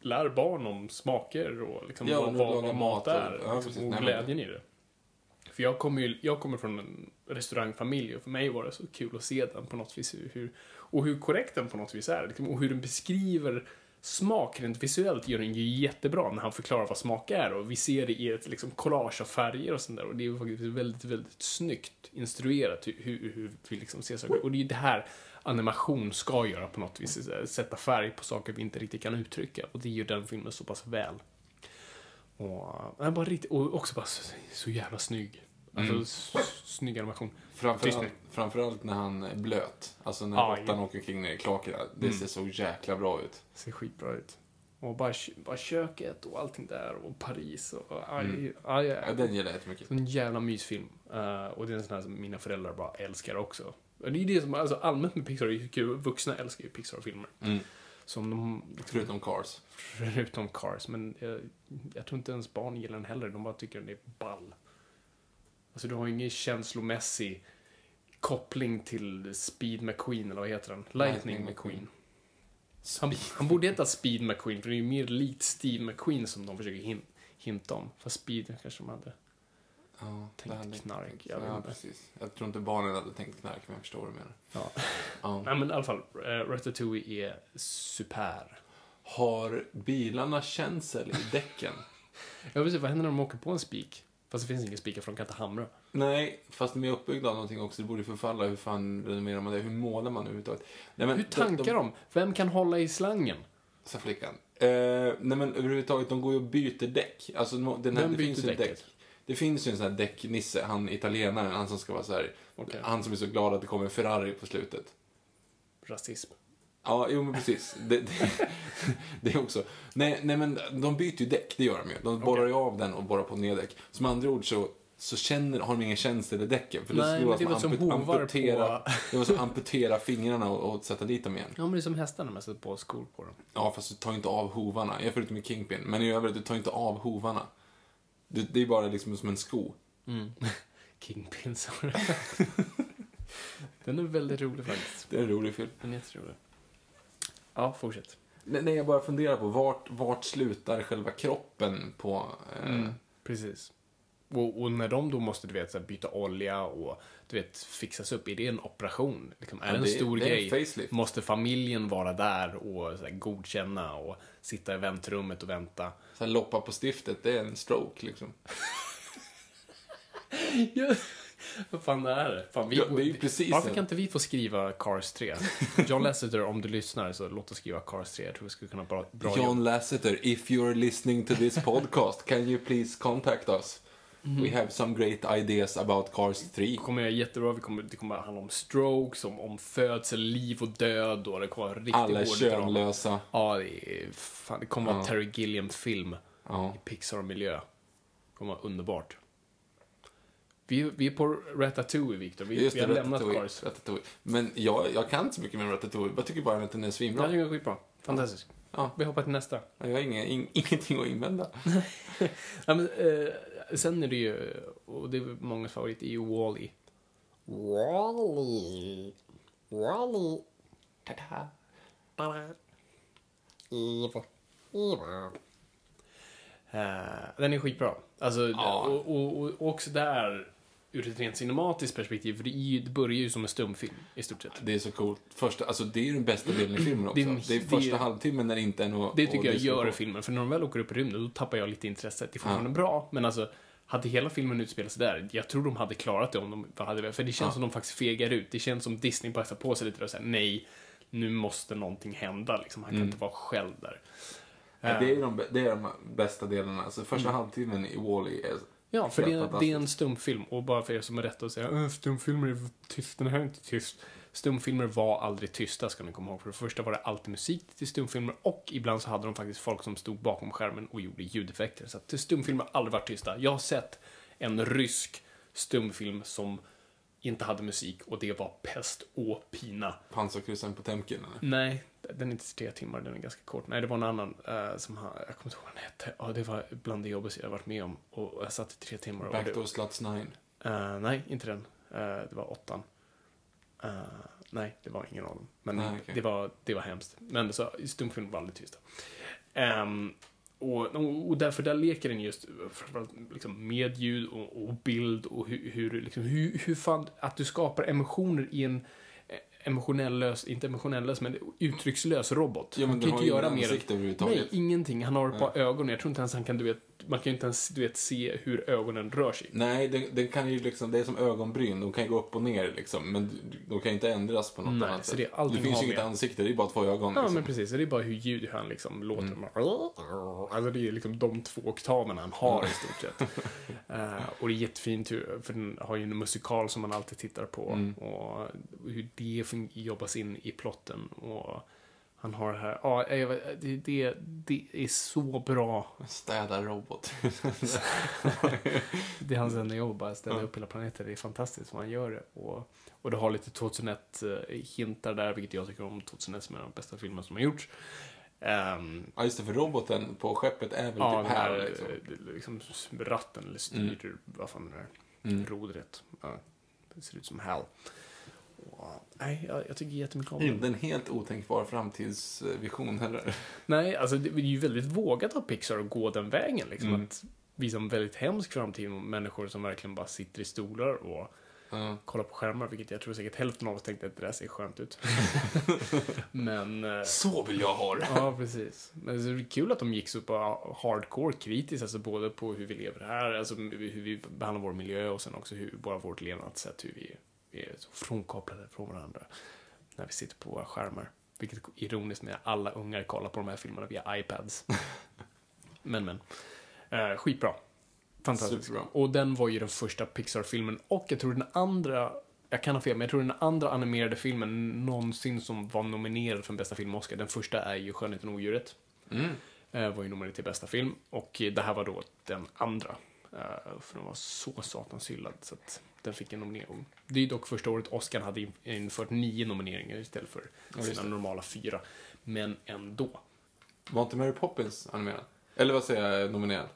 Speaker 2: lär barn om smaker och liksom
Speaker 3: Ja,
Speaker 2: vad,
Speaker 3: och
Speaker 2: vad,
Speaker 3: laga
Speaker 2: vad mat
Speaker 3: mat och-
Speaker 2: är.
Speaker 3: ja, precis.
Speaker 2: liksom,
Speaker 3: Nej,
Speaker 2: och
Speaker 3: men-
Speaker 2: glädjen i det. För jag kommer, ju, jag kommer från en restaurangfamilj och för mig var det så kul att se den på något vis. Hur, och hur korrekt den på något vis är. Liksom, och hur den beskriver smak rent visuellt gör den ju jättebra när han förklarar vad smak är. Och vi ser det i ett liksom, collage av färger och sånt där. Och det är ju faktiskt väldigt, väldigt snyggt instruerat hur, hur, hur vi liksom ser saker. Och det är ju det här animation ska göra på något vis. eh, Sätta färg på saker vi inte riktigt kan uttrycka. Och det gör den filmen så pass väl. Och, nej, bara riktigt, och också bara så, så jävla snygg. Alltså, s- snygg animation.
Speaker 3: Framförallt,
Speaker 2: Disney.
Speaker 3: framförallt när han är blöt. Alltså när
Speaker 2: Ja,
Speaker 3: råttan
Speaker 2: ja. Mm.
Speaker 3: åker kring ner i klakorna. Det ser så jäkla bra ut.
Speaker 2: Ser skitbra ut. Och bara, kö- bara köket och allting där och Paris och... och aj, aj, aj.
Speaker 3: Ja, den gillar jag jättemycket.
Speaker 2: En jävla mysfilm. Eh, och det är en sån här som mina föräldrar bara älskar också. Och det är det som, alltså allmänt med Pixar är ju kul. Vuxna älskar ju Pixar-filmer. Som de,
Speaker 3: Förutom Cars.
Speaker 2: förutom Cars, men jag, jag tror inte ens barn gillar den heller. De bara tycker den är ball. Alltså du har ju ingen känslomässig koppling till Speed McQueen, eller vad heter den? Lightning,
Speaker 3: Lightning
Speaker 2: McQueen.
Speaker 3: McQueen.
Speaker 2: Han, han borde heta Speed McQueen, för det är ju mer likt Steve McQueen som de försöker hin, hinta om. Fast Speed kanske de hade.
Speaker 3: Ja,
Speaker 2: Tänkt
Speaker 3: det hade-
Speaker 2: knark, jag vet
Speaker 3: Ja,
Speaker 2: inte.
Speaker 3: precis. Jag tror inte barnen hade tänkt knark, men jag förstår vad du menar.
Speaker 2: Ja.
Speaker 3: Ja.
Speaker 2: Nej men i alla fall, eh, Ratatouille är super.
Speaker 3: Har bilarna känsel i däcken?
Speaker 2: Jag vill se, vad händer när de åker på en spik? Fast det finns ingen spikar för de kan inte hamra.
Speaker 3: Nej, fast de är uppbyggda av någonting också. Det borde ju förfalla. Hur fan renoverar man det? Hur målar man överhuvudtaget? Nej, men
Speaker 2: Hur tankar de? Vem kan hålla i slangen?
Speaker 3: Sa flickan. Eh, nej men överhuvudtaget, de går ju och byter däck. Alltså, no- den här,
Speaker 2: Vem
Speaker 3: det
Speaker 2: byter
Speaker 3: finns ju ett däck.
Speaker 2: däcket?
Speaker 3: Det finns ju en sån här däcknisse, han italienaren, han som ska vara så här,
Speaker 2: Okej.
Speaker 3: han som är så glad att det kommer en Ferrari på slutet.
Speaker 2: Rasism.
Speaker 3: Ja, jo men precis. Det, det, det är också. Nej, nej men de byter ju däck, det gör de ju. De borrar ju av den och borrar på nya däck. Som andra ord så, så känner, har de ingen känsel i däcken. För
Speaker 2: Nej,
Speaker 3: skulle
Speaker 2: men
Speaker 3: vara
Speaker 2: det var
Speaker 3: att
Speaker 2: som
Speaker 3: ampu-
Speaker 2: hovar
Speaker 3: alltså amputera,
Speaker 2: på-
Speaker 3: Det var som att amputera fingrarna och, och sätta dit dem igen.
Speaker 2: Ja, men det är som hästarna man sätter på skor på dem.
Speaker 3: Ja, fast du tar ju inte av hovarna. Jag förutom i Kingpin. Men i övrigt, du tar ju inte av hovarna. Det, det är bara liksom som en sko.
Speaker 2: Mm. Kingpins. Den är väldigt rolig faktiskt.
Speaker 3: Det är en rolig film.
Speaker 2: Den är jätterolig. Ja, fortsätt.
Speaker 3: Nej, nej, jag bara
Speaker 2: Mm.
Speaker 3: funderar på vart, vart slutar själva kroppen på... Eh,
Speaker 2: Precis. Och, och när de då måste du vet, så här, byta olja och du vet, fixas upp, är det en operation? Liksom, är det en
Speaker 3: det-
Speaker 2: stor
Speaker 3: det är en
Speaker 2: grej?
Speaker 3: facelift.
Speaker 2: Måste familjen vara där och så här, godkänna och sitta i väntrummet och vänta?
Speaker 3: Så här, loppa på stiftet, det är en stroke liksom.
Speaker 2: Ja, Vad fan är det? Fan, vi,
Speaker 3: Ja, det är ju precis
Speaker 2: varför
Speaker 3: det.
Speaker 2: kan inte vi få skriva Cars 3? John Lasseter, om du lyssnar, så låt oss skriva Cars 3. Jag tror vi skulle kunna ha bra, bra
Speaker 3: John
Speaker 2: jobb.
Speaker 3: Lasseter, if you're listening to this podcast, can you please contact us? We have some great ideas about Cars 3.
Speaker 2: Vi Mm. kommer göra jättebra. Vi kommer, det kommer handla om strokes, om, om födsel, liv och död och det kommer vara riktigt
Speaker 3: Alla
Speaker 2: hård drama.
Speaker 3: könlösa.
Speaker 2: Ja, det, är, fan, det kommer vara en Terry Gilliam-film
Speaker 3: Ja.
Speaker 2: i Pixar-miljö. Det kommer vara underbart. Vi, vi är på Ratatouille, Victor. Vi,
Speaker 3: Just
Speaker 2: vi
Speaker 3: det,
Speaker 2: har lämnat
Speaker 3: Ratatouille.
Speaker 2: Cars.
Speaker 3: Ratatouille. Men jag, jag kan inte så mycket med Ratatouille. Jag tycker bara att den är
Speaker 2: Ja,
Speaker 3: svinbra.
Speaker 2: det går skitbra. Fantastiskt.
Speaker 3: Ja.
Speaker 2: Vi hoppar till nästa.
Speaker 3: Jag har inga, ing, ingenting att invända.
Speaker 2: Ja, men, eh, sen är det ju, och det är många favorit, är ju Wall-E.
Speaker 4: Wally. Wally.
Speaker 3: Ta-ta.
Speaker 4: Eve. Eva.
Speaker 2: Eh, den är skitbra. Alltså, och, och, och, och också där, ur ett rent cinematiskt perspektiv, för det, är ju, det börjar ju som en stumfilm i stort sett.
Speaker 3: Det är så coolt. Första, alltså, det är ju den bästa delen i filmen också.
Speaker 2: Mm. Det
Speaker 3: Det
Speaker 2: är-
Speaker 3: är,
Speaker 2: det-
Speaker 3: första halvtimmen när det inte är något
Speaker 2: Det tycker
Speaker 3: att
Speaker 2: jag
Speaker 3: lyssna
Speaker 2: gör
Speaker 3: på.
Speaker 2: filmen, för när de väl åker upp i rymden, då tappar jag lite intresset. Det är fortfarande bra, men alltså, hade hela filmen utspelats där, jag tror de hade klarat det om de hade För det känns som de faktiskt fegar ut. Det känns som Disney passar på sig lite och säger nej, nu måste någonting hända. Liksom, han kan inte vara själv där.
Speaker 3: Ja, Det är, de, det är de bästa delarna. Alltså, första halvtimmen i Wall-E är
Speaker 2: Mm. Ja, för
Speaker 3: helt
Speaker 2: det är, det
Speaker 3: fantastisk.
Speaker 2: är en stumfilm. Och bara för er som är rätta att säga "Äh, stumfilmer är tyst, den här är inte tyst. Stumfilmer var aldrig tysta, ska ni komma ihåg. För det första var det alltid musik till stumfilmer och ibland så hade de faktiskt folk som stod bakom skärmen och gjorde ljudeffekter. Så att stumfilmer har aldrig varit tysta. Jag har sett en rysk stumfilm som inte hade musik och det var pest och pina.
Speaker 3: pansarkryssaren på Temkin. Eller?
Speaker 2: Nej, den är inte tre timmar, den är ganska kort. Nej, det var en annan eh, som han, jag kommer inte ihåg vad den hette. Ja, det var bland det jobbigaste jag varit med om. Och jag satt i tre timmar och det,
Speaker 3: Backdoor Sluts 9.
Speaker 2: Eh, nej, inte den. Eh, det var åttan. Eh, nej, det var ingen av dem. Men
Speaker 3: Nej, okej.
Speaker 2: det, var, det var hemskt. Men så, stumfilm var aldrig tysta. Ehm, och, och därför där leker den just eh, framförallt liksom med ljud och, och bild och hur, hur, liksom, hur, hur fan, att du skapar emotioner i en eh, emotionellös, inte emotionellös, men uttryckslös robot.
Speaker 3: Ja, men
Speaker 2: han
Speaker 3: den
Speaker 2: kan
Speaker 3: har
Speaker 2: inte
Speaker 3: ju
Speaker 2: göra
Speaker 3: ingen
Speaker 2: mer
Speaker 3: ansikte
Speaker 2: än,
Speaker 3: överhuvudtaget.
Speaker 2: Nej, ingenting. Han har ett par ögon. Jag tror inte ens han kan, du vet, man kan ju inte ens, du vet, se hur ögonen rör sig.
Speaker 3: Nej, den, den kan ju liksom, det är som ögonbryn. De kan ju gå upp och ner liksom, men du- de kan ju inte ändras på något
Speaker 2: Nej,
Speaker 3: annat
Speaker 2: så
Speaker 3: sätt.
Speaker 2: det är allting
Speaker 3: det finns
Speaker 2: har
Speaker 3: ju inget
Speaker 2: med.
Speaker 3: ansikte, det är bara två ögon.
Speaker 2: Ja,
Speaker 3: liksom.
Speaker 2: men precis. Det är bara hur ljud han liksom låter. Alltså det är liksom de två oktaverna han har i stort sett. Eh, och det är jättefint, hur- för den har ju en musikal som man alltid tittar på. Och hur det fun- jobbas in i plotten. Och han har det här, ja, jag vet- det, det, det är så bra.
Speaker 3: Städa robot.
Speaker 2: Det är hans enda jobb, bara ställa upp hela planeten. Det är fantastiskt vad han gör det. Och, och det har lite 2001-hintar där, vilket jag tycker om. 2001 som är en av de bästa filmerna som har gjorts. Ehm,
Speaker 3: ja, just det, för roboten på skeppet är väl
Speaker 2: Ja,
Speaker 3: typ
Speaker 2: den här,
Speaker 3: här
Speaker 2: eh,
Speaker 3: liksom.
Speaker 2: liksom. ratten eller styr, typ, vad fan är det mm. rodret. Ja, det ser ut som Hal. Och, nej, jag, jag tycker jättemycket om
Speaker 3: Inte
Speaker 2: den.
Speaker 3: en helt otänkbar framtidsvision heller.
Speaker 2: Nej, alltså det är ju väldigt vågat av Pixar att gå den vägen. Liksom, Att visa en väldigt hemsk framtid med människor som verkligen bara sitter i stolar och kollar på skärmar, vilket jag tror säkert hälften av oss tänkte att det där ser skönt ut. Men... eh,
Speaker 3: Så vill jag ha det!
Speaker 2: Ja, precis. Men så är det kul att de gick så på hardcore kritiskt, alltså både på hur vi lever här, alltså hur vi behandlar vår miljö och sen också hur, bara vårt levnadssätt, hur vi är så frånkopplade från varandra när vi sitter på våra skärmar. Vilket är ironiskt när alla ungar kollar på de här filmerna via iPads. men, men. Eh, skitbra. Fantastiskt.
Speaker 3: Superbra.
Speaker 2: Och den var ju den första Pixar-filmen och jag tror den andra, jag kan ha fel, men jag tror den andra animerade filmen någonsin som var nominerad för en bästa film i Oscar. Den första är ju Skönheten och odjuret. Eh, var ju nominerad till bästa film och eh, det här var då den andra. Eh, för den var så satans hyllad så att den fick en nominering. Det är ju dock första året Oscar hade in- infört nio nomineringar istället för sina normala fyra. Men ändå.
Speaker 3: Var inte Mary Poppins animerad? Eller vad säger jag, nominerad?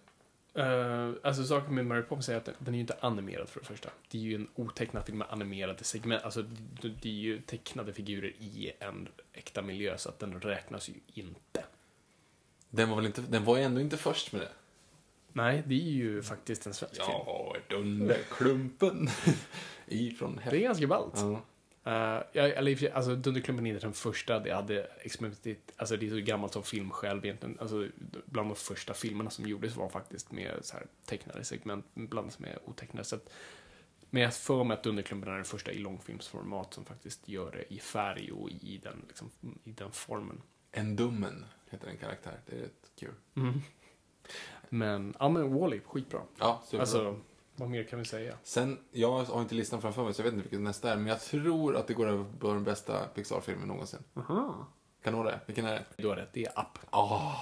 Speaker 2: Eh, alltså saken med Mary Poppins är att den, den är ju inte animerad för det första. Det är ju en otecknad film med animerade segment. Alltså det, det är ju tecknade figurer i en äkta miljö så att den räknas ju inte.
Speaker 3: Den var väl inte, den var ju ändå inte först med det?
Speaker 2: Nej, det är ju faktiskt en svensk film.
Speaker 3: Ja, Dunderklumpen. Ifrån
Speaker 2: Det är ganska ballt.
Speaker 3: Ja.
Speaker 2: Eh, jag, eller i och för sig, alltså Dunderklumpen är inte den första, det hade experimenterat, alltså det är så gammalt som film själv egentligen, alltså bland de första filmerna som gjordes var faktiskt med så här tecknade segment, blandat med otecknade, så att, men jag för mig att Dunderklumpen är den första i långfilmsformat som faktiskt gör det i färg och i den, liksom, i den formen.
Speaker 3: En dummen heter en karaktär. Det är rätt kul.
Speaker 2: Mm. Men, ja men Wall-E, skitbra.
Speaker 3: Ja, superbra.
Speaker 2: Alltså, vad mer kan vi säga?
Speaker 3: Sen, jag har inte listan framför mig så jag vet inte vilken nästa är. Men jag tror att det går över på den bästa Pixar-filmen någonsin. Kan du ha det? Vilken är det?
Speaker 2: Du har rätt, det är Up. Oh.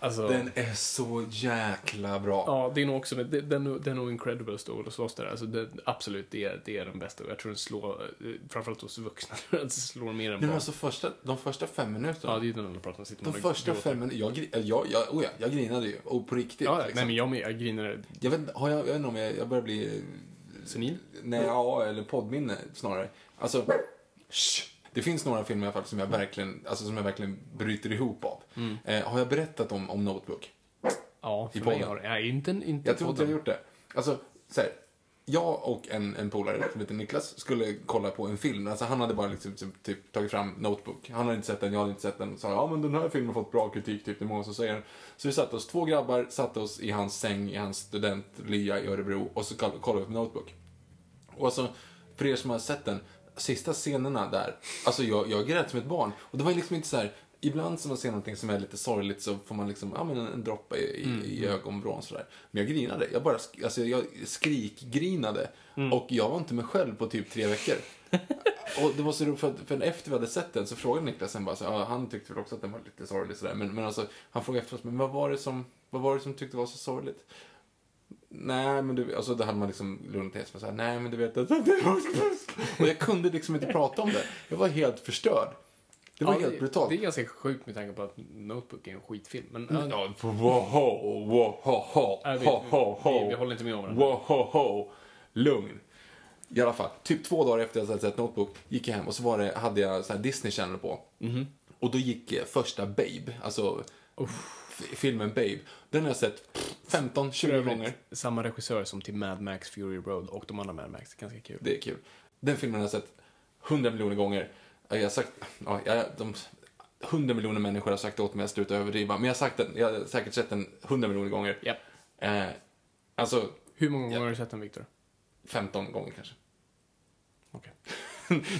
Speaker 2: Alltså,
Speaker 3: Ah. Den är så jäkla bra.
Speaker 2: Ja, det är nog också, det, den, den är nog Incredibles då, och slåss där. Alltså det, absolut, det är, det är den bästa. Och Jag tror den slår, eh, framförallt hos vuxna, tror jag att den slår mer än
Speaker 3: Nej,
Speaker 2: barn.
Speaker 3: men alltså första, de första fem minuterna.
Speaker 2: Ja, det är ju den alla pratar om. Sitter
Speaker 3: de
Speaker 2: man och
Speaker 3: första
Speaker 2: gråter.
Speaker 3: fem minuterna. Jag, gri- äh, jag, jag, oh ja, jag grinade ju. Och på riktigt.
Speaker 2: Ja,
Speaker 3: liksom.
Speaker 2: nej men jag med, jag grinar
Speaker 3: jag, vet, inte- har jag, jag vet inte om jag, jag börjar bli...
Speaker 2: senil.
Speaker 3: Nej, ja, eller poddminne snarare. Alltså, shh. det finns några filmer i alla fall som jag verkligen, alltså, som jag verkligen bryter ihop av. Eh, har jag berättat om, om Notebook?
Speaker 2: Ja, för
Speaker 3: I
Speaker 2: mig
Speaker 3: podden.
Speaker 2: har det, nej inte, inte
Speaker 3: Jag tror inte
Speaker 2: podden.
Speaker 3: jag har gjort det. Alltså, så här, jag och en, en polare som heter Niklas skulle kolla på en film. Alltså, han hade bara liksom, typ, typ, tagit fram Notebook. Han hade inte sett den, jag hade inte sett den. Och sa ja men den här filmen har fått bra kritik, typ, det är många som säger den. Så vi satte oss, två grabbar, satte oss i hans säng, i hans studentlya i Örebro och så koll- kollade vi på Notebook. Och alltså, för er som har sett den, sista scenerna där, alltså jag, jag grät som ett barn. Och det var liksom inte så här, ibland som man ser någonting som är lite sorgligt så får man liksom, ja men en, en droppe i, i ögonvrån sådär. Men jag grinade, jag bara, sk- alltså jag skrikgrinade. Och jag var inte mig själv på typ tre veckor. Och det var så roligt, för, att- för efter vi hade sett den så frågade Niklas sen bara så, ja, han tyckte väl också att den var lite sorglig sådär. Men, men alltså, han frågade efteråt, men vad var det som, vad var det som tyckte var så sorgligt? Nej, men du, alltså då hade man liksom lugnat ner sig med såhär, nej men du vet att Och jag kunde liksom inte prata om det. Jag var helt förstörd. Det var
Speaker 2: Ja,
Speaker 3: helt brutalt. Mm.
Speaker 2: Det är ganska sjukt med tanke på att Notebook är en skitfilm. Men, ja,
Speaker 3: Ja, woho, woho, ho,
Speaker 2: Nej, vi-
Speaker 3: ho, ho, ho.
Speaker 2: vi- vi håller inte med om det.
Speaker 3: Woho, ho. Lugn. I alla fall, typ två dagar efter jag hade sett Notebook gick jag hem och så var det, hade jag så här Disney Channel på.
Speaker 2: Mhm.
Speaker 3: Och då gick eh, första Babe, alltså f- filmen Babe. Den har jag sett pff, 15-20 gånger.
Speaker 2: samma regissör som till Mad Max Fury Road och de andra Mad Max, ganska kul.
Speaker 3: Det är kul. Den filmen har jag sett hundra miljoner gånger. Jag har sagt, ja, jag, de, hundra miljoner människor har sagt åt mig att sluta överdriva, men jag har sagt den, jag har säkert sett den hundra miljoner gånger.
Speaker 2: Japp.
Speaker 3: Eh, alltså,
Speaker 2: Hur många gånger har du sett den, Victor?
Speaker 3: 15 gånger kanske.
Speaker 2: Okej.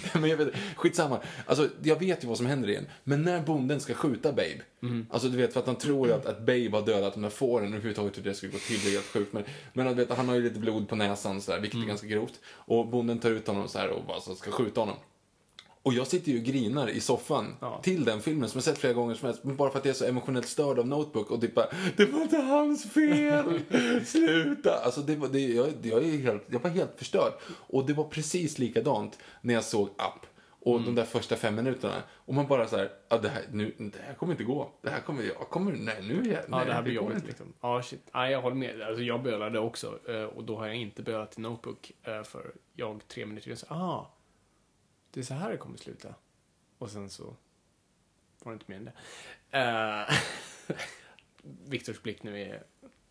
Speaker 3: men jag vet, skitsamma. Alltså, jag vet ju vad som händer igen. Men när bonden ska skjuta Babe. Alltså du vet för att han tror ju att, att Babe har dödat de där fåren. Överhuvudtaget hur det skulle gå till det är helt sjukt. Men, men du vet, han har ju lite blod på näsan sådär, vilket är ganska grovt. Och bonden tar ut honom så här och alltså, ska skjuta honom. Och jag sitter ju och grinar i soffan till den filmen som jag sett flera gånger som helst. men Bara för att jag är så emotionellt störd av Notebook och typ bara, det var inte hans fel! Sluta! Alltså det var, det, jag, det- jag, är helt, jag var helt förstörd. Och det var precis likadant när jag såg Up. Och
Speaker 2: Mm.
Speaker 3: de där första fem minuterna. Och man bara så här, ah, det, här nu, det här kommer inte gå. Det här kommer, jag kommer, nej nu är jag,
Speaker 2: Ja,
Speaker 3: nej,
Speaker 2: det här blir
Speaker 3: går
Speaker 2: jobbigt
Speaker 3: inte.
Speaker 2: liksom. Ja, shit. Nej, jag håller med. Alltså, jag bölade också. eh, Och då har jag inte bölat till Notebook. eh, För jag tre minuter innan så, aha. Det är så här det kommer sluta. Och sen så var det inte mer än det. Eh, Viktors blick nu är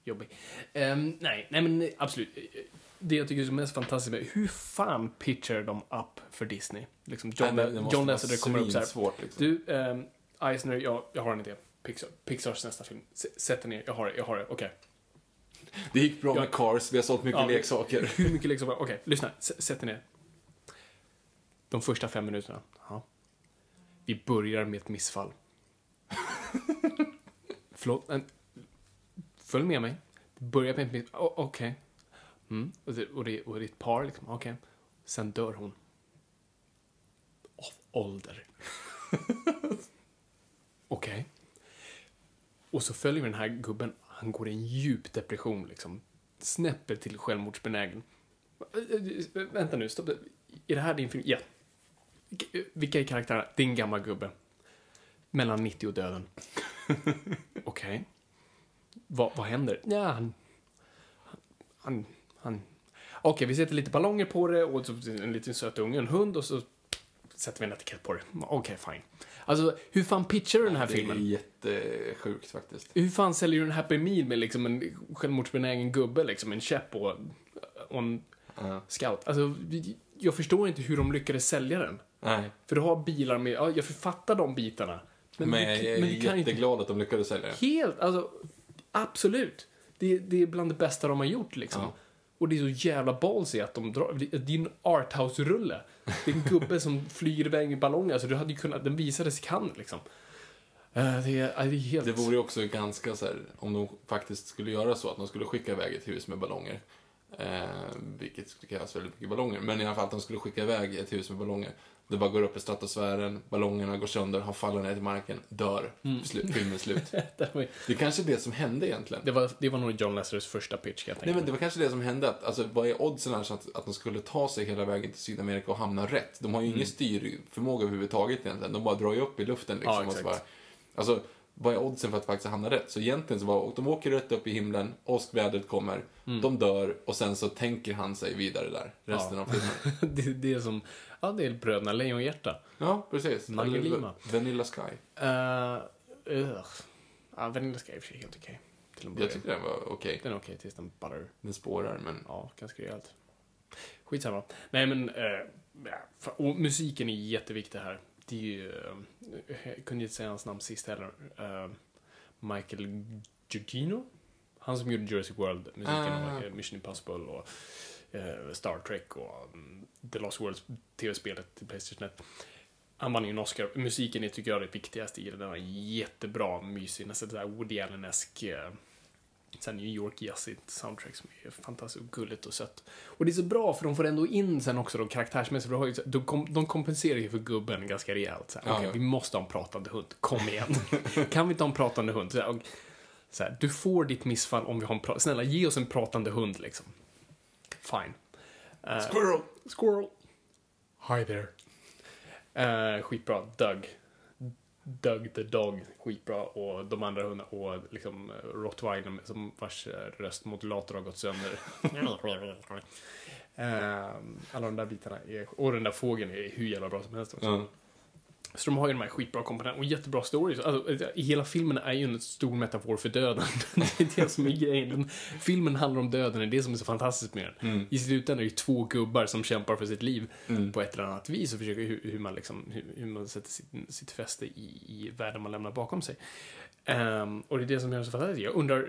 Speaker 2: jobbig. Ehm, nej, nej men absolut. Det jag tycker är mest fantastiskt med hur fan pitchar de upp för Disney? Liksom John,
Speaker 3: Nej, det- det måste
Speaker 2: John
Speaker 3: vara
Speaker 2: Lasseter kommer upp så här.
Speaker 3: svinsvårt, liksom.
Speaker 2: Du, ehm, Eisner, jag, jag har en idé. Pixar, Pixars nästa film. S- Sätt dig ner, jag har det, jag har det, okej.
Speaker 3: Det gick bra med
Speaker 2: Ja.
Speaker 3: Cars, vi har sålt mycket
Speaker 2: Ja, men-
Speaker 3: leksaker.
Speaker 2: Hur mycket leksaker? Okej, lyssna. S- Sätt dig ner. De första fem minuterna. Ja. Vi börjar med ett missfall. Förlåt? En... Följ med mig. Börja med ett missfall. O- Okej. Mm. Och, det, och, det, och det är ett par, liksom. Okej. Sen dör hon. Av ålder. Okej. Och så följer vi den här gubben. Han går i en djup depression, liksom. Snäpper till självmordsbenägen. Äh, äh, Vänta nu, stopp. Är det här din film? Ja. Vilka- Vilka är karaktärerna? Det är en gammal gubbe. Mellan 90 och döden. Okej. Vad, vad händer? Ja, han... Han... han Okej, vi sätter lite ballonger på det och så en liten söt unge, en hund och så sätter vi en etikett på det. Okej, fine. Alltså, hur fan pitchar du den här
Speaker 3: Det är
Speaker 2: filmen?
Speaker 3: jättesjukt faktiskt.
Speaker 2: Hur fan säljer du en Happy Meal med liksom en självmordsbenägen gubbe, liksom en käpp och, och en scout? Alltså, vi- jag förstår inte hur de lyckades sälja den.
Speaker 3: Nej.
Speaker 2: För du har bilar med, ja, jag författar de bitarna. Men,
Speaker 3: Men
Speaker 2: vi-
Speaker 3: jag är
Speaker 2: men vi kan inte...
Speaker 3: jätteglad att de lyckades sälja den.
Speaker 2: Helt, alltså, absolut. Det, det är bland det bästa de har gjort liksom. Och det är så jävla ballsy att de drar, det det är en arthouse-rulle. Det är en gubbe som flyr iväg med ballonger, alltså du hade ju kunnat, den visades i Cannes liksom. Eh, Det är, ja, det är helt...
Speaker 3: Det vore ju också ganska så här, om de faktiskt skulle göra så att de skulle skicka iväg ett hus med ballonger. Eh, vilket skulle krävas väldigt mycket ballonger. Men i alla fall att de skulle skicka iväg ett hus med ballonger. Det bara går upp i stratosfären, ballongerna går sönder, han faller ner till marken, dör. Slut, filmen är slut.
Speaker 2: Det var ju-
Speaker 3: Det är kanske det som hände egentligen.
Speaker 2: Det var, det var nog John Lessers första pitch, kan jag
Speaker 3: Nej
Speaker 2: tänka
Speaker 3: men
Speaker 2: mig.
Speaker 3: det var kanske det som hände. Att, alltså, vad är oddsen här så att, att de skulle ta sig hela vägen till Sydamerika och hamna rätt? De har ju
Speaker 2: Mm.
Speaker 3: ingen styrförmåga överhuvudtaget egentligen. De bara drar ju upp i luften liksom.
Speaker 2: Ja,
Speaker 3: och så
Speaker 2: exakt.
Speaker 3: bara, alltså, vad är oddsen för att faktiskt hamna rätt? Så egentligen så bara, och de åker rätt upp i himlen, åskvädret kommer,
Speaker 2: Mm.
Speaker 3: de dör och sen så tänker han sig vidare där resten
Speaker 2: Ja.
Speaker 3: av filmen.
Speaker 2: det, det är som, ja det är Bröderna Lejonhjärta.
Speaker 3: Ja, precis.
Speaker 2: Mange
Speaker 3: Eller
Speaker 2: Lima.
Speaker 3: Vanilla Sky.
Speaker 2: Uh, ugh. Ja, Vanilla Sky är i och för sig helt okej. Till en
Speaker 3: Jag
Speaker 2: början.
Speaker 3: tyckte den var okej.
Speaker 2: Den är okej tills den ballar
Speaker 3: Den spårar, men
Speaker 2: Ja, ganska rejält. Skitsamma. Nej men, eh, ja, fa- och musiken är jätteviktig här. Det är ju, eh, jag kunde inte säga hans namn sist heller. Eh, Michael Giugino? Han som gjorde Jurassic World, musiken och eh, Mission Impossible och eh, Star Trek och mm, The Lost Worlds, tv-spelet till Playstation 1. Han vann ju en Oscar. Musiken är, tycker jag är det viktigaste i det. Den är jättebra, mysig, nästan sådär Woody Allen-esk eh, Sen New York jazzigt soundtrack som är fantastiskt och gulligt och sött. Och det är så bra för de får ändå in sen också de karaktärsmässigt. för de har ju så- De, kom, de kompenserar ju för gubben ganska rejält. Så här, Okej,
Speaker 3: ja.
Speaker 2: vi måste ha en pratande hund. Kom igen. kan vi inte ha en pratande hund? Så här, och, så här, du får ditt missfall om vi har en pra- Snälla, ge oss en pratande hund liksom. Fine.
Speaker 3: Squirrel!
Speaker 2: Squirrel. Hi there. Eh, skitbra. Doug. Doug the Dog. Skitbra. Och de andra hundarna. Och liksom eh, Rottweiler som vars eh, röstmodulator har gått sönder. Eh, alla de där bitarna. Är, och den där fågeln är hur jävla bra som helst också.
Speaker 3: Ja.
Speaker 2: Så de har ju de här skitbra komponenterna och jättebra stories. Alltså, eh, hela filmen är ju en stor metafor för döden. det är det som är grejen. Den- Filmen handlar om döden, det är det som är så fantastiskt med den. I slutändan är det ju två gubbar som kämpar för sitt liv på ett eller annat vis och försöker hur, hur, man, liksom, hur, hur man sätter sitt, sitt fäste i, i världen man lämnar bakom sig. Ehm, och det är det som gör det så fantastiskt. Jag undrar, eh,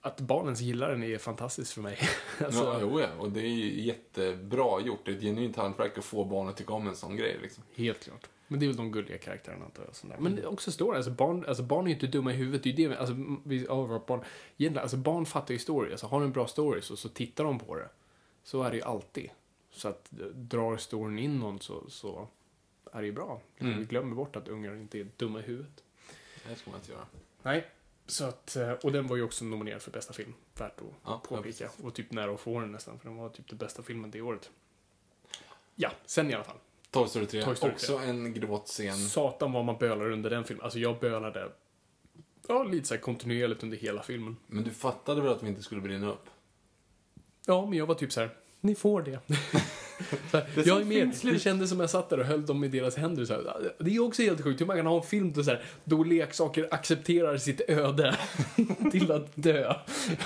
Speaker 2: att barnens gillar den är fantastiskt för mig. alltså,
Speaker 3: Ja, jo, ja. Och det är ju jättebra gjort. Det är ett genuint hantverk att få barn att tycka om en sån grej liksom.
Speaker 2: Helt klart. Men det är väl de gulliga karaktärerna antar jag. Sådär. Men det också står det, alltså barn, alltså barn är ju inte dumma i huvudet. Det är ju det, alltså, vi, ja, våra barn, egentligen, alltså barn fattar ju story. Alltså, har du en bra story så, så tittar de på det. Så är det ju alltid. Så att eh, drar storyn in någon så, så är det ju bra. Vi glömmer bort att ungar inte är dumma i huvudet.
Speaker 3: Det ska man inte göra.
Speaker 2: Nej. Så att, eh, och den var ju också nominerad för bästa film. Värt att
Speaker 3: Ja,
Speaker 2: påpeka. och typ nära att få den nästan, för den var typ den bästa filmen det året. Ja, sen i alla fall.
Speaker 3: Toy Story 3,
Speaker 2: Toy Story
Speaker 3: också en gråtscen.
Speaker 2: Satan vad man bölar under den filmen. Alltså jag bölade ja, lite så här kontinuerligt under hela filmen.
Speaker 3: Men du fattade väl att vi inte skulle brinna upp?
Speaker 2: Ja, men jag var typ så här. ni får det. så här, jag är med. Det kändes som jag satt där och höll dem i deras händer. Så här. Det är också helt sjukt hur man kan ha en film då, så här, då leksaker accepterar sitt öde till att dö.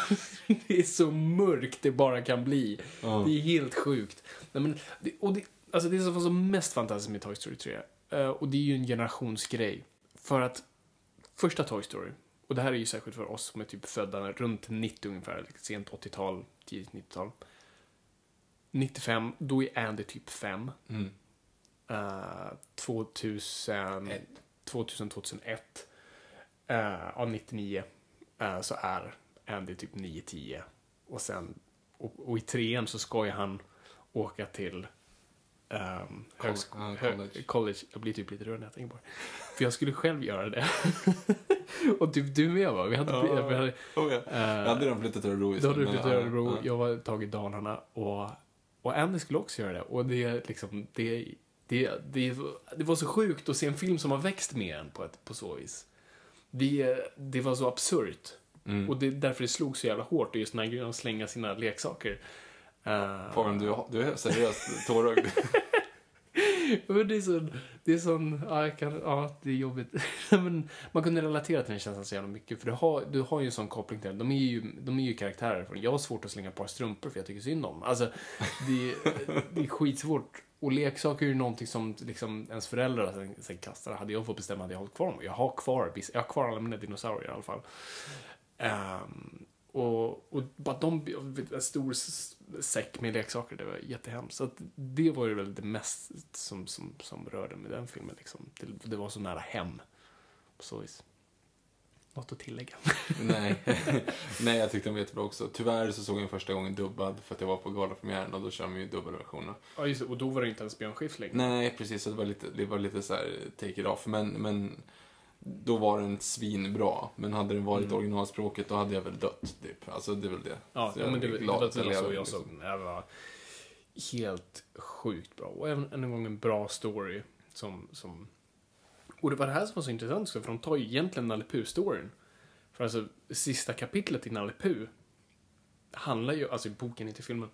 Speaker 2: det är så mörkt det bara kan bli. Det är helt sjukt. Nej, men, det, och det, alltså det som var så mest fantastiskt med Toy Story 3, eh, och det är ju en generationsgrej. För att första Toy Story, och det här är ju särskilt för oss som är typ födda runt 90 ungefär, sent 80-tal, tidigt 90-tal. 95, då är Andy typ 5.
Speaker 3: Mm.
Speaker 2: Eh, 2000, 2000, 2001, eh, ja 99, eh, så är Andy typ 9-10. Och sen, och, och i trean så ska ju han åka till ehm, högsk-
Speaker 3: ja,
Speaker 2: hö-
Speaker 3: college.
Speaker 2: college. Jag blir typ lite rörd när jag tänker på det. För jag skulle själv göra det. och typ du med va? Vi hade, vi hade,
Speaker 3: Oh, ja. jag hade redan flyttat till Örebro. i
Speaker 2: då hade du
Speaker 3: sommar,
Speaker 2: flyttat till
Speaker 3: ja,
Speaker 2: Örebro,
Speaker 3: ja.
Speaker 2: jag var tagit Dalarna och, och Andy skulle också göra det. Och det är liksom, det, det, det, det var så sjukt att se en film som har växt med en på, ett, på så vis. Det, det var så absurt. Och det är därför det slog så jävla hårt, och just den här grejen att slänga sina leksaker. Eh,
Speaker 3: Farmen, du, du är seriöst tårögd.
Speaker 2: Men det är sån, det är sån, ja, jag kan, ja det är jobbigt. Men man kunde relatera till den känslan så jävla mycket, för du har, du har ju en sån koppling till den. De är ju, de är ju karaktärer. från- Jag har svårt att slänga ett par strumpor för jag tycker synd om. Alltså, det, det är skitsvårt. Och leksaker är ju någonting som liksom ens föräldrar sen, sen kastar. Hade jag fått bestämma hade jag hållit kvar dem. Jag har kvar, vissa- jag har kvar alla mina dinosaurier i alla fall. Ehm, och, och bara de, en stor s- säck med leksaker, det var jättehemskt. Så att det var ju väl det mest som, som, som rörde mig i den filmen. Liksom. Det, det var så nära hem. På så vis. Något att tillägga.
Speaker 3: Nej. Nej, jag tyckte den var jättebra också. Tyvärr så såg jag den första gången dubbad för att jag var på galapremiären och då kör man ju dubbelversionen.
Speaker 2: ja, just det. Och då var det inte ens Björn Skifs längre.
Speaker 3: Nej, precis. Så det var lite, det var lite så här take it off. Men, men då var den svinbra. Men hade den varit originalspråket då hade jag väl dött, typ. Alltså, det är väl det.
Speaker 2: Ja,
Speaker 3: Så
Speaker 2: ja
Speaker 3: jag
Speaker 2: men det,
Speaker 3: är
Speaker 2: var- det
Speaker 3: glad
Speaker 2: var
Speaker 3: att jag
Speaker 2: det var så
Speaker 3: levde,
Speaker 2: jag
Speaker 3: liksom.
Speaker 2: såg den. Det var helt sjukt bra. Och även än en gång en bra story som... som... Och det var det här som var så intressant också, för de tar ju egentligen Nalle Puh-storyn. För alltså, sista kapitlet i Nalle Puh handlar ju, alltså i boken, inte i filmen,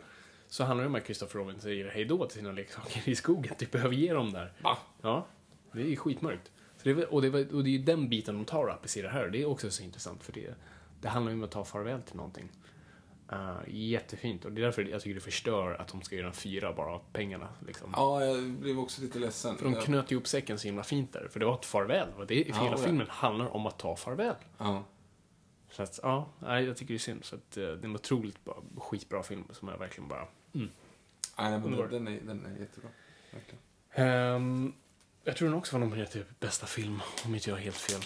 Speaker 2: så handlar det om att Christopher Robin säger hej då till sina leksaker i skogen. Typ överge dem där.
Speaker 3: Va?
Speaker 2: Ja, det är ju skitmörkt. Så det var, och, det var, och det är ju den biten de tar och applicerar här. Det är också så intressant för det, det handlar ju om att ta farväl till någonting. Eh, jättefint och det är därför jag tycker det förstör att de ska göra en fyra bara av pengarna. Liksom.
Speaker 3: Ja, jag blev också lite ledsen.
Speaker 2: För de
Speaker 3: Jag-
Speaker 2: knöt ihop säcken så himla fint där, för det var ett farväl. Och det,
Speaker 3: Ja,
Speaker 2: hela
Speaker 3: ja.
Speaker 2: filmen handlar om att ta farväl.
Speaker 3: Ja.
Speaker 2: Så att, ja, nej, jag tycker det är synd. Så att, eh, det är en otroligt bra, skitbra film som jag verkligen bara... Mm.
Speaker 3: Nej, men
Speaker 2: Underbart.
Speaker 3: den, den, är, den är jättebra. Verkligen.
Speaker 2: Ehm, jag tror den också var nominerad till bästa film, om inte jag har helt fel.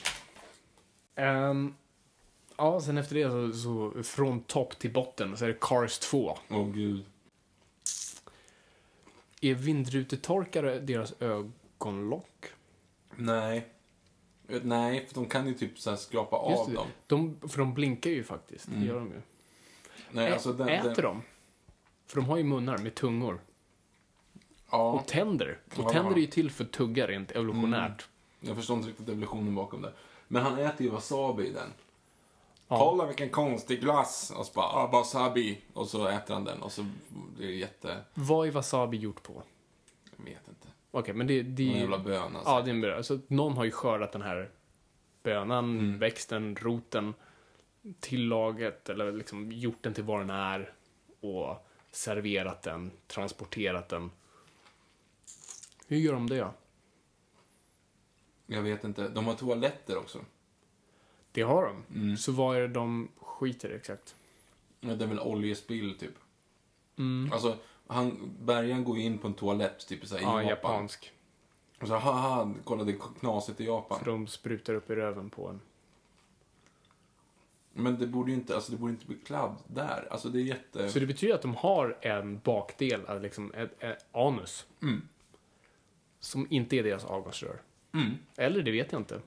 Speaker 2: Ehm, ja, sen efter det så, så från topp till botten så är det Cars 2.
Speaker 3: Åh, gud.
Speaker 2: Är vindrutetorkare deras ögonlock?
Speaker 3: Nej. Eh, Nej, för de kan ju typ så här skrapa
Speaker 2: Just
Speaker 3: av
Speaker 2: det.
Speaker 3: dem.
Speaker 2: De, för de blinkar ju faktiskt, det gör de ju.
Speaker 3: Nej,
Speaker 2: Ä-
Speaker 3: alltså den,
Speaker 2: Äter
Speaker 3: den,
Speaker 2: de? För de har ju munnar med tungor.
Speaker 3: Ja,
Speaker 2: Och tänder.
Speaker 3: Ja.
Speaker 2: Och tänder är ju till för att tugga rent evolutionärt.
Speaker 3: jag förstår inte riktigt evolutionen bakom det. Men han äter ju wasabi i den. Kolla vilken konstig glass! Och så bara, ah, wasabi! Och så äter han den och så blir det jätte...
Speaker 2: Vad är wasabi gjort på?
Speaker 3: Jag vet inte.
Speaker 2: Okej, men det, det
Speaker 3: Någon jävla bön alltså.
Speaker 2: Ja, det är en bön. Så att någon har ju skördat den här bönan,
Speaker 3: Mm.
Speaker 2: växten, roten, tillaget eller liksom gjort den till vad den är och serverat den, transporterat den. Hur gör de det?
Speaker 3: Jag vet inte. De har toaletter också.
Speaker 2: Det har de. Så vad är det de skiter Mm. i exakt?
Speaker 3: Ja, Det är väl oljespill typ.
Speaker 2: Mm.
Speaker 3: Alltså, han, bärgaren går ju in på en toalett typ så här,
Speaker 2: Ja,
Speaker 3: i Japan.
Speaker 2: japansk.
Speaker 3: Och så haha, kolla det är knasigt i Japan.
Speaker 2: För de sprutar upp i röven på en.
Speaker 3: Men det borde ju inte, alltså det borde inte bli kladd där. Alltså det är jätte...
Speaker 2: Så det betyder att de har en bakdel, alltså liksom ett, ett anus. Som inte är deras avgasrör. Eller det vet jag inte.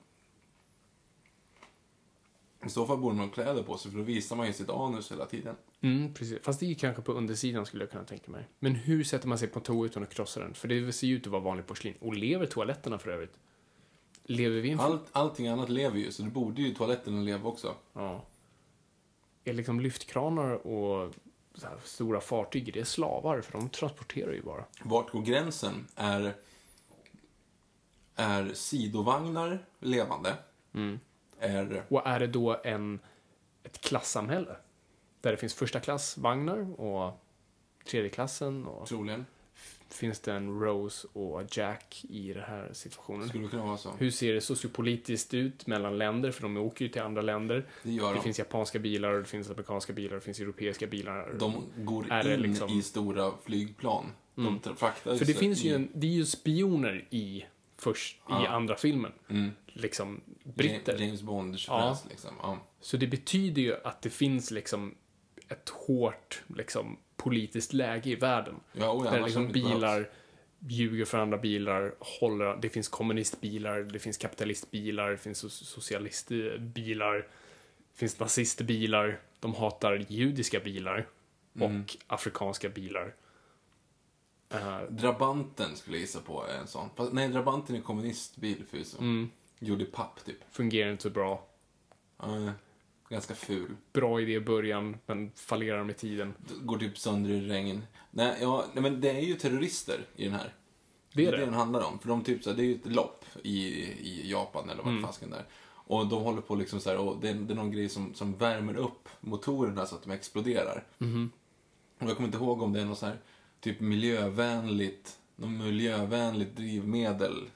Speaker 3: I så fall borde man ha kläder på sig för då visar man ju sitt anus hela tiden.
Speaker 2: Mm, precis. Fast det är ju kanske på undersidan skulle jag kunna tänka mig. Men hur sätter man sig på en toa utan att krossa den? För det ser ju ut att vara vanlig porslin. Och lever toaletterna för övrigt? Lever vi i en...
Speaker 3: Allt, allting annat lever ju så det borde ju toaletterna leva också.
Speaker 2: Ja. Är liksom lyftkranar och så här stora fartyg, det är slavar för de transporterar ju bara.
Speaker 3: Vart går gränsen? Är, är sidovagnar levande?
Speaker 2: Mm.
Speaker 3: Är,
Speaker 2: Och är det då en, ett klassamhälle? Där det finns första klass vagnar och tredje klassen och
Speaker 3: troligen,
Speaker 2: finns det en Rose och Jack i den här situationen?
Speaker 3: skulle det kunna vara så.
Speaker 2: Hur ser det sociopolitiskt ut mellan länder? För de åker ju till andra länder.
Speaker 3: Det gör de.
Speaker 2: finns japanska bilar, och det finns amerikanska bilar, och det finns europeiska bilar.
Speaker 3: De går
Speaker 2: Är det
Speaker 3: in
Speaker 2: liksom- Mm.
Speaker 3: i stora flygplan. De tra- fraktar ju
Speaker 2: För det
Speaker 3: sig
Speaker 2: finns ju
Speaker 3: i-
Speaker 2: en, det är ju spioner i, först, i andra filmen.
Speaker 3: Mm.
Speaker 2: Liksom britter.
Speaker 3: James Bond
Speaker 2: Ja.
Speaker 3: liksom. Ja.
Speaker 2: Så det betyder ju att det finns liksom ett hårt liksom, politiskt läge i världen.
Speaker 3: Ja, oj,
Speaker 2: där
Speaker 3: annars
Speaker 2: liksom
Speaker 3: hade det inte
Speaker 2: bilar
Speaker 3: behövts.
Speaker 2: ljuger för andra bilar, håller, det finns kommunistbilar, det finns kapitalistbilar, det finns so- socialistbilar, det finns nazistbilar, de hatar judiska bilar och
Speaker 3: Mm.
Speaker 2: afrikanska bilar. Eh,
Speaker 3: Drabanten skulle jag gissa på är en sån. Fast, nej, Drabanten är kommunistbil förvisso.
Speaker 2: Mm.
Speaker 3: Gjord i papp typ.
Speaker 2: fungerar inte så bra.
Speaker 3: Ja, ganska ful.
Speaker 2: Bra idé i början, men fallerar med tiden.
Speaker 3: Går typ sönder i regn. Nej, ja, nej, men det är ju terrorister i den här.
Speaker 2: Det är
Speaker 3: det
Speaker 2: det.
Speaker 3: den handlar om. För de typ så här, det är ju ett lopp i, i Japan eller vad
Speaker 2: Mm.
Speaker 3: fasken där. Och de håller på liksom så här, och det, är- det är någon grej som, som värmer upp motorerna så att de exploderar.
Speaker 2: Mm-hmm.
Speaker 3: Och jag kommer inte ihåg om det är något så här, typ miljövänligt, något miljövänligt drivmedel,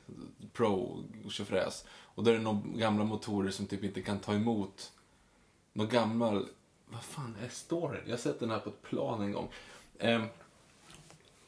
Speaker 3: pro tjofräs. Och där är det några gamla motorer som typ inte kan ta emot någon gammal, vad fan är storyn? Jag har sett den här på ett plan en gång. Ehm,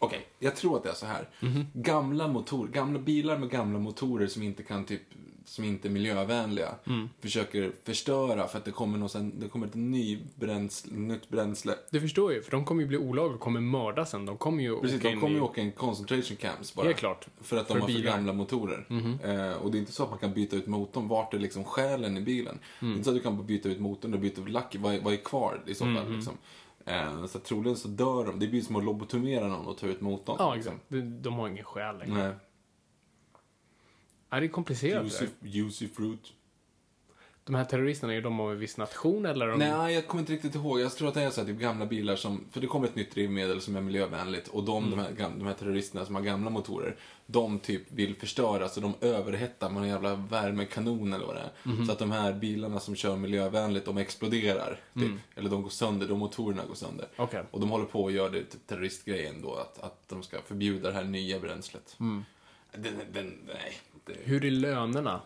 Speaker 3: Okej, jag tror att det är så här. Gamla motor, gamla bilar med gamla motorer som inte kan typ som inte är miljövänliga försöker förstöra för att det kommer, någon, sen- det kommer ett ny bränsle, nytt bränsle.
Speaker 2: Det förstår jag ju, för de kommer ju bli olagliga och kommer mörda sen. De kommer ju
Speaker 3: Precis,
Speaker 2: åka
Speaker 3: de
Speaker 2: in
Speaker 3: kommer
Speaker 2: i...
Speaker 3: ju åka in concentration camps bara.
Speaker 2: Det är klart.
Speaker 3: För att de
Speaker 2: För
Speaker 3: har för
Speaker 2: bilar. Mhm.
Speaker 3: gamla motorer. Eh, och det är inte så att man kan byta ut motorn. Vart är liksom själen i bilen?
Speaker 2: Mm.
Speaker 3: Det är inte så att du kan bara byta ut motorn och byta ut lack. Vad, är- vad är kvar i så
Speaker 2: Mm,
Speaker 3: fall? Liksom. Eh, så att troligen så dör de. Det blir som att lobotomera någon och ta ut motorn.
Speaker 2: Ja,
Speaker 3: liksom.
Speaker 2: exakt. De, de har ingen själ längre.
Speaker 3: Nej.
Speaker 2: Ja, det är komplicerat det
Speaker 3: Juicy,
Speaker 2: där.
Speaker 3: juicy fruit.
Speaker 2: De här terroristerna, är de av en viss nation eller? är De...
Speaker 3: Nej, jag kommer inte riktigt ihåg. Jag tror att det är så här, typ gamla bilar som... För det kommer ett nytt drivmedel som är miljövänligt och de, de, här, gam- de här terroristerna som har gamla motorer, de typ vill förstöra så de överhettar med en jävla värmekanon eller vad det är. Så att de här bilarna som kör miljövänligt, de exploderar. Typ. Eller de går sönder, de motorerna går sönder.
Speaker 2: Okej.
Speaker 3: Och de håller på och gör det typ terroristgrejen då, att, att de ska förbjuda det här nya bränslet. Den, den, nej. Det...
Speaker 2: Hur är lönerna?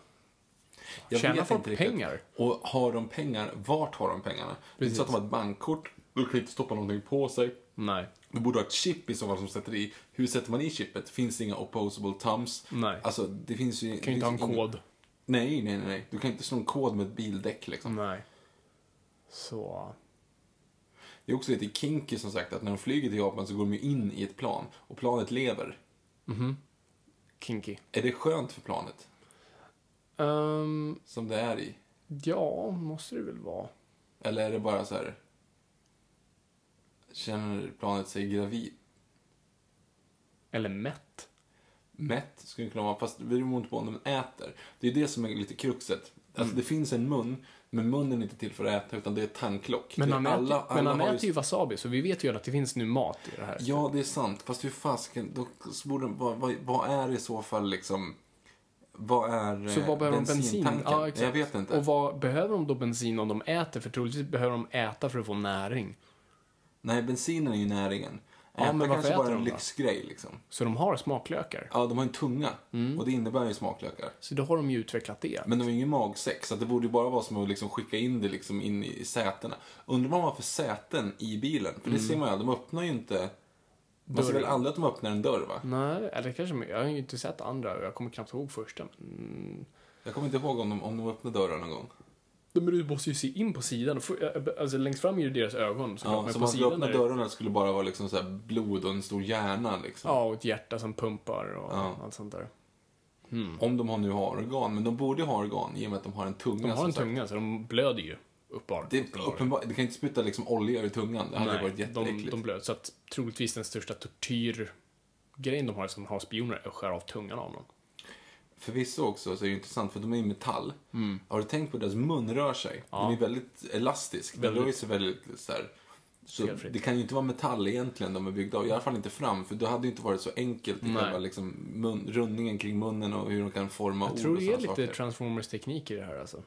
Speaker 3: Jag
Speaker 2: Tjänar
Speaker 3: vet
Speaker 2: folk
Speaker 3: inte riktigt.
Speaker 2: pengar?
Speaker 3: Och har de pengar, vart har de pengarna? Det är inte så att de har ett bankkort, då kan de inte stoppa någonting på sig.
Speaker 2: Nej.
Speaker 3: Du borde ha ett chip i så fall som sätter i. Hur sätter man i chippet? Finns det inga opposable thumbs?
Speaker 2: Nej.
Speaker 3: Alltså, det finns ju...
Speaker 2: Kan ju inte ha en kod.
Speaker 3: Nej, nej, nej, nej. Du kan inte slå en kod med ett bildäck liksom.
Speaker 2: Nej. Så...
Speaker 3: Det är också lite kinky som sagt att när de flyger till Japan så går de ju in i ett plan och planet lever.
Speaker 2: Kinky.
Speaker 3: Är det skönt för planet?
Speaker 2: Ehm,
Speaker 3: Som det är i?
Speaker 2: ja, måste det väl vara.
Speaker 3: Eller är det bara så här... Känner planet sig gravid?
Speaker 2: Eller mätt.
Speaker 3: mätt skulle det kunna vara, fast det beror inte på om de äter. Det är det som är lite kruxet. Alltså
Speaker 2: Mm.
Speaker 3: det finns en mun, men munnen är inte till för att äta utan det är ett tandklock.
Speaker 2: Men
Speaker 3: det är
Speaker 2: han, äter, men han
Speaker 3: har
Speaker 2: äter ju wasabi, så vi vet ju att det finns nu mat i det här.
Speaker 3: Ja, det är sant. Fast hur fasken, då borde, vad, vad, vad är i så fall liksom, vad är
Speaker 2: Så
Speaker 3: eh,
Speaker 2: vad behöver de bensin?
Speaker 3: bensintanken?
Speaker 2: Ja, exakt.
Speaker 3: Jag vet inte.
Speaker 2: Och vad behöver de då bensin om de äter? För troligtvis behöver de äta för att få näring.
Speaker 3: Nej, bensinen är ju näringen.
Speaker 2: Ja,
Speaker 3: Äta
Speaker 2: men varför
Speaker 3: kanske bara
Speaker 2: äter
Speaker 3: är
Speaker 2: de
Speaker 3: en
Speaker 2: då?
Speaker 3: lyxgrej liksom.
Speaker 2: Så de har smaklökar.
Speaker 3: Ja, de har en tunga.
Speaker 2: Mm.
Speaker 3: Och det innebär ju smaklökar.
Speaker 2: Så då har de ju utvecklat det.
Speaker 3: Men de har ju ingen magsäck, så att det borde ju bara vara som att liksom skicka in det liksom in i sätena. Undrar vad man har för säten i bilen? För det
Speaker 2: Mm.
Speaker 3: ser man ju aldrig, de öppnar ju inte... Man ser väl aldrig att de öppnar en dörr, va?
Speaker 2: Nej, eller kanske, jag har ju inte sett andra och jag kommer knappt ihåg första. Men... Mm.
Speaker 3: Jag kommer inte ihåg om de, om de öppnar dörrar någon gång.
Speaker 2: Men du måste ju se in på sidan. För- Alltså längst fram är ju deras ögon. Så,
Speaker 3: Ja,
Speaker 2: men
Speaker 3: så
Speaker 2: på
Speaker 3: man skulle
Speaker 2: sidan
Speaker 3: öppna
Speaker 2: är det,
Speaker 3: dörrarna skulle bara vara liksom så här blod och en stor hjärna liksom.
Speaker 2: Ja, och ett hjärta som pumpar och allt sånt där.
Speaker 3: Om de har nu har organ, men de borde ju ha organ i och med att de har en tunga.
Speaker 2: De har
Speaker 3: som
Speaker 2: en
Speaker 3: sagt.
Speaker 2: tunga, så de blöder ju uppenbart.
Speaker 3: Det, är uppenbar, det kan inte spruta liksom olja ur tungan, det hade ju varit
Speaker 2: de,
Speaker 3: jätteäckligt.
Speaker 2: de blöder. Så att troligtvis den största tortyrgrejen de har som har spioner är att skära av tungan av någon.
Speaker 3: Förvisso också så är det intressant för de är ju metall.
Speaker 2: Mm.
Speaker 3: Har du tänkt på att deras mun rör sig? Den är väldigt elastisk. Den rör sig väldigt så här. Så
Speaker 2: Felfritt.
Speaker 3: det kan ju inte vara metall egentligen de är byggda av. I alla fall inte fram. För då hade ju inte varit så enkelt i
Speaker 2: Nej.
Speaker 3: själva liksom, mun, rundningen kring munnen och hur de kan forma
Speaker 2: Jag
Speaker 3: ord
Speaker 2: tror
Speaker 3: och
Speaker 2: det är
Speaker 3: sådana
Speaker 2: lite
Speaker 3: Oh, saker.
Speaker 2: Transformers-teknik i det här alltså.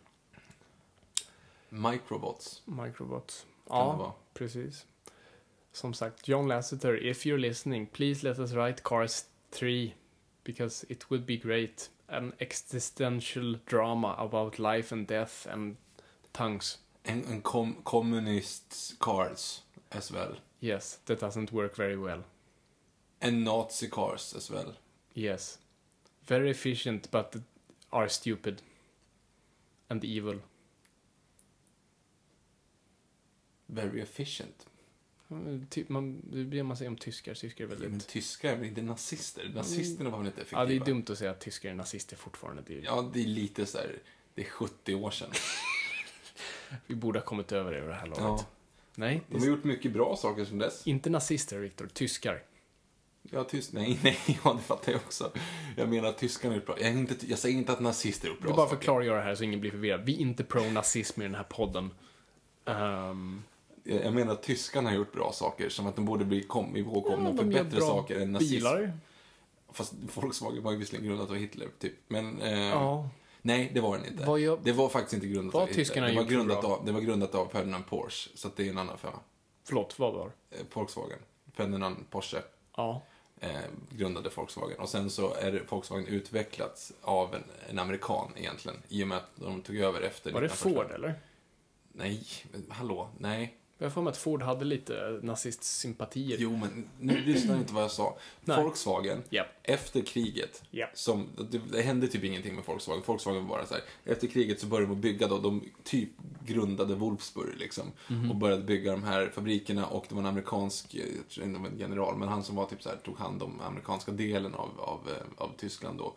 Speaker 3: Microbots.
Speaker 2: Microbots.
Speaker 3: det vara.
Speaker 2: Ja, precis. Som sagt, John Lasseter, if you're listening, please let us write Cars 3 because it would be great. An existential drama about life and death and tongues.
Speaker 3: En, en kom, communist cars as well.
Speaker 2: Yes, that doesn't work very well.
Speaker 3: En nazi cars as well.
Speaker 2: Yes. Very efficient but are stupid. And evil.
Speaker 3: Very efficient.
Speaker 2: Ja, men Typ, man, det blir man säger om tyskar, tyskar är
Speaker 3: Ja, men
Speaker 2: väldigt... Mm.
Speaker 3: tyskar är väl inte nazister? Nazisterna var väl inte effektiva?
Speaker 2: Ja, det är dumt att säga att tyskar är nazister fortfarande. Det är,
Speaker 3: Ja, det är lite så här, det är 70 år sedan.
Speaker 2: Vi borde ha kommit över det vid det här laget.
Speaker 3: Ja.
Speaker 2: Nej,
Speaker 3: De har gjort mycket bra saker sedan dess.
Speaker 2: Inte nazister, Viktor. Tyskar.
Speaker 3: Ja, tyst. Nej, nej, ja, det fattar jag också. Jag menar att tyskarna är bra. Jag, är inte, jag säger inte att nazister är bra
Speaker 2: Du bara för
Speaker 3: saker.
Speaker 2: att klargöra det här så ingen blir förvirrad. Vi är inte pro-nazism i den här podden. Ehm,
Speaker 3: Jag jag menar att tyskarna har gjort bra saker, som att de borde bli kom, ihågkomna
Speaker 2: ja,
Speaker 3: för
Speaker 2: de gör
Speaker 3: bättre
Speaker 2: bra
Speaker 3: saker än nazism.
Speaker 2: Bilar.
Speaker 3: Fast Volkswagen var ju visserligen grundat av Hitler, typ. Men... Eh,
Speaker 2: Ja.
Speaker 3: Nej, det var den inte.
Speaker 2: Vad gör-
Speaker 3: Det var faktiskt inte grundat
Speaker 2: Vad
Speaker 3: av Hitler.
Speaker 2: tyskarna
Speaker 3: Det var
Speaker 2: gjort
Speaker 3: grundat,
Speaker 2: bra?
Speaker 3: av, det var grundat av Ferdinand Porsche, så att det är en annan femma.
Speaker 2: Förlåt, vad var det?
Speaker 3: Eh, Volkswagen. Ferdinand Porsche
Speaker 2: Ja.
Speaker 3: eh, grundade Volkswagen. Och sen så är det- Volkswagen utvecklats av en, en amerikan egentligen. I och med att de tog över efter...
Speaker 2: Var det
Speaker 3: 1945.
Speaker 2: Ford, eller?
Speaker 3: Nej, men hallå, nej.
Speaker 2: Jag har för mig att Ford hade lite nazistsympatier.
Speaker 3: Jo, men nu lyssnar ni inte vad jag sa.
Speaker 2: Nej.
Speaker 3: Volkswagen,
Speaker 2: Japp.
Speaker 3: efter kriget,
Speaker 2: Japp.
Speaker 3: som, det, det hände typ ingenting med Volkswagen. Volkswagen var bara så här, efter kriget så började de bygga då, de typ grundade Wolfsburg liksom.
Speaker 2: Mhm.
Speaker 3: Och började bygga de här fabrikerna och det var en amerikansk, eh, jag tror inte om en general, men han som var typ så här, tog hand om amerikanska delen av, av, eh, av Tyskland då.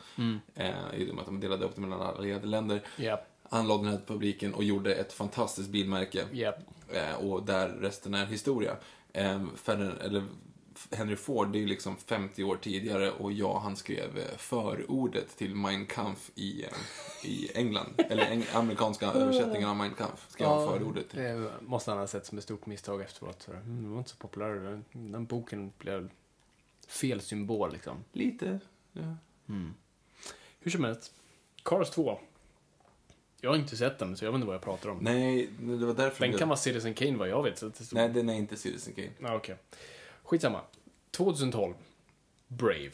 Speaker 3: Eh, I och med att de delade upp det mellan allierade länder.
Speaker 2: Mm. Japp.
Speaker 3: Han lade den här fabriken och gjorde ett fantastiskt bilmärke.
Speaker 2: Japp.
Speaker 3: Eh, och där resten är historia. Eh, Ferdinand, eller F- Henry Ford, det är ju liksom 50 år tidigare och jag, han skrev eh, förordet till Mein Kampf i, eh, i England. eller eng amerikanska översättningen av Mein Kampf skrev han förordet till.
Speaker 2: Det måste han ha sett som ett stort misstag efteråt. Så, mm, det var inte så populär. Den boken blev fel symbol, liksom.
Speaker 3: Lite. Ja.
Speaker 2: Hur som helst. Cars 2. Jag har inte sett den, så jag vet inte vad jag pratar om.
Speaker 3: Nej, det var därför...
Speaker 2: den
Speaker 3: vi-
Speaker 2: kan vara Citizen Kane, vad jag vet. Så att det stod...
Speaker 3: Nej, den är inte Citizen Kane.
Speaker 2: Ah, okej. Skitsamma. 2012. Brave.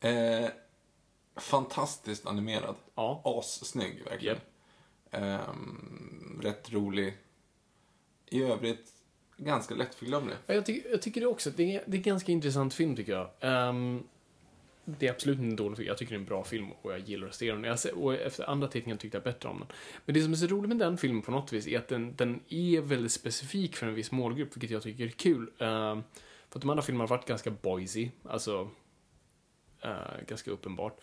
Speaker 3: Eh, fantastiskt animerad.
Speaker 2: Ja.
Speaker 3: Assnygg, verkligen.
Speaker 2: Japp.
Speaker 3: Ehm, rätt rolig. I övrigt, ganska lättförglömlig.
Speaker 2: Ja, Jag, tycker- jag tycker det också. Det är, det är en ganska intressant film, tycker jag. Ehm, det är absolut inte en dålig film. Jag tycker det är en bra film och jag gillar att se den. Jag ser, och efter andra tittningen tyckte jag bättre om den. Men det som är så roligt med den filmen på något vis är att den, den är väldigt specifik för en viss målgrupp, vilket jag tycker är kul. Ehm, för att de andra filmerna har varit ganska boysy, alltså eh, ganska uppenbart.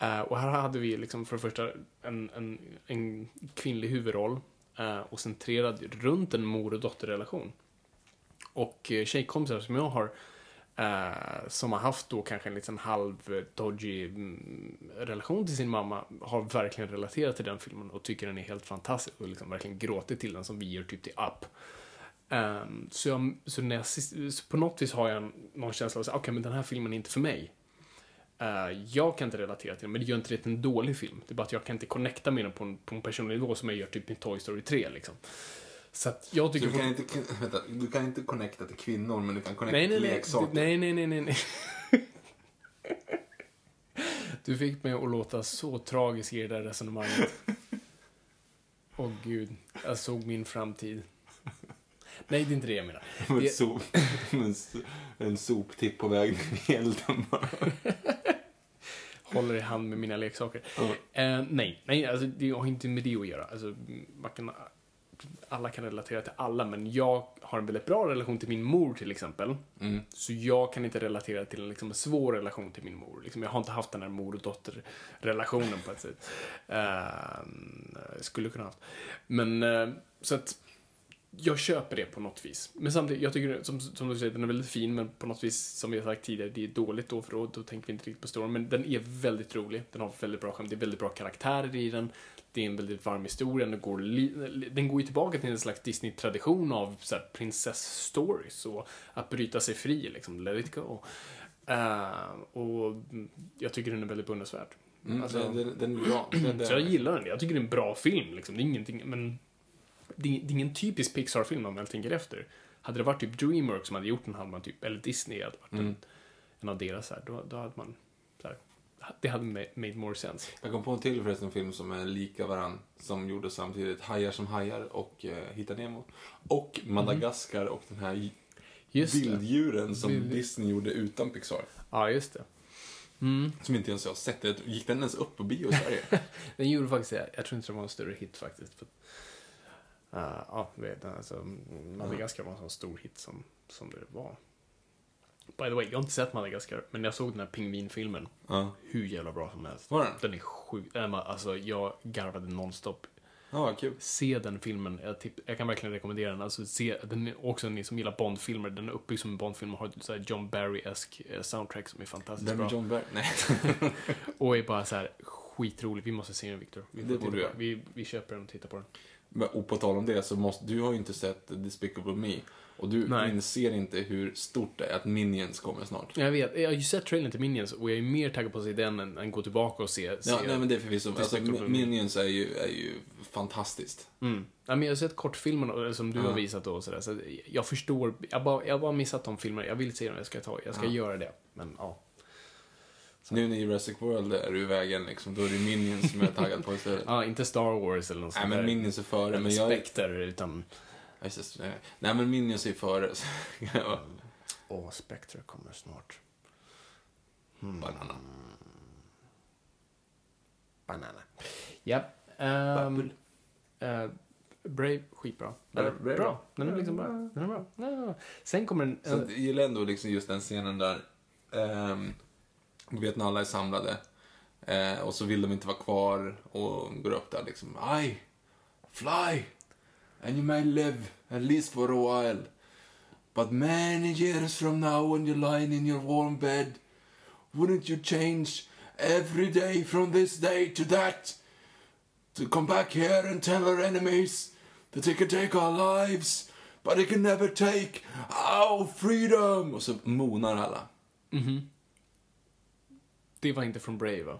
Speaker 2: Eh, och här hade vi liksom för det första en, en, en kvinnlig huvudroll eh, och centrerad runt en mor och dotterrelation och eh, tjejkompisar som jag har eh, som har haft då kanske en liten halv eh, dodgy mm, relation till sin mamma har verkligen relaterat till den filmen och tycker den är helt fantastisk och liksom verkligen gråtit till den som vi gör typ till Up. Ehm, så, jag, så, när jag, sist- så på något vis har jag en, någon känsla av att okay, men den här filmen är inte för mig. Eh, jag kan inte relatera till den, men det gör inte det till en dålig film. Det är bara att jag kan inte connecta med den på en, på en personlig nivå som jag gör typ i Toy Story 3 liksom. Så att jag tycker
Speaker 3: Du kan,
Speaker 2: fort-
Speaker 3: inte, vänta, du kan inte connecta till kvinnor, men du kan connecta
Speaker 2: Nej, nej,
Speaker 3: till
Speaker 2: nej.
Speaker 3: leksaker.
Speaker 2: Nej, nej, nej, nej, nej. Du fick mig att låta så tragisk i det där resonemanget. Åh gud, jag såg min framtid. Nej, det är inte det jag menar.
Speaker 3: Med
Speaker 2: Det-
Speaker 3: sop, med en, so- en soptipp på väg ner i elden bara.
Speaker 2: håller i hand med mina leksaker. Eh, nej, nej alltså, det har inte med det att göra. Alltså, man kan, alla kan relatera till alla, men jag har en väldigt bra relation till min mor till exempel. Så jag kan inte relatera till en liksom, svår relation till min mor. Liksom, jag har inte haft den här mor och dotter-relationen på ett sätt. Eh, skulle kunna haft. Men, eh, så att jag köper det på något vis. Men samtidigt, jag tycker som, som du säger, den är väldigt fin, men på något vis, som vi har sagt tidigare, det är dåligt då, för då, då tänker vi inte riktigt på storyn. Men den är väldigt rolig, den har väldigt bra skämt, det är väldigt bra karaktärer i den, det är en väldigt varm historia, den går, li- den går ju tillbaka till en slags Disney-tradition av så här, prinsess-stories och att bryta sig fri, liksom, let it go. Eh, och mm, jag tycker den är väldigt beundransvärd.
Speaker 3: Mm,
Speaker 2: Alltså-
Speaker 3: den, den, den är bra. Den, den,
Speaker 2: Så jag gillar den. Jag tycker det är en bra film. Liksom. Det, är ingenting, men det, är, det är ingen typisk Pixar-film om jag tänker efter. Hade det varit typ Dreamworks som hade gjort den, hade man typ, eller Disney hade varit en, en av deras, så här, då, då hade man... Så här, det hade ma- made more sense.
Speaker 3: Jag kom på en till förresten film som är lika varann, som gjorde samtidigt Hajar som hajar och eh, Hitta Nemo. Och Madagaskar och den här j-
Speaker 2: Mhm. Just det.
Speaker 3: bilddjuren som
Speaker 2: Bild-
Speaker 3: Disney gjorde utan Pixar.
Speaker 2: Ja, just det.
Speaker 3: Som inte ens jag har sett. Jag tror- Gick den ens upp på bio i Sverige?
Speaker 2: Den gjorde faktiskt det. Jag tror inte det var en större hit faktiskt. För, uh, ja, du vet, alltså, Madagaskar var en sån stor hit som, som det var. By the way, jag har inte sett Madagaskar, men jag såg den här pingvinfilmen.
Speaker 3: Ja.
Speaker 2: Hur jävla bra som helst.
Speaker 3: Var den?
Speaker 2: Den är sjuk. Äh, men Alltså, jag garvade nonstop.
Speaker 3: Ja, vad kul.
Speaker 2: Se den filmen. Jag, tipp, jag kan verkligen rekommendera den. Alltså, se, den är också ni som gillar Bond-filmer. Den är uppbyggd som en Bond-film och har ett så här John Barry-esk eh, soundtrack som är fantastiskt
Speaker 3: Den
Speaker 2: bra.
Speaker 3: med John Berg? Nej.
Speaker 2: Och är bara så här skitrolig. Vi måste se den, Viktor. Vi, får
Speaker 3: Det
Speaker 2: titta
Speaker 3: borde
Speaker 2: på
Speaker 3: jag.
Speaker 2: den. vi, vi köper den och tittar på den.
Speaker 3: Men, och på tal om det, så måste, du har ju inte sett Despicable Me. Och du
Speaker 2: Nej.
Speaker 3: inser inte hur stort det är att Minions kommer snart.
Speaker 2: Jag vet, jag har ju sett trailern till Minions och jag är mer taggad på att se den än, än gå tillbaka och se... se
Speaker 3: Ja, nej men det är förvisso. Alltså,
Speaker 2: Despicable
Speaker 3: Mi-
Speaker 2: Me.
Speaker 3: Minions är ju, är ju fantastiskt.
Speaker 2: Mm. Ja, men jag har sett kortfilmerna och- som du har visat då och sådär, så att jag förstår. Jag har bara, jag har bara missat de filmerna. Jag vill se dem, jag ska, ta, jag ska göra det. Men ja.
Speaker 3: Nu när Jurassic World är ur vägen liksom, då är det Minions som jag är taggad på istället.
Speaker 2: ja, inte Star Wars eller något
Speaker 3: Nej
Speaker 2: sånt
Speaker 3: men
Speaker 2: där.
Speaker 3: Minions är före, men
Speaker 2: Eller
Speaker 3: jag...
Speaker 2: Spectre, utan...
Speaker 3: Ja, just det. Nej men Minions är före. så- Ja.
Speaker 2: Åh, Spectre kommer snart. Mm.
Speaker 3: Banana.
Speaker 2: Banana. Ja. ehm, eh, Brave, skitbra. Den är
Speaker 3: Ja, Brave.
Speaker 2: bra. Den är liksom bra. Den är bra. Ja, ja, ja. Sen kommer eh, en...
Speaker 3: Så att jag gillar ändå liksom just den scenen där, ehm, du vet när alla är samlade eh, och så vill de inte vara kvar och går upp där liksom, I fly and you may live at least for a while. But many years from now when you're lying in your warm bed, wouldn't you change every day from this day to that? to come back here and tell our enemies that they can take our lives but they can never take our freedom. Och så monar alla.
Speaker 2: Det var inte från Brave, va?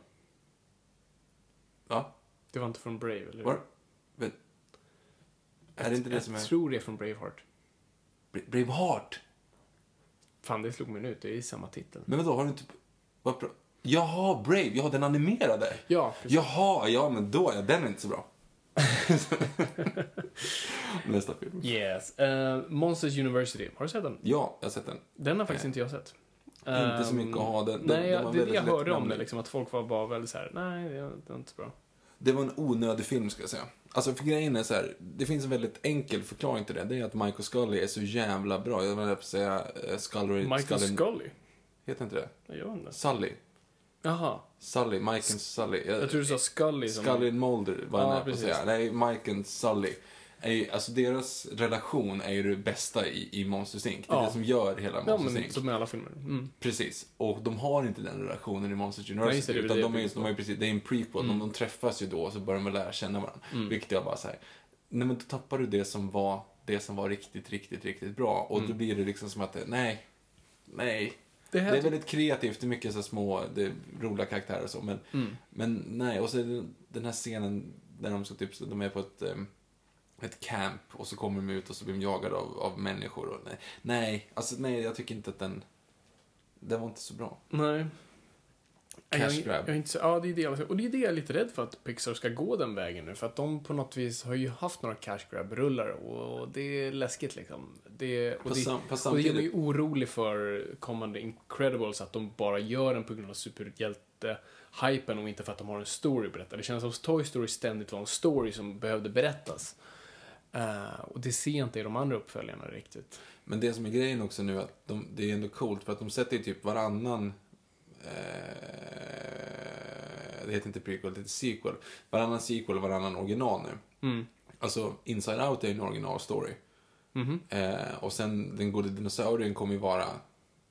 Speaker 3: Va?
Speaker 2: Det var inte från Brave, eller hur?
Speaker 3: Var? Men, är det inte det som
Speaker 2: Jag
Speaker 3: är...
Speaker 2: tror det är från Braveheart.
Speaker 3: Bra- Braveheart?
Speaker 2: Fan, det slog mig ut. Det är samma titel.
Speaker 3: Men vadå, har du inte... Vad pra... Jaha, Brave. Jaha, den animerade.
Speaker 2: Ja, precis.
Speaker 3: Jaha, ja men då är den inte så bra. Nästa film.
Speaker 2: Yes. Eh, Monsters University. Har du sett den?
Speaker 3: Ja, jag har sett den.
Speaker 2: Den har faktiskt inte jag sett.
Speaker 3: Inte så mycket att ha den. Den-
Speaker 2: Eh, nej,
Speaker 3: den var
Speaker 2: det är det
Speaker 3: väldigt
Speaker 2: jag hörde om
Speaker 3: lättläst.
Speaker 2: det, liksom, att folk var bara väldigt så här, nej, det var- det var inte så bra.
Speaker 3: Det var en onödig film, ska jag säga. Alltså, för grejen är så här, det finns en väldigt enkel förklaring till det. Det är att Michael Scully är så jävla bra. Jag vill säga eh, Scully...
Speaker 2: Michael
Speaker 3: Scully...
Speaker 2: Scully?
Speaker 3: Heter inte det?
Speaker 2: Nej, Jag vet inte.
Speaker 3: Sully.
Speaker 2: Jaha.
Speaker 3: Sully, Mike and Sully.
Speaker 2: Jag tror du sa Scully som...
Speaker 3: Scully and Mulder var jag
Speaker 2: Ja,
Speaker 3: nära på att
Speaker 2: precis.
Speaker 3: säga. Nej, Mike and Sully. Är, ju- alltså deras relation är ju det bästa i, i Monsters Inc. Det är
Speaker 2: Ja.
Speaker 3: det som gör hela
Speaker 2: Ja,
Speaker 3: Monsters
Speaker 2: men
Speaker 3: Inc.
Speaker 2: som i alla filmer. Mm.
Speaker 3: Precis. Och de har inte den relationen i Monsters
Speaker 2: Nej,
Speaker 3: University.
Speaker 2: just det, det är
Speaker 3: utan
Speaker 2: det Mm.
Speaker 3: de är,
Speaker 2: jag
Speaker 3: ju-
Speaker 2: tänkte
Speaker 3: de är ju precis, det är en prequel. De, de träffas ju då och så börjar de lära känna varandra.
Speaker 2: Mm.
Speaker 3: Vilket jag bara säger. Nej men då tappar du det som var, det som var riktigt, riktigt, riktigt bra. Och
Speaker 2: Mm.
Speaker 3: då blir det liksom som att, det- nej, nej. Det,
Speaker 2: Det här
Speaker 3: är
Speaker 2: typ-
Speaker 3: väldigt kreativt, det är mycket så här små, det är roliga karaktärer och så. Men,
Speaker 2: Mm.
Speaker 3: men nej, och så är det den här scenen där de ska typ, de är på ett ehm, ett camp och så kommer de ut och så blir de jagade av, av människor. Och nej, nej, alltså nej, jag tycker inte att den... Den var inte så bra.
Speaker 2: Nej.
Speaker 3: Cash
Speaker 2: jag, jag,
Speaker 3: grab.
Speaker 2: är inte, så- ja, det är det, jag- och det är det jag är lite rädd för att Pixar ska gå den vägen nu. För att de på något vis har ju haft några cash grab-rullar och det är läskigt liksom. Det, och,
Speaker 3: Fast
Speaker 2: det,
Speaker 3: sam- fast
Speaker 2: och det gör mig
Speaker 3: samtidigt-
Speaker 2: orolig för kommande Incredibles att de bara gör den på grund av superhjälte-hypen och inte för att de har en story att berätta. Det känns som att Toy Story ständigt var en story som behövde berättas. Eh, och det ser jag inte i de andra uppföljarna riktigt.
Speaker 3: Men det som är grejen också nu är att de, det är ändå coolt för att de sätter ju typ varannan... Eh, det heter inte prequel, det heter sequel. Varannan sequel och varannan original nu.
Speaker 2: Mm.
Speaker 3: Alltså, Inside Out är ju en originalstory.
Speaker 2: Mm-hmm.
Speaker 3: Eh, och sen Den gode dinosaurien kommer ju vara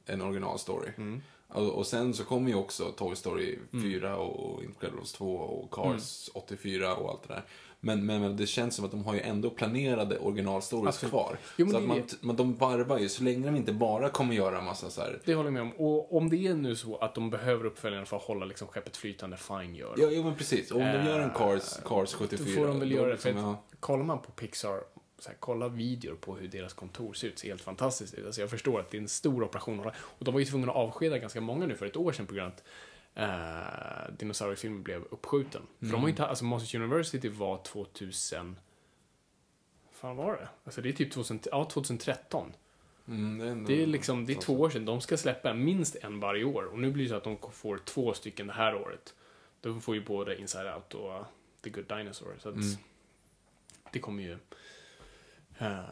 Speaker 3: en originalstory.
Speaker 2: Mm.
Speaker 3: Och, och sen så kommer ju också Toy Story 4 och Incredibles 2 och Cars
Speaker 2: Mm.
Speaker 3: 84 och allt det där. Men, men, men det känns som att de har ju ändå planerade originalstories
Speaker 2: Absolut.
Speaker 3: kvar.
Speaker 2: Jo, men
Speaker 3: så
Speaker 2: det
Speaker 3: att
Speaker 2: är
Speaker 3: man,
Speaker 2: det.
Speaker 3: t- men de varvar ju, så länge de inte bara kommer göra massa så här...
Speaker 2: Det håller jag med om. Och om det är nu så att de behöver uppföljaren för att hålla liksom skeppet flytande, fine gör
Speaker 3: Ja, jo men precis. Om de gör en
Speaker 2: Eh,
Speaker 3: Cars, Cars 74.
Speaker 2: Då får de väl
Speaker 3: då
Speaker 2: göra det. För
Speaker 3: liksom,
Speaker 2: att,
Speaker 3: ja.
Speaker 2: kollar man på Pixar, så här, kolla videor på hur deras kontor ser ut, ser helt fantastiskt ut. Alltså jag förstår att det är en stor operation. att hålla- Och de var ju tvungna att avskeda ganska många nu för ett år sedan på grund av att eh, dinosauriefilmen blev uppskjuten. För
Speaker 3: Mm.
Speaker 2: de har ju inte, alltså Monsters University var 2000... fan var det? Alltså det är typ 2000, ja, 2013.
Speaker 3: Mm, det är ändå...
Speaker 2: Det är liksom, det är två år sedan. De ska släppa en- minst en varje år. Och nu blir det så att de får två stycken det här året. De får ju både Inside Out och uh, The Good Dinosaur. Så att det kommer ju eh,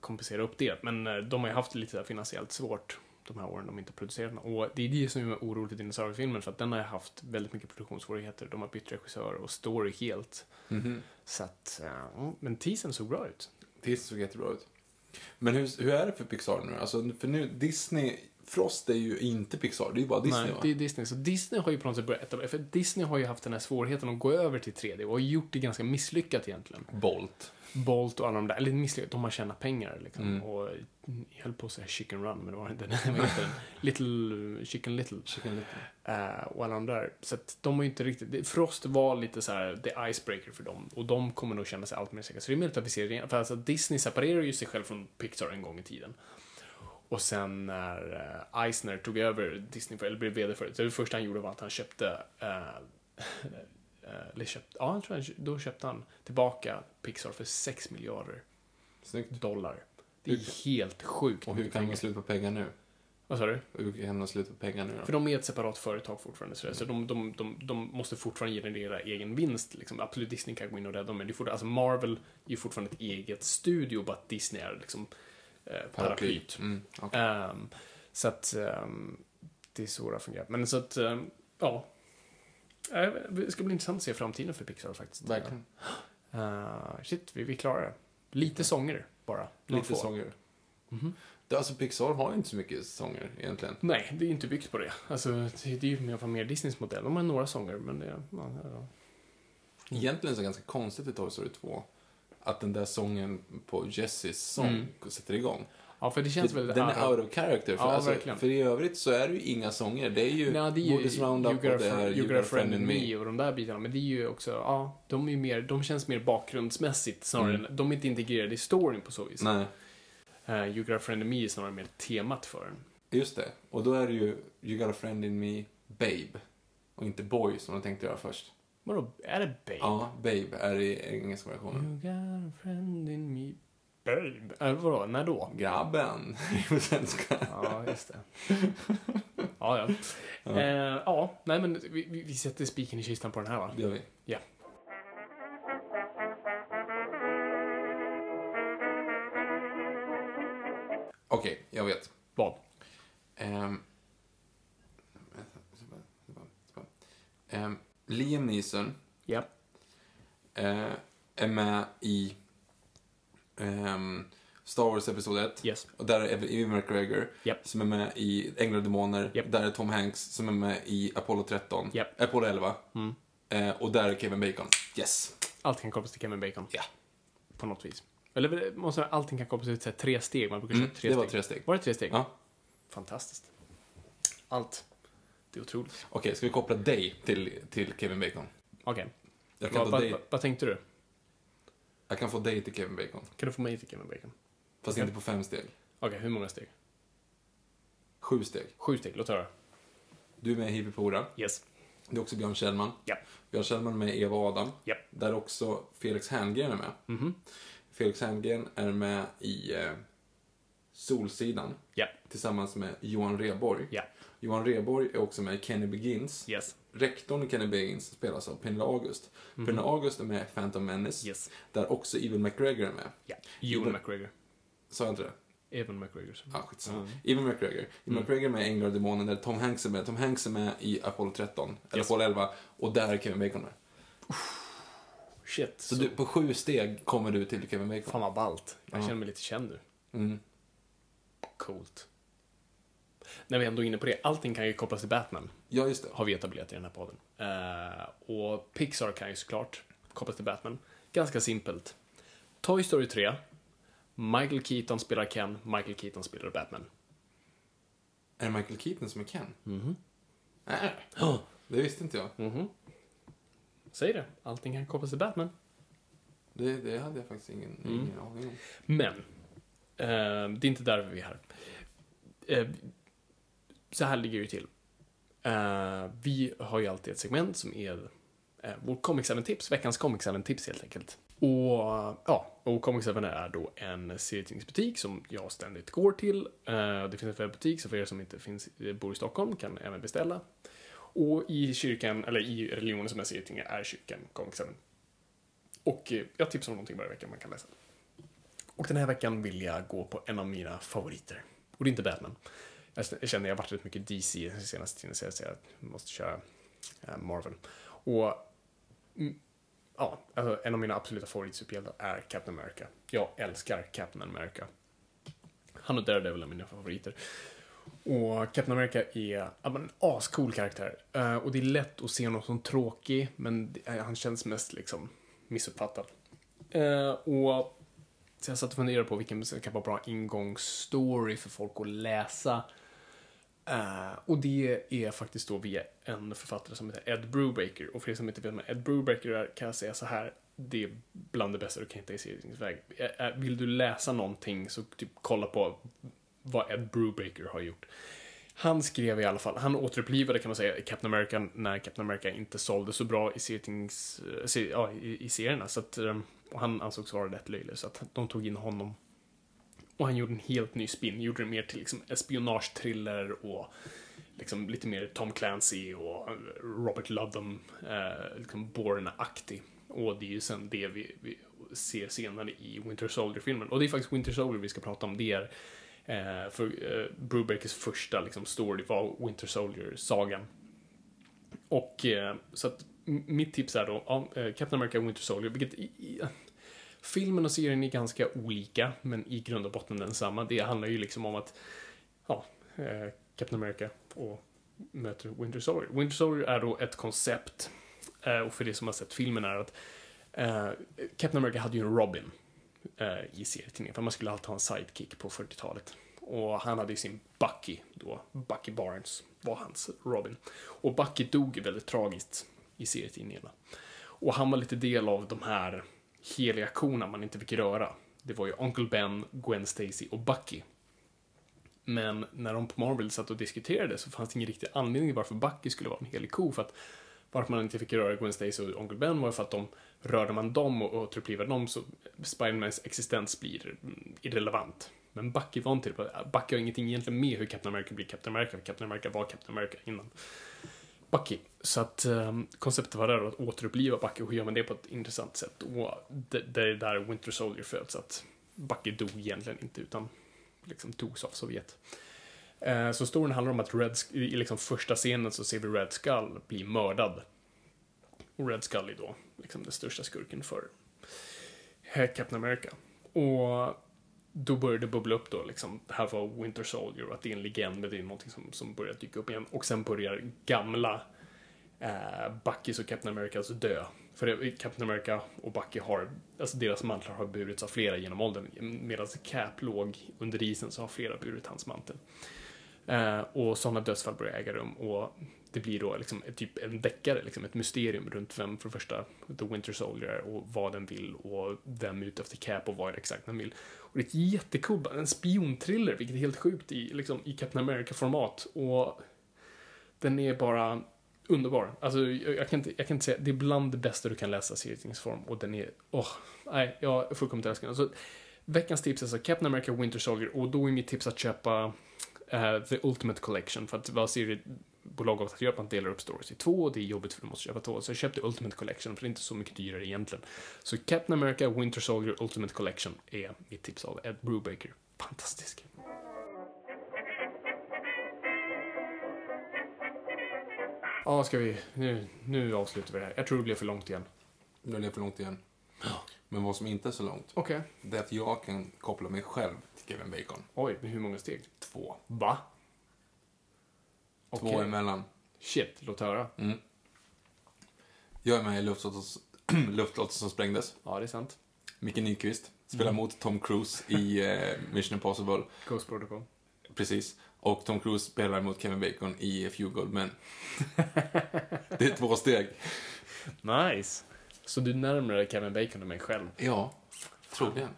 Speaker 2: kompensera upp det. Men eh, de har ju haft det lite så här finansiellt svårt de här åren de inte producerat den. Och det är det som är oroligt i dinosauriefilmen för att den har ju haft väldigt mycket produktionssvårigheter. De har bytt regissör och story helt. Så att, eh, men teasern såg bra ut.
Speaker 3: Det såg jättebra ut. Men hur, hur är det för Pixar nu? Alltså, för nu, Disney Frost är ju inte Pixar, det är ju bara Disney
Speaker 2: Nej,
Speaker 3: va?
Speaker 2: det är Disney. Så Disney har ju på något sätt börjat etablera, för Disney har ju haft den här svårigheten att gå över till 3D och har gjort det ganska misslyckat egentligen.
Speaker 3: Bolt.
Speaker 2: Bolt och alla de där, eller misslyckat, de har tjänat pengar liksom. Och jag höll på att säga Chicken Run, men det var inte den. Vad heter den? Little, Chicken Little. Chicken Little. och alla de där. Så att de har ju inte riktigt, det- Frost var lite så här the icebreaker för dem. Och de kommer nog känna sig allt mer säkra. Så det är möjligt att vi ser det igen. För alltså Disney separerar ju sig själv från Pixar en gång i tiden. Och sen när eh, Eisner tog över Disney, för, eller blev VD för det, så det första han gjorde var att han köpte, eh, eller köpte, ja, jag tror han, då köpte han tillbaka Pixar för 6 miljarder
Speaker 3: Snyggt.
Speaker 2: dollar. Det är helt sjukt.
Speaker 3: Och hur kan de sluta på pengar nu?
Speaker 2: Vad sa du?
Speaker 3: Hur kan de sluta på pengar nu då?
Speaker 2: För de är ett separat företag fortfarande, så, det- så de, de, de, de måste fortfarande generera egen vinst. Liksom. Absolut, Disney kan gå in och rädda dem, men det är fortfarande, alltså Marvel är ju fortfarande ett eget studio, bara att Disney är liksom eh, paraplyt.
Speaker 3: Mm, okej.
Speaker 2: Ehm, så att ehm, det är så det har fungerat. Men så att, ehm, ja. Eh, Det ska bli intressant att se framtiden för Pixar faktiskt.
Speaker 3: Verkligen.
Speaker 2: Eh, shit, vi, vi klarar det. Lite sånger bara. några
Speaker 3: Lite
Speaker 2: få.
Speaker 3: sånger.
Speaker 2: Mhm.
Speaker 3: Det, alltså Pixar har ju inte så mycket sånger egentligen.
Speaker 2: Nej, det är ju inte byggt på det. Alltså, det det är ju mer, mer Disneys modell. De har några sånger, men det... Ja, ja. Mm.
Speaker 3: Egentligen så är det ganska konstigt i Toy Story 2 att den där sången på Jessys sång sätter igång.
Speaker 2: ja för Mm. det känns
Speaker 3: För
Speaker 2: väl...
Speaker 3: den är out of character. För,
Speaker 2: Ja,
Speaker 3: alltså,
Speaker 2: verkligen.
Speaker 3: för i övrigt så är det ju inga sånger. Det är ju
Speaker 2: Nej, det är ju
Speaker 3: Borders Roundup
Speaker 2: You Got a
Speaker 3: och det är
Speaker 2: Friend-
Speaker 3: You Got a Friend in Me.
Speaker 2: och de där bitarna. Men det är ju också, ja, de är ju mer, de känns mer bakgrundsmässigt snarare än, de är inte integrerade i storyn på så vis.
Speaker 3: Mm. Nej,
Speaker 2: Uh, you Got a Friend in Me är snarare mer temat för den.
Speaker 3: just det. Och då är det ju You Got a Friend in Me, Babe. Och inte Boy som de tänkte göra först.
Speaker 2: Vadå, är det Babe?
Speaker 3: Ja, Babe är i engelska versionen.
Speaker 2: You got a friend in me, babe. Äh, vadå, när då?
Speaker 3: Grabben, på svenska.
Speaker 2: Ja, just det. ja, ja. Ja, eh, ja nej men vi, vi, vi sätter spiken i kistan på den här va?
Speaker 3: Det gör vi.
Speaker 2: Ja.
Speaker 3: Okej, jag vet.
Speaker 2: Vad?
Speaker 3: Ehm, ehm, Liam Neeson
Speaker 2: Ja.
Speaker 3: eh, är med i ehm, Star Wars Episod 1.
Speaker 2: Yes.
Speaker 3: Och där är Ewan McGregor
Speaker 2: Japp.
Speaker 3: som är med i Änglar och Demoner.
Speaker 2: Japp.
Speaker 3: Där är Tom Hanks som är med i Apollo 13.
Speaker 2: Japp.
Speaker 3: Apollo 11. Eh, och där är Kevin Bacon. Yes!
Speaker 2: Allt kan kopplas till Kevin Bacon.
Speaker 3: Ja.
Speaker 2: På något vis. Eller eh, måste man, allting kan kopplas till så här tre steg. Man brukar köra tre
Speaker 3: Mm,
Speaker 2: steg.
Speaker 3: det var tre steg.
Speaker 2: Var det tre steg?
Speaker 3: Ja.
Speaker 2: Fantastiskt. Allt. Det är otroligt.
Speaker 3: Okej, ska vi koppla dig till, till Kevin Bacon?
Speaker 2: Okej.
Speaker 3: Jag kan,
Speaker 2: Vad,
Speaker 3: ta
Speaker 2: vad,
Speaker 3: dig,
Speaker 2: vad, vad tänkte du?
Speaker 3: jag kan få dig till Kevin Bacon.
Speaker 2: Kan du få mig till Kevin Bacon?
Speaker 3: Fast inte på fem steg.
Speaker 2: Okej, hur många steg?
Speaker 3: Sju steg.
Speaker 2: Sju steg, låt höra.
Speaker 3: Du är med i Hippie Pora.
Speaker 2: Yes.
Speaker 3: Det är också Björn Kjellman.
Speaker 2: Ja.
Speaker 3: Björn Kjellman är med i Eva och Adam.
Speaker 2: Ja. Mhm.
Speaker 3: Där också Felix Herngren är med. Felix Herngren är med i eh, Solsidan.
Speaker 2: Ja.
Speaker 3: Tillsammans med Johan Reborg.
Speaker 2: Ja.
Speaker 3: Johan Reborg är också med i Kenny Begins.
Speaker 2: Yes. Mhm.
Speaker 3: Rektorn i Kenny Begins spelas av Pernilla August. Pernilla August är med i Phantom Menace.
Speaker 2: Yes.
Speaker 3: Där också Ewan McGregor är med.
Speaker 2: Ja. Ewan
Speaker 3: Ewan-
Speaker 2: McGregor.
Speaker 3: Sa jag inte det?
Speaker 2: Evan McGregor.
Speaker 3: Ja, skitsamma.
Speaker 2: Mm.
Speaker 3: Ewan McGregor. Ewan McGregor är med i Änglar och Demonen där Tom Hanks är med. Tom Hanks är med i Apollo 13, eller
Speaker 2: Yes.
Speaker 3: Apollo 11, och där är Kevin Bacon med.
Speaker 2: Shit.
Speaker 3: Ah, Så, Du, på sju steg kommer du till Kevin Bacon.
Speaker 2: Fan vad ballt. Jag känner mig lite känd nu. Coolt. När vi ändå är inne på det, allting kan ju kopplas till Batman.
Speaker 3: Ja, just det.
Speaker 2: Har vi etablerat i den här podden. Eh, och Pixar kan ju såklart kopplas till Batman. Ganska simpelt. Toy Story 3. Michael Keaton spelar Ken, Michael Keaton spelar Batman.
Speaker 3: Är det Michael Keaton som är Ken? Mm.
Speaker 2: Mhm.
Speaker 3: Nej, det visste inte jag.
Speaker 2: Mm. Säg det, allting kan kopplas till Batman.
Speaker 3: Det, det hade jag faktiskt ingen,
Speaker 2: Mm.
Speaker 3: ingen aning om.
Speaker 2: Men, eh, det är inte därför vi är här. Eh, så här ligger det ju till. Eh, vi har ju alltid ett segment som är eh, vår Comics 7-tips, veckans Comics 7-tips helt enkelt. Och eh, ja, och Comics 7 är då en serietidningsbutik som jag ständigt går till. Eh, det finns en webbutik, så för er som inte finns, eh, bor i Stockholm kan även beställa. Och i kyrkan, eller i religionen som jag ser ting är kyrkan Comics 7. Och eh, jag tipsar om någonting varje vecka man kan läsa. Och den här veckan vill jag gå på en av mina favoriter. Och det är inte Batman. Jag känner jag har varit rätt mycket DC den senaste tiden så jag säger att jag måste köra eh, Marvel. Och mm, ja, alltså, en av mina absoluta favoritsuperhjältar är Captain America. Jag älskar Captain America. Han och Daredevil är mina favoriter. Och Captain America är ja, men en ascool karaktär. Eh, och det är lätt att se honom som tråkig, men det- eh, han känns mest liksom missuppfattad. Eh, och så jag satt och funderade på vilken som kan vara bra ingångsstory för folk att läsa. Eh, och det är faktiskt då via en författare som heter Ed Brubaker. Och för er som inte vet vem Ed Brubaker är kan jag säga så här. Det är bland det bästa du kan hitta i serietidningsväg. Eh, eh, Vill du läsa någonting så typ kolla på vad Ed Brubaker har gjort. Han skrev i alla fall, han återupplivade kan man säga Captain America när Captain America inte sålde så bra i, serietings, eh, se, ja, i, i serierna. Så att, eh, och han ansågs vara rätt löjlig så att de tog in honom och han gjorde en helt ny spin, gjorde det mer till liksom espionagetriller och liksom lite mer Tom Clancy och eh, Robert Ludlum, eh, liksom Bourne-aktig. Och det är ju sen det vi, vi ser senare i Winter Soldier-filmen. Och det är faktiskt Winter Soldier vi ska prata om. Det är eh, för, eh, Brubakers första liksom, story var Winter Soldier-sagan. Och eh, så att m- mitt tips är då, ja, eh, Captain America Winter Soldier, vilket i, i, filmen och serien är ganska olika, men i grund och botten densamma. Det handlar ju liksom om att, ja, eh, Captain America och möter Winter Soldier. Winter Soldier är då ett koncept, eh, och för det som har sett filmen är att eh, Captain America hade ju en Robin eh, i serietidningen, för man skulle alltid ha en sidekick på 40-talet. Och han hade ju sin Bucky då, Bucky Barnes var hans Robin. Och Bucky dog väldigt tragiskt i serietidningarna. Och han var lite del av de här heliga korna man inte fick röra. Det var ju Uncle Ben, Gwen Stacy och Bucky. Men när de på Marvel satt och diskuterade så fanns det ingen riktig anledning till varför Bucky skulle vara en helig ko. För att varför man inte fick röra Gwen Stacy och Uncle Ben var ju för att de rörde man dem och återupplivade dem så Spidermans existens blir mm, irrelevant. Men Bucky var inte det. Bucky har ingenting egentligen med hur Captain America blir Captain America. Captain America var Captain America innan. Bucky. Så att eh, konceptet var där då, att återuppliva Bucky och hur gör man det på ett intressant sätt? Och det, det är där Winter Soldier föds, att Bucky dog egentligen inte utan liksom togs av Sovjet. Eh, så storyn handlar om att Red, Sk- i i liksom första scenen så ser vi Red Skull bli mördad. Och Red Skull är då liksom den största skurken för eh, Captain America. Och då började det bubbla upp då liksom, det här var Winter Soldier och att det är en legend men det är någonting som, som börjar dyka upp igen. Och sen börjar gamla eh, Buckys och Captain Americas dö. För det, Captain America och Bucky har, alltså deras mantlar har burits av flera genom åldern. Medan Cap låg under isen så har flera burit hans mantel. Eh, och sådana dödsfall börjar äga rum och det blir då liksom ett, typ en deckare, liksom ett mysterium runt vem för det första The Winter Soldier är och vad den vill och vem är ute efter Cap och vad är det exakt den vill. Och det är ett jättecool, en spionthriller, vilket är helt sjukt i, liksom, i Captain America-format. Och den är bara underbar. Alltså, jag, jag, kan inte, jag kan inte säga, det är bland det bästa du kan läsa i serietidningsform och den är, åh, nej, jag fullkomligt älskar den. Så, veckans tips är alltså Captain America Winter Soldier och då är mitt tips att köpa eh, The Ultimate Collection för att vad seriebolag har att göra, man delar upp stories i två och det är jobbigt för du måste köpa två. Så jag köpte Ultimate Collection för det är inte så mycket dyrare egentligen. Så Captain America Winter Soldier Ultimate Collection är mitt tips av Ed Brubaker. Fantastisk. Ja, ska vi... Nu, nu avslutar vi det här. Jag tror det blev för långt igen.
Speaker 3: Nu är det för långt igen. Men vad som inte är så långt,
Speaker 2: Okej.
Speaker 3: det är att jag kan koppla mig själv till Kevin Bacon.
Speaker 2: Oj, men hur många steg?
Speaker 3: Två.
Speaker 2: Va?
Speaker 3: Två
Speaker 2: Okej.
Speaker 3: emellan.
Speaker 2: Shit, låt höra.
Speaker 3: Jag är med i Luftslottet Luftslottet som sprängdes.
Speaker 2: Ja, det är sant.
Speaker 3: Micke Nyqvist spelar
Speaker 2: Mm.
Speaker 3: mot Tom Cruise i eh, Mission Impossible.
Speaker 2: Ghost Protocol.
Speaker 3: Precis. Och Tom Cruise spelar mot Kevin Bacon i A Few Gold Men. det är två steg.
Speaker 2: Nice. Så du närmar dig Kevin Bacon än mig själv?
Speaker 3: Ja, troligen.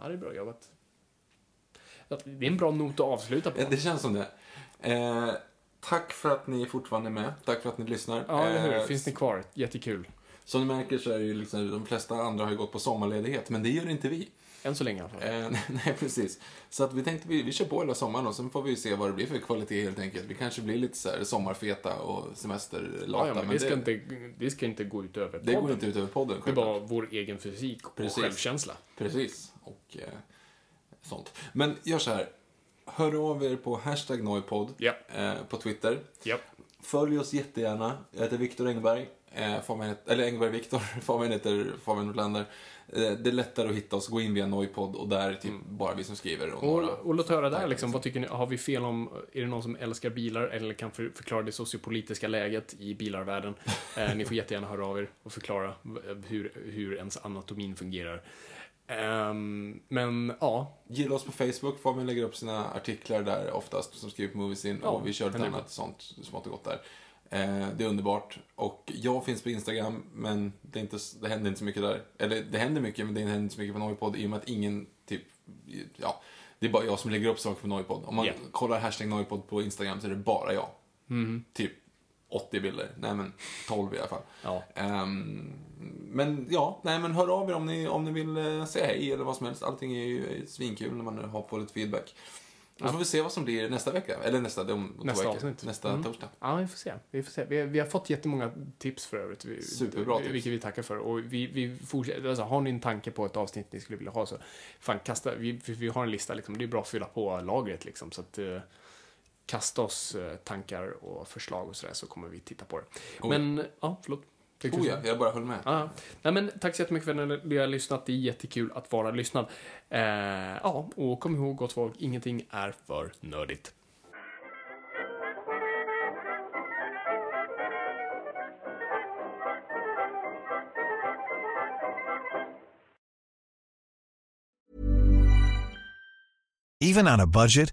Speaker 2: Ja, det är bra jobbat. Det är en bra not att avsluta på.
Speaker 3: Eh, Det känns som det. Eh, tack för att ni fortfarande är med. Tack för att ni lyssnar.
Speaker 2: Ja, eller hur?
Speaker 3: Eh,
Speaker 2: Finns ni kvar? Jättekul.
Speaker 3: Som ni märker så är det ju liksom, de flesta andra har ju gått på sommarledighet, men det gör inte vi.
Speaker 2: Än så länge i alla fall.
Speaker 3: Eh, nej, precis. Så att vi tänkte vi, vi kör på hela sommaren och sen får vi se vad det blir för kvalitet helt enkelt. Vi kanske blir lite så här sommarfeta och semesterlata.
Speaker 2: Ja, ja, men
Speaker 3: men
Speaker 2: det ska,
Speaker 3: det,
Speaker 2: inte, det ska inte gå ut över
Speaker 3: det går
Speaker 2: podden.
Speaker 3: inte ut över podden.
Speaker 2: Det är
Speaker 3: självklart.
Speaker 2: bara vår egen fysik och
Speaker 3: Precis.
Speaker 2: självkänsla.
Speaker 3: Precis, och eh, sånt. Men gör så här. Hör av er på hashtag nojpodd
Speaker 2: Ja.
Speaker 3: eh, på Twitter.
Speaker 2: Japp.
Speaker 3: Följ oss jättegärna. Jag heter Viktor Engberg. eh, Fabian, het- eller Engberg Viktor, Fabian heter Fabian Nordlander. Eh, det är lättare att hitta oss. Gå in via Noipod och där är typ bara vi som skriver. Och några.
Speaker 2: Mm. Och, och låt höra där liksom, vad tycker ni, har vi fel om, är det någon som älskar bilar eller kan för, förklara det sociopolitiska läget i bilarvärlden? Eh, ni får jättegärna höra av er och förklara v- hur, hur ens anatomin fungerar. Ehm, men ja,
Speaker 3: Gilla oss på Facebook. Fabian lägger upp sina artiklar där oftast, som skriver på Moviesin. och vi kör lite
Speaker 2: men det-
Speaker 3: annat sånt smått och gott där. Eh, det är underbart. Och jag finns på Instagram, men det, är inte, s- det händer inte så mycket där. Eller det händer mycket, men det händer inte så mycket på Noipod i och med att ingen typ, ja, det är bara jag som lägger upp saker på Noipod. Om man
Speaker 2: Ja.
Speaker 3: kollar hashtag Noipod på Instagram så är det bara jag.
Speaker 2: Mm-hmm.
Speaker 3: Typ 80 bilder. Nej men 12 i alla fall.
Speaker 2: Ja.
Speaker 3: Ehm, men ja, nej men hör av er om ni, om ni vill eh, säga hej eller vad som helst. Allting är ju eh, svinkul när man har på lite feedback. Och så får vi se vad som blir nästa vecka. Eller nästa, det är om om två
Speaker 2: Nästa
Speaker 3: veckor.
Speaker 2: avsnitt. Mm.
Speaker 3: Nästa torsdag.
Speaker 2: Ja, vi får se. Vi, får se. Vi, vi har fått jättemånga tips för övrigt. Vi,
Speaker 3: Superbra tips.
Speaker 2: Vilket vi tackar för. Och vi, vi fortsätter, alltså, har ni en tanke på ett avsnitt ni skulle vilja ha så fan kasta, vi, vi- vi har en lista liksom. Det är bra att fylla på lagret liksom. Så att eh, kasta oss eh, tankar och förslag och sådär så kommer vi titta på det. Men, ja, förlåt. Tänkte du
Speaker 3: Oh
Speaker 2: säga?
Speaker 3: ja, jag bara höll med.
Speaker 2: Ja, ja. Nej, men tack så jättemycket för att ni har lyssnat. Det är jättekul att vara lyssnad. Eh, ja, och kom ihåg gott folk, ingenting är för nördigt.
Speaker 5: Even on a budget,